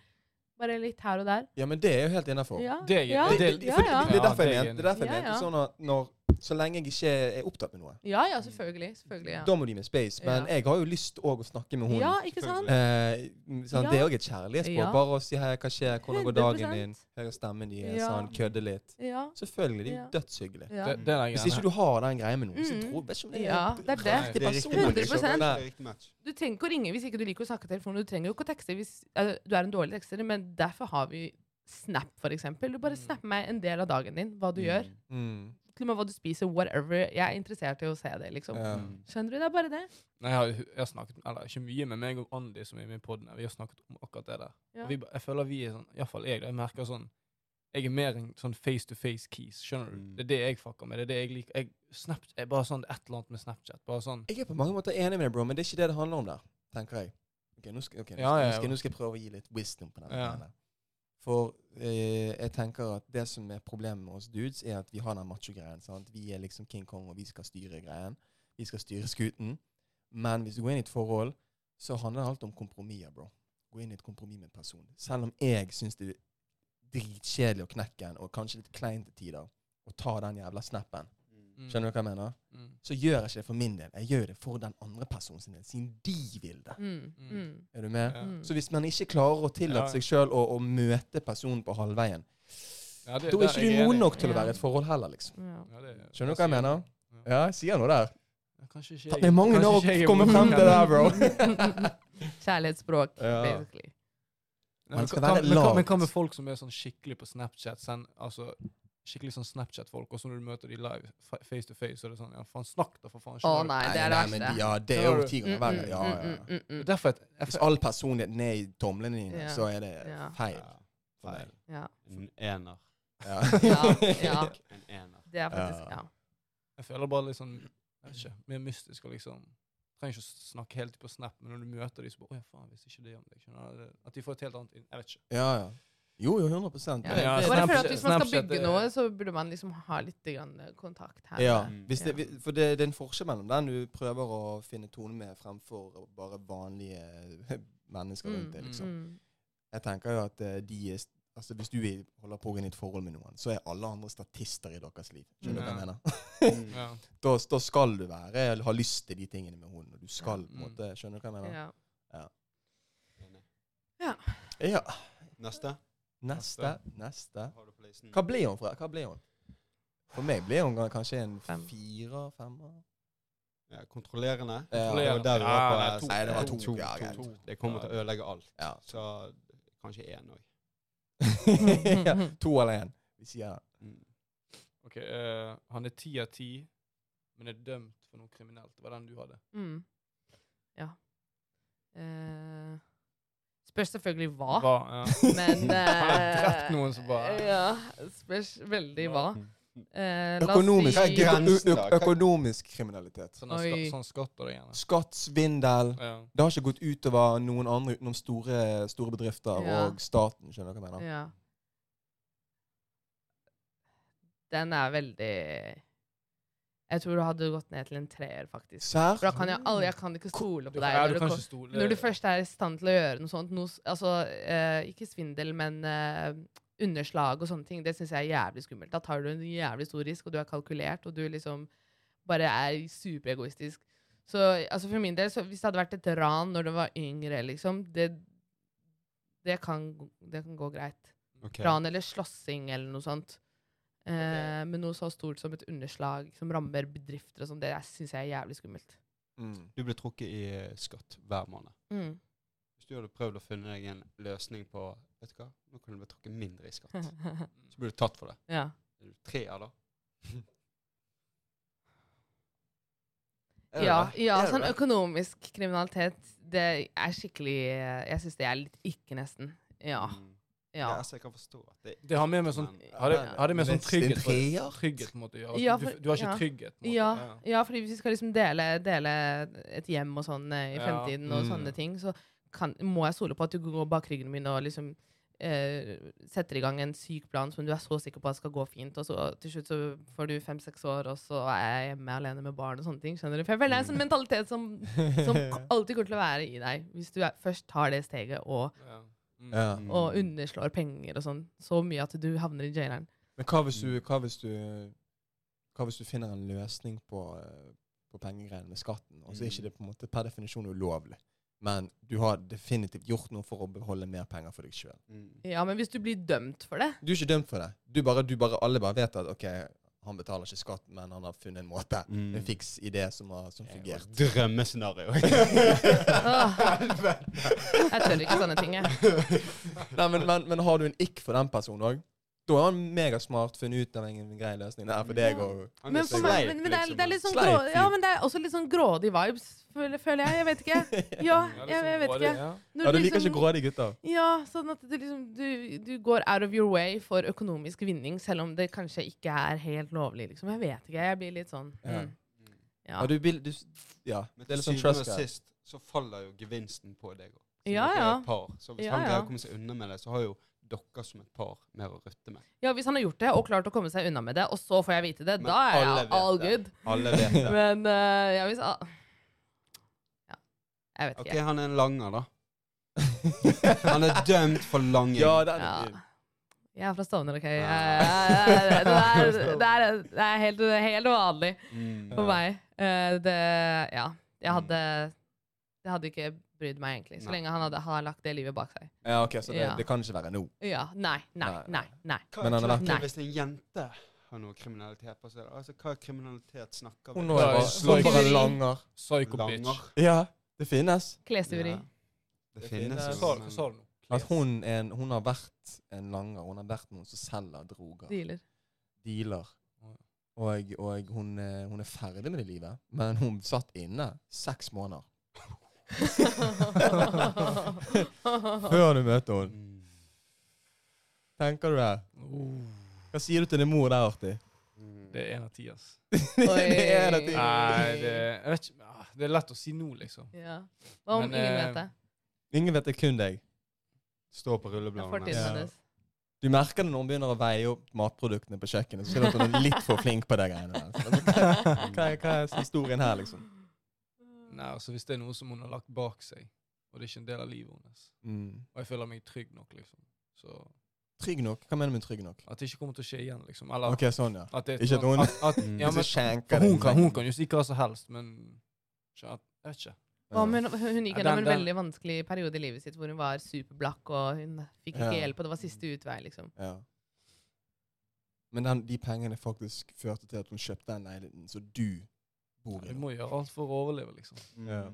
Speaker 3: bare litt her og der.
Speaker 1: ja, men det er jo helt innafor.
Speaker 3: Ja,
Speaker 2: Det er jeg-
Speaker 3: ja,
Speaker 1: Det, det,
Speaker 2: del-
Speaker 1: det,
Speaker 3: ja,
Speaker 1: for det,
Speaker 3: ja.
Speaker 1: det er derfor jeg
Speaker 2: Ja,
Speaker 1: mente det. er derfor jeg
Speaker 3: det er
Speaker 1: mente
Speaker 3: enig.
Speaker 1: sånn at når, Så lenge jeg ikke er opptatt med noe,
Speaker 3: Ja, ja, selvfølgelig. selvfølgelig ja.
Speaker 1: da må de med space. Men
Speaker 3: Ja.
Speaker 1: jeg har jo lyst òg å snakke med hun.
Speaker 3: ja, ikke sant?
Speaker 1: Eh, sånn,
Speaker 3: Ja.
Speaker 1: Det er òg et kjærlighetsspråk.
Speaker 3: Ja.
Speaker 1: Bare å si hei, hva skjer, hvordan går dagen din,
Speaker 3: 100%.
Speaker 1: hører stemmen din,
Speaker 3: Ja.
Speaker 1: sånn, kødde litt.
Speaker 3: Ja.
Speaker 1: Selvfølgelig. Det er
Speaker 3: Ja.
Speaker 1: jo dødshyggelig.
Speaker 3: ja.
Speaker 2: Det, det er den
Speaker 1: Hvis ikke
Speaker 2: greia.
Speaker 1: du har den greia med noen, så
Speaker 3: Mm.
Speaker 1: tror jeg vet ikke om det er
Speaker 3: Ja, det er det.
Speaker 1: riktig
Speaker 4: Det er riktig
Speaker 1: person.
Speaker 4: match.
Speaker 1: liksom.
Speaker 3: 100%.
Speaker 4: Det
Speaker 1: Nei.
Speaker 4: er riktig match.
Speaker 3: Du trenger ikke å ringe hvis ikke du liker å snakke i telefonen. Du trenger jo ikke å tekste hvis eh, du er en dårlig tekster, men derfor har vi Snap, for eksempel. Du bare
Speaker 2: Mm.
Speaker 3: snapper meg en del av dagen din, hva du gjør.
Speaker 1: Mm.
Speaker 3: Til og med hva du spiser, whatever. Jeg er interessert i å se det, liksom.
Speaker 1: Ja.
Speaker 4: Mm.
Speaker 3: Skjønner du? Det er bare det.
Speaker 2: Nei, jeg, har, jeg har snakket, eller ikke mye, men meg og Andy som er med i podden, her, vi har snakket om akkurat det der.
Speaker 3: Ja.
Speaker 2: Og vi, ba- jeg føler vi er sånn, i hvert fall jeg, da, jeg merker sånn, jeg er mer en sånn face-to-face keys, skjønner du?
Speaker 4: Mm.
Speaker 2: Det er det jeg fucker med, det er det jeg liker. Jeg, Snap, jeg bare sånn, et eller annet med Snapchat, bare sånn,
Speaker 1: Jeg er på mange måter enig med deg, bro, men det er ikke det det handler om der, tenker jeg. Ok, Nå skal, ok, nå
Speaker 2: Ja,
Speaker 1: skal,
Speaker 2: ja,
Speaker 1: nå skal,
Speaker 2: ja.
Speaker 1: nå skal jeg prøve å gi litt wisdom på denne.
Speaker 2: Ja.
Speaker 1: greien der. For eh, jeg tenker at det som er problemet med oss dudes, er at vi har den macho-greien. sant? Vi er liksom King Kong, og vi skal styre greien. Vi skal styre skuten. Men hvis du går inn i et forhold, så handler det alt om kompromisser, bro. Gå inn i et kompromiss med en person. Selv om jeg syns det er dritkjedelig å knekke en, og kanskje litt kleint til tider, å ta den jævla snappen.
Speaker 2: Mm.
Speaker 1: Skjønner du hva jeg mener?
Speaker 2: mm,
Speaker 1: så gjør jeg ikke det for min del. Jeg gjør det for den andre personen sin del, siden de vil det.
Speaker 3: Mm.
Speaker 2: Mm.
Speaker 3: Mm.
Speaker 1: Er du med?
Speaker 2: Ja.
Speaker 3: Mm.
Speaker 1: Så hvis man ikke klarer å tillate
Speaker 2: Ja.
Speaker 1: seg sjøl å, å møte personen på halvveien,
Speaker 2: Ja, det-
Speaker 1: da
Speaker 2: der
Speaker 1: er ikke
Speaker 2: jeg
Speaker 1: du
Speaker 2: enig.
Speaker 1: moden nok til å
Speaker 3: Ja.
Speaker 1: være i et forhold heller, liksom.
Speaker 3: mm, Ja.
Speaker 2: Ja, det-
Speaker 1: Skjønner du hva jeg
Speaker 2: sier-
Speaker 1: mener?
Speaker 2: Ja.
Speaker 1: Ja, jeg sier noe der.
Speaker 2: Ja, Kanskje ikke
Speaker 1: Faen,
Speaker 2: jeg.
Speaker 1: Det er mange
Speaker 2: kanskje ikke
Speaker 1: år
Speaker 2: jeg
Speaker 1: å
Speaker 2: er
Speaker 1: komme
Speaker 2: moden
Speaker 1: frem
Speaker 2: nok.
Speaker 1: til det der, bro.
Speaker 3: Kjærlighetsspråk,
Speaker 1: Ja.
Speaker 3: basically.
Speaker 2: Nei,
Speaker 1: Man
Speaker 2: Men
Speaker 1: skal
Speaker 2: hva-
Speaker 1: være
Speaker 2: men hva-
Speaker 1: lavt.
Speaker 2: men hva med folk som er sånn skikkelig på Snapchat? Send, altså, skikkelig sånn Snapchat-folk, og så når du møter de live, fa- face to face, så er det sånn Ja, faen, snakk da, for faen.
Speaker 3: Å
Speaker 2: skjønner du?
Speaker 3: nei, det er det
Speaker 1: men
Speaker 3: verste.
Speaker 1: Ja, det er jo ti ganger verre. Ja, ja, ja.
Speaker 3: mm,
Speaker 2: Det
Speaker 3: mm,
Speaker 2: er Derfor at jeg,
Speaker 1: Hvis all personligheten er i tomlene dine,
Speaker 3: Ja.
Speaker 1: så er det
Speaker 3: Ja.
Speaker 1: feil.
Speaker 4: Ja.
Speaker 1: for meg.
Speaker 3: ja.
Speaker 4: En ener.
Speaker 1: Ja.
Speaker 3: Ja, ja.
Speaker 4: En ener.
Speaker 3: Det er faktisk Ja.
Speaker 2: jeg føler bare litt sånn jeg vet ikke, mer mystisk og liksom Trenger ikke å snakke helt på Snap, men når du møter de, så bare Å ja, faen, hvis ikke det om deg, skjønner du? At de får et helt annet inn. Jeg vet ikke.
Speaker 1: ja, ja. Jo, jo, 100
Speaker 3: Ja,
Speaker 2: Men ja,
Speaker 3: jeg bare
Speaker 2: Snapchat-
Speaker 3: føler at Hvis man skal
Speaker 2: Snapchat,
Speaker 3: bygge
Speaker 2: det-
Speaker 3: noe, så burde man liksom ha litt grann kontakt her.
Speaker 1: Ja,
Speaker 3: og der.
Speaker 1: hvis det,
Speaker 3: Ja.
Speaker 1: vi- for det, det er en forskjell mellom den du prøver å finne tone med, fremfor bare vanlige mennesker rundt deg.
Speaker 2: Mm,
Speaker 1: liksom.
Speaker 3: Mm.
Speaker 1: Jeg tenker jo at eh, de er, st- altså Hvis du er- holder på å gå inn i et forhold med noen, så er alle andre statister i deres liv. Skjønner du hva jeg
Speaker 2: Ja.
Speaker 1: mener?
Speaker 4: Mm.
Speaker 2: Ja.
Speaker 1: Da, da skal du være, ha lyst til de tingene med henne. og Du skal på en
Speaker 2: Mm.
Speaker 1: måte, Skjønner du hva jeg mener?
Speaker 3: Ja.
Speaker 4: Enig.
Speaker 1: Ja.
Speaker 4: Neste.
Speaker 1: Neste, neste.
Speaker 4: Har du på listen?
Speaker 1: Hva ble hun fra? Hva ble hun? For meg ble hun ga- kanskje en
Speaker 3: Fem.
Speaker 1: firer, femmer?
Speaker 4: Ja, kontrollerende.
Speaker 1: Ja.
Speaker 4: Det var der vi var på.
Speaker 2: Ja, nei,
Speaker 4: eh,
Speaker 2: to.
Speaker 1: Nei, det var to.
Speaker 4: to,
Speaker 1: Ja,
Speaker 4: to,
Speaker 1: greit.
Speaker 4: to. Det kommer til å ødelegge alt.
Speaker 1: Ja.
Speaker 4: Så kanskje én òg.
Speaker 3: Mm,
Speaker 1: to eller én. Vi sier det.
Speaker 4: Mm.
Speaker 2: Ok, eh, han er ti av ti, men er dømt for noe kriminelt. Det var den du hadde.
Speaker 3: Mm. Ja. Eh, spørs selvfølgelig hva,
Speaker 2: Var, ja.
Speaker 3: men
Speaker 2: Han har
Speaker 3: eh,
Speaker 2: drept noen som bare
Speaker 3: Ja, spørs veldig hva. Eh, la oss
Speaker 1: Økonomisk,
Speaker 4: Hva
Speaker 3: si-
Speaker 4: er grensen,
Speaker 1: ø-
Speaker 4: da?
Speaker 1: ø- økonomisk kriminalitet.
Speaker 2: Sånn, ska,
Speaker 3: Oi.
Speaker 2: sånn skotter det gjerne.
Speaker 1: Skatt, svindel.
Speaker 2: Ja.
Speaker 1: Det har ikke gått utover noen andre utenom store, store bedrifter
Speaker 3: Ja.
Speaker 1: og staten. skjønner dere hva jeg mener?
Speaker 3: Ja. Den er veldig Jeg tror du hadde gått ned til en treer, faktisk.
Speaker 1: Serr?
Speaker 3: For da kan jeg, alle, jeg kan ikke stole
Speaker 2: Du,
Speaker 3: på
Speaker 2: kan-
Speaker 3: deg.
Speaker 2: ja,
Speaker 3: når
Speaker 2: du
Speaker 3: det
Speaker 2: kan
Speaker 3: kom-
Speaker 2: ikke stole
Speaker 3: Når du først er i stand til å gjøre noe sånt, noe, s- altså eh, ikke svindel, men eh, underslag og sånne ting, det syns jeg er jævlig skummelt. Da tar du en jævlig stor risk, og du er kalkulert, og du liksom bare er superegoistisk. Så altså for min del, så hvis det hadde vært et ran når du var yngre, liksom, det, det, kan, g- det kan gå greit.
Speaker 4: Ok.
Speaker 3: Ran eller slåssing eller noe sånt. Eh, Men noe så stort som et underslag som rammer bedrifter og sånn, det syns jeg er jævlig skummelt.
Speaker 1: Mm.
Speaker 4: Du ble trukket i eh, skatt hver måned. Hvis du hadde prøvd å finne deg en løsning på vet du hva, nå kan du bli trukket mindre i skatt,
Speaker 3: Mhm.
Speaker 4: så blir du tatt for det.
Speaker 3: ja.
Speaker 4: Er du treer da? Er du
Speaker 3: Ja,
Speaker 4: det?
Speaker 3: ja
Speaker 4: Er du
Speaker 3: sånn
Speaker 4: det?
Speaker 3: økonomisk kriminalitet, det er skikkelig eh, Jeg syns det er litt ikke, nesten. Ja.
Speaker 4: Mm.
Speaker 3: Ja,
Speaker 4: altså, jeg kan forstå at det
Speaker 2: Det har med meg sånn
Speaker 4: Men-
Speaker 2: Har det, har det med sånn
Speaker 1: Men det er en
Speaker 2: trygghet på,
Speaker 1: treer?
Speaker 2: trygghet på en måte å gjøre?
Speaker 3: Ja,
Speaker 2: Du,
Speaker 3: for-
Speaker 2: du har ikke
Speaker 3: ja.
Speaker 2: trygghet? på en måte.
Speaker 3: ja,
Speaker 2: Ja.
Speaker 3: ja fordi hvis vi skal liksom dele, dele et hjem og sånn eh, i
Speaker 2: Ja.
Speaker 3: fremtiden, og
Speaker 1: Mm.
Speaker 3: sånne ting, så kan, må jeg stole på at du går bak ryggen min og liksom eh, setter i gang en syk plan som du er så sikker på at skal gå fint, og så til slutt så får du fem-seks år, og så er jeg hjemme alene med barn og sånne ting. Skjønner du? For jeg føler det er en sånn
Speaker 2: Mm.
Speaker 3: mentalitet som, som alltid kommer til å være i deg, hvis du er, først tar det steget og
Speaker 2: Ja. Mm.
Speaker 1: Ja.
Speaker 4: Mm.
Speaker 3: og underslår penger og sånn. Så mye at du havner i jaileren.
Speaker 1: Men hva hvis, du, hva, hvis du, hva hvis du finner en løsning på, eh, på pengegreiene med skatten, og så er
Speaker 4: Mm.
Speaker 1: ikke det på en måte per definisjon ulovlig, men du har definitivt gjort noe for å beholde mer penger for deg sjøl.
Speaker 4: Mm.
Speaker 3: Ja, men hvis du blir dømt for det
Speaker 1: Du er ikke dømt for det. Du bare, du bare, alle bare vet at OK, han betaler ikke skatt, men han har funnet en måte,
Speaker 4: Mm.
Speaker 1: en fiks idé som har som fungert.
Speaker 4: Drømmescenario.
Speaker 3: Åh. Jeg tør ikke sånne ting, jeg.
Speaker 1: Nei, men, men, men har du en ikk for den personen òg? Da er han megasmart funnet ut av en grei løsning. Nei, for deg
Speaker 3: Ja.
Speaker 1: òg.
Speaker 3: Men, for meg, men, men det,
Speaker 4: liksom,
Speaker 3: er, det er litt sånn grå,
Speaker 1: Sleip,
Speaker 3: ja, men det er også litt sånn grådig vibes, føler, føler jeg. Jeg vet ikke. Ja, jeg,
Speaker 2: liksom
Speaker 3: jeg vet ikke.
Speaker 2: sånn Ja.
Speaker 3: Når
Speaker 1: Ja, du liker
Speaker 3: liksom-
Speaker 1: ikke grådige gutter.
Speaker 3: Ja, sånn at du liksom du, du går out of your way for økonomisk vinning, selv om det kanskje ikke er helt lovlig, liksom. Jeg vet ikke. Jeg blir litt sånn
Speaker 1: Ja.
Speaker 3: mm,
Speaker 1: Ja,
Speaker 3: Ja.
Speaker 1: du, vil- du, s- ja.
Speaker 4: Men
Speaker 1: det er
Speaker 4: til
Speaker 1: litt sånn
Speaker 4: syvende
Speaker 1: trust
Speaker 4: og
Speaker 1: guy.
Speaker 4: sist så faller jo gevinsten på deg òg.
Speaker 3: Ja, ja.
Speaker 4: Par. Så hvis
Speaker 3: Ja,
Speaker 4: han
Speaker 3: ja.
Speaker 4: greier å komme seg unna med det, så har jo dere som et par mer å rutte med.
Speaker 3: ja, hvis han har gjort det og klart å komme seg unna med det, og så får jeg vite det,
Speaker 4: Men
Speaker 3: da er
Speaker 4: alle
Speaker 3: jeg
Speaker 4: vet
Speaker 3: all
Speaker 4: det.
Speaker 3: good.
Speaker 4: Alle vet det.
Speaker 3: Men eh, ja, hvis al- Ja. Jeg vet
Speaker 4: OK,
Speaker 3: ikke.
Speaker 4: han er en langer, da. Han er dømt for langing.
Speaker 1: Ja, den
Speaker 3: Ja.
Speaker 1: er fin.
Speaker 3: Jeg er fra Stovner, OK? Jeg, jeg,
Speaker 4: Ah.
Speaker 3: jeg, det, er, det, er, det er helt, helt vanlig
Speaker 4: Mm.
Speaker 3: for
Speaker 1: Ja. Mm.
Speaker 3: meg. Eh, det Ja. Jeg hadde Det hadde ikke brydd meg, egentlig. Så
Speaker 4: Nei.
Speaker 3: lenge han hadde, har lagt det livet bak seg.
Speaker 1: Ja, ok, så det,
Speaker 3: Ja.
Speaker 1: det kan ikke være nå.
Speaker 3: Ja. Nei, nei,
Speaker 1: Nei,
Speaker 3: nei.
Speaker 1: nei.
Speaker 3: nei.
Speaker 4: Hva
Speaker 1: Men
Speaker 4: er
Speaker 1: han har vært-
Speaker 4: klart,
Speaker 3: Nei.
Speaker 4: Hvis en jente har noe kriminalitet på seg altså, Hva kriminalitet snakker vi
Speaker 1: Hun
Speaker 4: om?
Speaker 1: nå er bare,
Speaker 2: Slå
Speaker 1: nå er bare
Speaker 3: ikke-
Speaker 1: langer.
Speaker 2: Psycho bitch.
Speaker 4: Langer.
Speaker 1: Ja, det finnes.
Speaker 3: Klesstyveri.
Speaker 4: Ja. Det finnes
Speaker 1: finnes.
Speaker 2: Hva sa
Speaker 4: jo.
Speaker 2: du- hva
Speaker 4: men-
Speaker 2: sa du nå?
Speaker 1: At hun, er en, hun har vært en langer. Hun har vært noen som selger droger.
Speaker 3: Dealer.
Speaker 1: Dealer. Og, og hun, eh, hun er ferdig med det livet, men hun satt inne seks måneder før du møter henne.
Speaker 4: Mm.
Speaker 1: Tenker du det? Hva sier du til din mor der, Arti?
Speaker 4: Mm.
Speaker 2: Oh, Det er en av ti, ass.
Speaker 1: det er det ting.
Speaker 2: Nei, det, jeg vet ikke, ah, det er lett å si nå, liksom.
Speaker 3: ja. Hva om
Speaker 2: Men,
Speaker 3: ingen
Speaker 2: eh,
Speaker 3: vet det?
Speaker 1: Ingen vet det, kun deg.
Speaker 4: Står på
Speaker 3: Det er
Speaker 4: rullebladene.
Speaker 3: fortiden
Speaker 1: Ja.
Speaker 3: hennes.
Speaker 1: Du merker det når hun begynner å veie opp matproduktene på kjøkkenet. Så ser du at hun er litt for flink på de greiene der. Så, altså, hva, hva er- hva er historien her, liksom?
Speaker 2: Nei, altså Hvis det er noe som hun har lagt bak seg, og det er ikke en del av livet hennes,
Speaker 1: Mm.
Speaker 2: og jeg føler meg trygg nok, liksom Så
Speaker 1: Trygg nok? Hva mener du med trygg nok?
Speaker 2: At det ikke kommer til å skje igjen, liksom. Eller
Speaker 1: Ok, sånn, ja.
Speaker 2: at det er
Speaker 1: Ikke at hun-
Speaker 2: at, at,
Speaker 4: Mm.
Speaker 2: ja, men,
Speaker 1: Hvis jeg skjenker
Speaker 2: for
Speaker 1: deg
Speaker 2: hun, kan,
Speaker 1: en-
Speaker 2: hun kan jo si hva som helst, men ikke at, Jeg vet ikke.
Speaker 3: Hva om hun, hun gikk
Speaker 2: Ja,
Speaker 3: gjennom
Speaker 2: den-
Speaker 3: en
Speaker 2: den-
Speaker 3: veldig vanskelig periode i livet sitt hvor hun var superblakk og hun fikk ikke
Speaker 1: Ja.
Speaker 3: hjelp, og det var siste utvei, liksom.
Speaker 1: Ja. Men den, de pengene faktisk førte til at hun kjøpte den leiligheten som du bor i.
Speaker 2: Du
Speaker 1: nå.
Speaker 2: må gjøre alt for å overleve, liksom.
Speaker 4: Mm.
Speaker 1: Ja.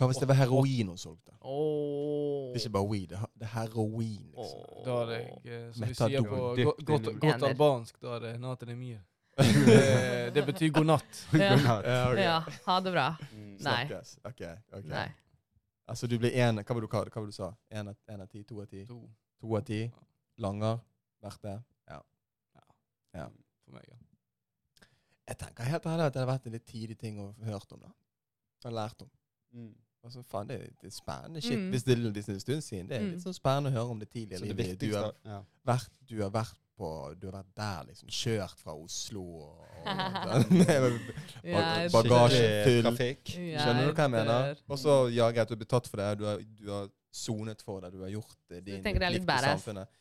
Speaker 1: Hva hvis det var heroin hun solgte?
Speaker 3: Åh.
Speaker 1: Det er ikke bare weed, det er- det er heroin. liksom.
Speaker 2: Da hadde jeg, eh, som vi
Speaker 1: Metadon,
Speaker 2: sier på
Speaker 1: dypt
Speaker 2: go- godt,
Speaker 4: inni
Speaker 2: godt
Speaker 3: meg.
Speaker 2: albansk, da hadde natenemier. Eh, Det, det betyr god natt.
Speaker 3: Ja.
Speaker 1: Ja, ok.
Speaker 3: ja, ha det bra.
Speaker 4: Mm.
Speaker 3: Nei.
Speaker 1: Snakkes. Ok, ok.
Speaker 3: Nei.
Speaker 1: Altså du blir en, hva var det du, hva, hva var det du sa? En av, en av ti, to av ti?
Speaker 2: To
Speaker 1: To av ti? Langer? Vært det?
Speaker 2: for meg. Ja.
Speaker 1: Jeg tenker helt ærlig at det hadde vært en litt tidlig ting å få hørt om da. Og lært om.
Speaker 4: Mm.
Speaker 1: Altså faen, det er, det er spennende shit.
Speaker 3: Mm.
Speaker 1: Hvis, det, er- hvis det er en stund siden, det er
Speaker 3: Mm.
Speaker 1: litt sånn spennende å høre om det
Speaker 4: Så
Speaker 1: tidligere
Speaker 4: det
Speaker 1: livet. Du har
Speaker 4: viktigste ja.
Speaker 1: vært, du har vært på, du har vært der liksom, kjørt fra Oslo og, og sånn. Bag-
Speaker 3: Jeg
Speaker 1: bagasje.
Speaker 3: dør.
Speaker 4: Skikkelig
Speaker 1: full.
Speaker 4: Trafikk.
Speaker 1: Skjønner du hva jeg mener?
Speaker 3: dør.
Speaker 1: Og så jager jeg at du blir tatt for det, du har, du har sonet for det, du har gjort det, din
Speaker 3: tenker det er
Speaker 1: plikt
Speaker 3: litt
Speaker 1: i
Speaker 3: badass.
Speaker 1: samfunnet.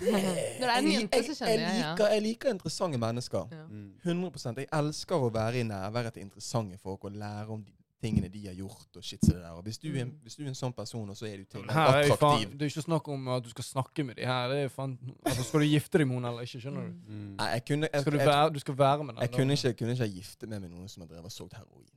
Speaker 3: Når det er en jente, så skjønner jeg, ja.
Speaker 1: liker, jeg liker interessante mennesker.
Speaker 3: Ja.
Speaker 4: Mm.
Speaker 1: 100 Jeg elsker å være i nærværet til interessante folk og lære om de tingene de har gjort. og shit så det der. Og hvis du,
Speaker 3: Mm.
Speaker 1: er en, hvis du er en sånn person, og så er du til og med
Speaker 2: Her er jo faen,
Speaker 1: attraktiv
Speaker 2: det er jo ikke snakk om at du skal snakke med de her. Det er jo faen, altså, skal du gifte deg med henne eller ikke? skjønner du?
Speaker 4: Mm.
Speaker 1: Nei, jeg kunne, jeg,
Speaker 2: Skal du
Speaker 1: jeg, jeg,
Speaker 2: være, du skal være med den. da.
Speaker 1: kunne, ikke, jeg kunne ikke ha giftet meg med noen som har drevet og solgt heroin.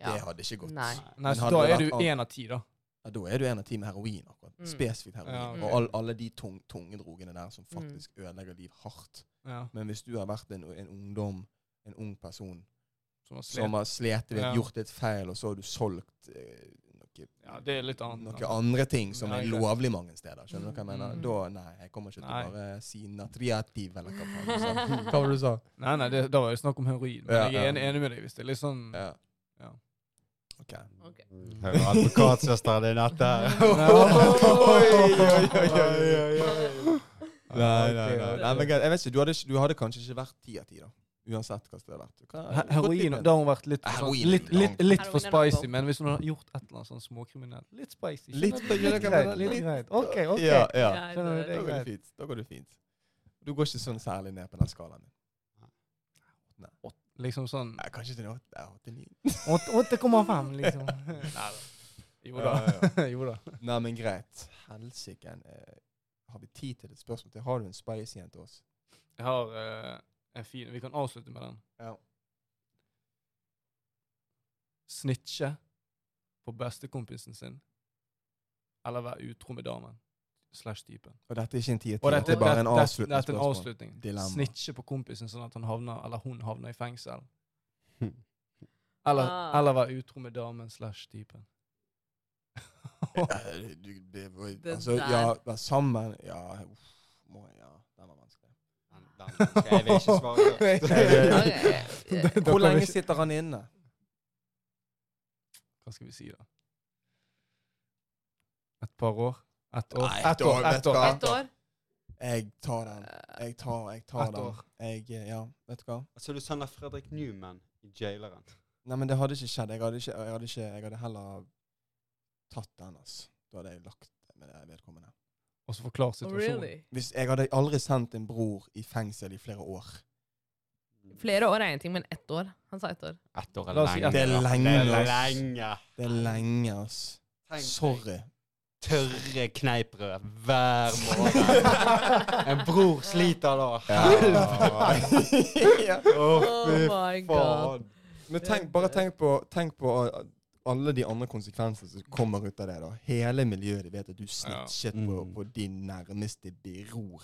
Speaker 3: Ja.
Speaker 1: Det hadde ikke gått.
Speaker 3: Nei.
Speaker 2: Nei,
Speaker 1: Men
Speaker 2: så
Speaker 1: hadde
Speaker 2: da
Speaker 1: det
Speaker 2: er
Speaker 1: vært
Speaker 2: du
Speaker 1: an-
Speaker 2: én av ti, da.
Speaker 1: Ja, da er du en av ti med heroin. akkurat.
Speaker 3: Mm.
Speaker 1: Spesifikt heroin.
Speaker 2: Ja, ok.
Speaker 1: Og all, alle de tung, tunge drogene der som
Speaker 3: Mm.
Speaker 1: faktisk ødelegger liv hardt.
Speaker 2: Ja,
Speaker 1: Men hvis du har vært en, en ungdom, en ung person,
Speaker 2: som har slet.
Speaker 1: som har slitt,
Speaker 2: Ja.
Speaker 1: gjort et feil, og så har du solgt eh, noe
Speaker 2: ja, det er litt annet.
Speaker 1: noen andre ting som
Speaker 2: Nei,
Speaker 1: er
Speaker 2: greit.
Speaker 1: lovlig mange steder. Skjønner du hva jeg mener?
Speaker 3: Mm.
Speaker 1: Da, nei, jeg kommer ikke til
Speaker 2: Nei.
Speaker 1: å bare si natriativ, eller hva faen du sa. Hva var det du sa?
Speaker 2: Nei, nei, det, da var det snakk om heroin. Men
Speaker 1: Ja,
Speaker 2: jeg er
Speaker 1: ja.
Speaker 2: enig, enig med deg hvis det er litt sånn
Speaker 1: Ja.
Speaker 2: Ja.
Speaker 1: Ok.
Speaker 3: Ok.
Speaker 4: Hører advokatsøsteren din etter?
Speaker 1: Mm. Oi, oi, oi, oi, oi. Nei, nei, nei.
Speaker 2: ok,
Speaker 1: nei.
Speaker 2: ok.
Speaker 1: men greit. jeg vet ikke, du hadde, ikke- du hadde kanskje ikke vært ti av ti, da. Uansett hva det hadde vært. Du kan-
Speaker 2: He- Heroin
Speaker 1: Godt litt med-
Speaker 2: Da har hun vært litt, sånn,
Speaker 1: Heroin er
Speaker 2: litt,
Speaker 1: langt.
Speaker 2: litt, litt for
Speaker 3: Heroin er
Speaker 2: spicy,
Speaker 3: langt.
Speaker 2: men hvis hun har gjort et eller annet sånn småkriminelt Litt spicy.
Speaker 1: Litt
Speaker 2: skjønner du?
Speaker 1: spicy,
Speaker 2: litt
Speaker 1: det kan
Speaker 2: greit.
Speaker 1: være
Speaker 2: Litt
Speaker 1: litt-
Speaker 2: greit. OK, OK.
Speaker 1: Ja, ja.
Speaker 3: Jeg
Speaker 2: Skjønner du,
Speaker 1: Da
Speaker 3: dør.
Speaker 1: går det fint. Da går det fint. Du går ikke sånn særlig ned på den skalaen din.
Speaker 2: Liksom sånn
Speaker 1: Nei, kanskje til en åtte- ja, åtte-ni.
Speaker 2: åt- 8,5, liksom. Nei da. Jo da.
Speaker 1: Ja, ja,
Speaker 2: Jo da.
Speaker 1: Nei, men greit. Helsiken. eh, Har vi tid til et spørsmål til? Har du en spicy en til oss?
Speaker 2: Jeg har eh, en fin Vi kan avslutte med den.
Speaker 1: Ja.
Speaker 2: Snitche på bestekompisen sin eller være utro med damen slash typen.
Speaker 1: Og dette er ikke en 10 av 10,
Speaker 2: Og dette,
Speaker 1: det er bare en
Speaker 2: dette, dette,
Speaker 1: avsluttende
Speaker 2: dette er en
Speaker 1: spørsmål.
Speaker 2: avslutning.
Speaker 1: Dilemma.
Speaker 2: Snitche på kompisen sånn at han havner, eller hun havner i fengsel. Eller,
Speaker 3: Ah.
Speaker 2: eller være utro med damen slash typen.
Speaker 1: Eh, du- det var-
Speaker 3: Det
Speaker 1: Altså, ja,
Speaker 3: der.
Speaker 1: være sammen Ja, uff, må ja. Den var vanskelig.
Speaker 4: Jeg vil ikke svare.
Speaker 3: Ja,
Speaker 1: Nei,
Speaker 3: ja, ja, ja.
Speaker 1: Hvor lenge sitter han inne?
Speaker 2: Hva skal vi si, da? Et par år? Ett år?
Speaker 1: Nei,
Speaker 2: Ett
Speaker 1: da
Speaker 2: år,
Speaker 1: vet
Speaker 2: ett
Speaker 1: du
Speaker 2: år.
Speaker 1: hva.
Speaker 2: ett
Speaker 3: Ett år?
Speaker 1: Jeg tar den. Jeg tar, jeg tar
Speaker 2: Ett
Speaker 1: den.
Speaker 2: år.
Speaker 1: Jeg, eh, ja, vet du hva?
Speaker 4: Så Altså, du sender Fredrik Newman i jaileren.
Speaker 1: Nei, men det hadde ikke skjedd. Jeg hadde, ikke, jeg hadde, ikke, jeg hadde heller tatt den, altså. Da hadde jeg lagt det med det vedkommende.
Speaker 2: Og så forklare
Speaker 3: Oh,
Speaker 2: situasjonen.
Speaker 3: really?
Speaker 1: Hvis, jeg hadde aldri sendt en bror i fengsel i flere år.
Speaker 3: Flere år er én ting, men ett år? Han sa ett år.
Speaker 4: Ett år
Speaker 2: La oss si
Speaker 1: Det er lenge.
Speaker 4: Det er
Speaker 1: ass.
Speaker 4: lenge.
Speaker 1: Det er lenge, ass.
Speaker 4: Tenk deg
Speaker 1: Sorry.
Speaker 4: Tørre kneippbrød hver morgen. En bror sliter da.
Speaker 1: ja.
Speaker 4: Å,
Speaker 3: Oh
Speaker 4: fy
Speaker 3: my god.
Speaker 4: faen.
Speaker 1: Men tenk, bare tenk på, tenk på uh, alle de andre konsekvensene som kommer ut av det. da. Hele miljøet de vet at du snitchet på,
Speaker 4: Mm.
Speaker 1: på din nærmeste bror,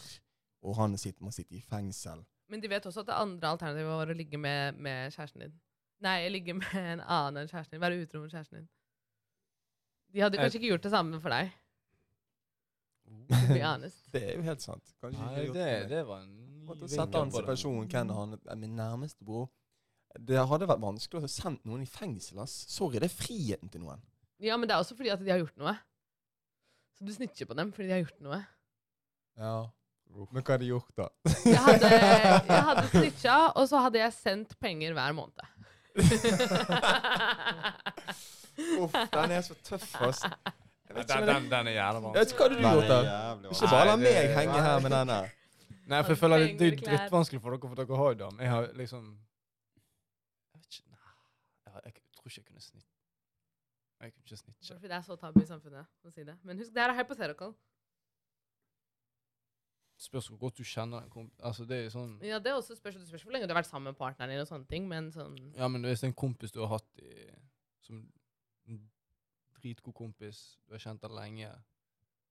Speaker 1: og han sitter, må sitte i fengsel.
Speaker 3: Men de vet også at det andre alternativet var å ligge med, med kjæresten din. Nei, ligge med en annen enn kjæresten din. Være utro med kjæresten din. De hadde kanskje ikke gjort det samme for deg. To be honest.
Speaker 1: Det er jo helt sant. Kanskje ikke
Speaker 2: Nei,
Speaker 1: gjort
Speaker 2: det,
Speaker 1: det.
Speaker 2: det var en ny
Speaker 1: Måtte
Speaker 2: vinkel
Speaker 1: sette
Speaker 2: på
Speaker 1: han til
Speaker 2: det.
Speaker 1: personen, hvem er han er min nærmeste bror. Det hadde vært vanskelig å ha sendt noen i fengsel. ass. Sorry, det er friheten til noen.
Speaker 3: Ja, men det er også fordi at de har gjort noe. Så du snitcher på dem fordi de har gjort noe.
Speaker 1: Ja. Men hva har de gjort, da?
Speaker 3: Jeg hadde, jeg hadde snitcha, og så hadde jeg sendt penger hver måned.
Speaker 1: Uff, den er så tøff, ass. Jeg vet ikke,
Speaker 2: Den,
Speaker 1: men
Speaker 2: den, den er jævla
Speaker 1: jeg
Speaker 2: vanskelig.
Speaker 1: vet ikke hva hadde du gjort, da. Ikke bare la meg henge her med den der.
Speaker 2: Nei, for jeg føler det, det er drittvanskelig for dere, for dere har jo dam. Jeg har liksom Jeg vet ikke Nei, jeg, har- jeg tror ikke jeg kunne snitt... Jeg kunne ikke snitche.
Speaker 3: Fordi det er så tabu i samfunnet å si det. Men husk, det her er hypothetical.
Speaker 2: Spørs hvor godt du kjenner den kompisen. Altså, det er jo sånn
Speaker 3: Ja, det er også spørs, det spørs hvor lenge du har vært sammen med partneren din og sånne ting, men sånn
Speaker 2: Ja, men hvis det er en kompis du har hatt i som en dritgod kompis, du har kjent han lenge.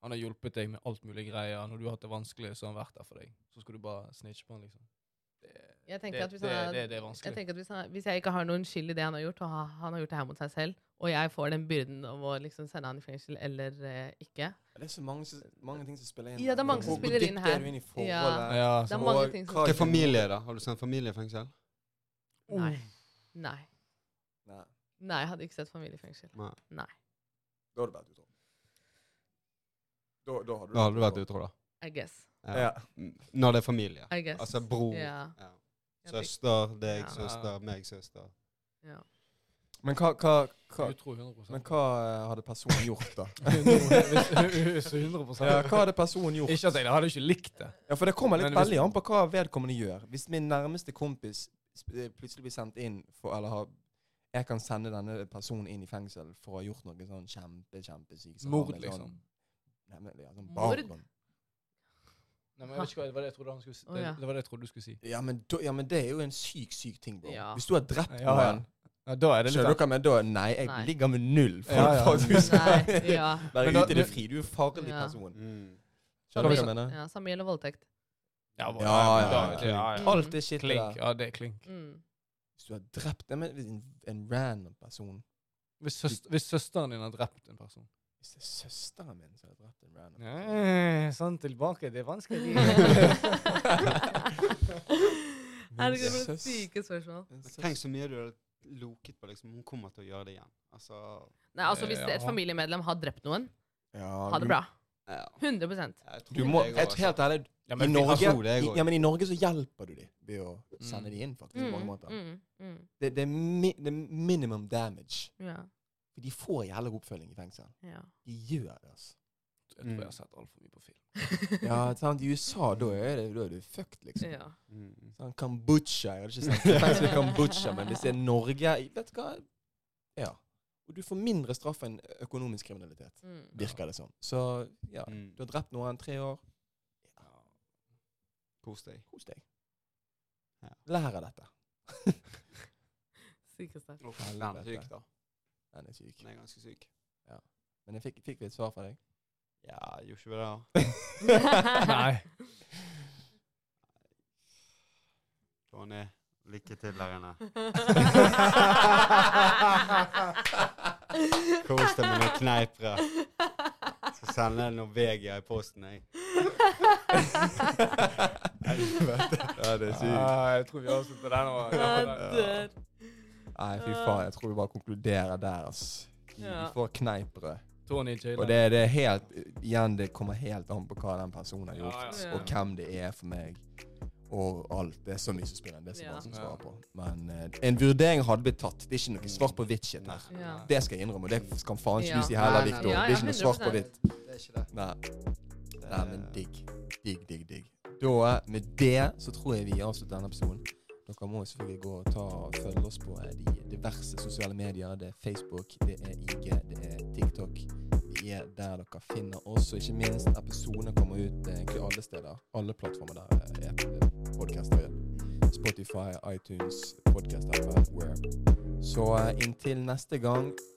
Speaker 2: Han har hjulpet deg med alt mulig greier. Når du har hatt det vanskelig, så har han vært der for deg. Så skal du bare snitche på han, liksom. Det,
Speaker 3: Jeg tenker
Speaker 2: det,
Speaker 3: at hvis
Speaker 2: det,
Speaker 3: han er-
Speaker 2: det, det er
Speaker 3: Jeg
Speaker 2: vanskelig.
Speaker 3: tenker at hvis, han, hvis jeg ikke har noen skyld i det han har gjort, og ha- han har gjort det her mot seg selv, og jeg får den byrden av å liksom sende han i fengsel eller eh, ikke
Speaker 1: Det er så mange, som- mange ting som spiller inn.
Speaker 3: Ja, det er mange som
Speaker 1: Hvor- hvor
Speaker 3: spiller inn
Speaker 1: dypt
Speaker 3: her.
Speaker 1: er du inn i forholdet?
Speaker 3: Ja.
Speaker 1: altså,
Speaker 2: Ja,
Speaker 3: Det
Speaker 2: så,
Speaker 3: er mange
Speaker 1: Og
Speaker 3: ting som-
Speaker 1: hva-
Speaker 4: Til familie, da? Har du sendt familie i fengsel?
Speaker 2: Oh,
Speaker 3: Nei. Nei.
Speaker 1: Nei,
Speaker 3: Nei, jeg hadde ikke sett familie i fengsel.
Speaker 4: Nei.
Speaker 1: da har du vært utro. Da, da har du
Speaker 4: Da hadde du vært utro, da.
Speaker 3: I guess.
Speaker 1: Ja.
Speaker 4: Mm, Når det er familie.
Speaker 3: I guess.
Speaker 4: Altså bror,
Speaker 3: Ja.
Speaker 4: ja.
Speaker 3: Jeg tenker-
Speaker 4: søster, deg,
Speaker 3: Ja.
Speaker 4: søster, meg, søster.
Speaker 3: ja.
Speaker 1: Men hva, hva, hva,
Speaker 2: Utro 100
Speaker 1: men hva eh, hadde personen gjort, da?
Speaker 2: Hvis- så 100
Speaker 1: Ja, Eh, hva hadde personen gjort?
Speaker 2: Ikke at jeg hadde ikke likt det.
Speaker 1: Ja, For det kommer litt
Speaker 2: Men hvis-
Speaker 1: veldig an på hva vedkommende gjør. Hvis min nærmeste kompis sp- eh, plutselig blir sendt inn for Eller har jeg kan sende denne personen inn i fengsel for å ha gjort noe sånn kjempe, kjempesykt. så har
Speaker 2: Mord,
Speaker 1: han en
Speaker 2: liksom.
Speaker 1: Sånn, nei, men, ja, sånn
Speaker 3: Mord?
Speaker 1: baron.
Speaker 2: Nei, men jeg vet ikke hva, det var det jeg trodde han skulle si.
Speaker 3: Å, ja.
Speaker 2: det, det var det jeg trodde du skulle si.
Speaker 1: Ja men, da- ja, men det er jo en syk, syk ting, bro.
Speaker 3: Ja.
Speaker 1: Hvis du har drept
Speaker 2: Ja, ja.
Speaker 1: noen
Speaker 2: Ja, da er det
Speaker 1: Skjønner
Speaker 2: litt
Speaker 1: dere, men da Nei, jeg
Speaker 3: Nei.
Speaker 1: ligger med null for,
Speaker 2: Ja, ja.
Speaker 1: for at du skal
Speaker 3: Nei, ja.
Speaker 1: være
Speaker 2: Men da-
Speaker 1: ute i det fri. Du er en farlig
Speaker 3: Ja.
Speaker 1: person.
Speaker 4: Mm.
Speaker 1: Skjønner du hva
Speaker 2: Ja,
Speaker 1: jeg mener?
Speaker 3: ja. Samme gjelder voldtekt.
Speaker 2: Ja,
Speaker 1: Ja, ja,
Speaker 2: da-
Speaker 1: ja,
Speaker 2: det- ja, ja.
Speaker 3: Mm.
Speaker 1: Alt det shitet
Speaker 2: Klink.
Speaker 1: der.
Speaker 2: Ja, det er klink.
Speaker 3: Mm.
Speaker 1: Hvis du har drept nei, men en, en random person
Speaker 2: Hvis, søs- hvis søsteren din har drept en person
Speaker 1: Hvis det er søsteren min som har drept en random person
Speaker 2: Nei, sånn tilbake, det er vanskelig.
Speaker 3: Herregud, for noen
Speaker 1: søs-
Speaker 3: syke spørsmål.
Speaker 1: En søs-
Speaker 4: Tenk så mye du hadde loket på. liksom. Hun kommer til å gjøre det igjen. Altså,
Speaker 3: Nei, altså Hvis
Speaker 2: Ja.
Speaker 3: et familiemedlem har drept noen,
Speaker 1: Ja,
Speaker 3: ha
Speaker 1: du-
Speaker 3: det bra.
Speaker 4: ja.
Speaker 3: 100
Speaker 4: Jeg tror
Speaker 1: Du må,
Speaker 4: det går,
Speaker 1: jeg,
Speaker 4: altså.
Speaker 1: helt ærlig,
Speaker 2: Ja,
Speaker 1: i
Speaker 2: men,
Speaker 1: Norge,
Speaker 4: jeg tror det, jeg
Speaker 1: i,
Speaker 4: går.
Speaker 1: ja, men i Norge så hjelper du dem ved å sende
Speaker 2: Mm.
Speaker 1: dem inn, faktisk. på mange
Speaker 3: Mm,
Speaker 1: måter.
Speaker 3: mm, mm,
Speaker 1: Det, det, er mi, det er minimum damage.
Speaker 3: ja,
Speaker 1: For De får jævla god oppfølging i fengsel.
Speaker 3: ja.
Speaker 1: De gjør det, altså.
Speaker 2: jeg tror jeg har sett altfor mye på film.
Speaker 1: Ja, sant? I USA, da er, det, da er du fucked, liksom.
Speaker 3: ja.
Speaker 4: Mm.
Speaker 1: Sånn Kambodsja Jeg hadde ikke sagt det er fengsel i Kambodsja, men hvis det er Norge Vet du hva? Ja. Og du får mindre straff enn økonomisk kriminalitet,
Speaker 3: Mm.
Speaker 1: virker det som. Så ja,
Speaker 4: Mm.
Speaker 1: du har drept noen tre år.
Speaker 4: Kos deg.
Speaker 1: Kos deg.
Speaker 4: Ja.
Speaker 1: Lær av dette.
Speaker 3: Sykeste.
Speaker 4: Den er syk, da.
Speaker 1: Den er syk.
Speaker 4: Den er ganske syk.
Speaker 1: Men jeg fikk, fikk vi et svar fra deg?
Speaker 4: Ja, gjorde ikke vi det? da?
Speaker 2: Nei.
Speaker 4: Tony, lykke til der inne. Kos deg med noen kneipere. Så sender jeg Norvegia i posten, jeg.
Speaker 1: ja, det
Speaker 2: Ah, jeg tror vi avslutter der nå. Ja,
Speaker 3: Jeg
Speaker 2: der.
Speaker 3: dør.
Speaker 1: Nei, fy faen. Jeg tror vi bare konkluderer der, ass. Vi
Speaker 3: Ja.
Speaker 1: får kneippbrød.
Speaker 2: Tony Jaylen.
Speaker 1: Og det, det er helt Igjen, det kommer helt an på hva den personen har
Speaker 2: Ja,
Speaker 1: gjort,
Speaker 2: ja, ja.
Speaker 1: og hvem det er for meg. Og alt. Det er så mye som spiller inn. Det er så
Speaker 3: Ja.
Speaker 1: mange som svarer på. Men eh, en vurdering hadde blitt tatt. Det er ikke noe svart på hvitt shit her.
Speaker 3: Ja.
Speaker 1: Det skal jeg innrømme, og det skal faen ikke
Speaker 3: Ja.
Speaker 1: du si heller,
Speaker 4: Nei, nei,
Speaker 1: Victor.
Speaker 4: nei.
Speaker 1: Det er ikke noe svart på
Speaker 3: 100%.
Speaker 1: hvitt.
Speaker 4: Det er ikke det.
Speaker 1: Nei. Nei, men
Speaker 4: Eh.
Speaker 1: digg. Digg, digg, digg. Da, med det, så tror jeg vi avslutter denne episoden. Dere må jo selvfølgelig gå og ta og følge oss på eh, de diverse sosiale medier. Det er Facebook, det er IG, det er TikTok. Vi er der dere finner oss. Og ikke minst, episodene kommer ut eh, egentlig alle steder. Alle plattformer der eh, er podkaster. Spotify, iTunes, podkast-appen, where. Så eh, inntil neste gang,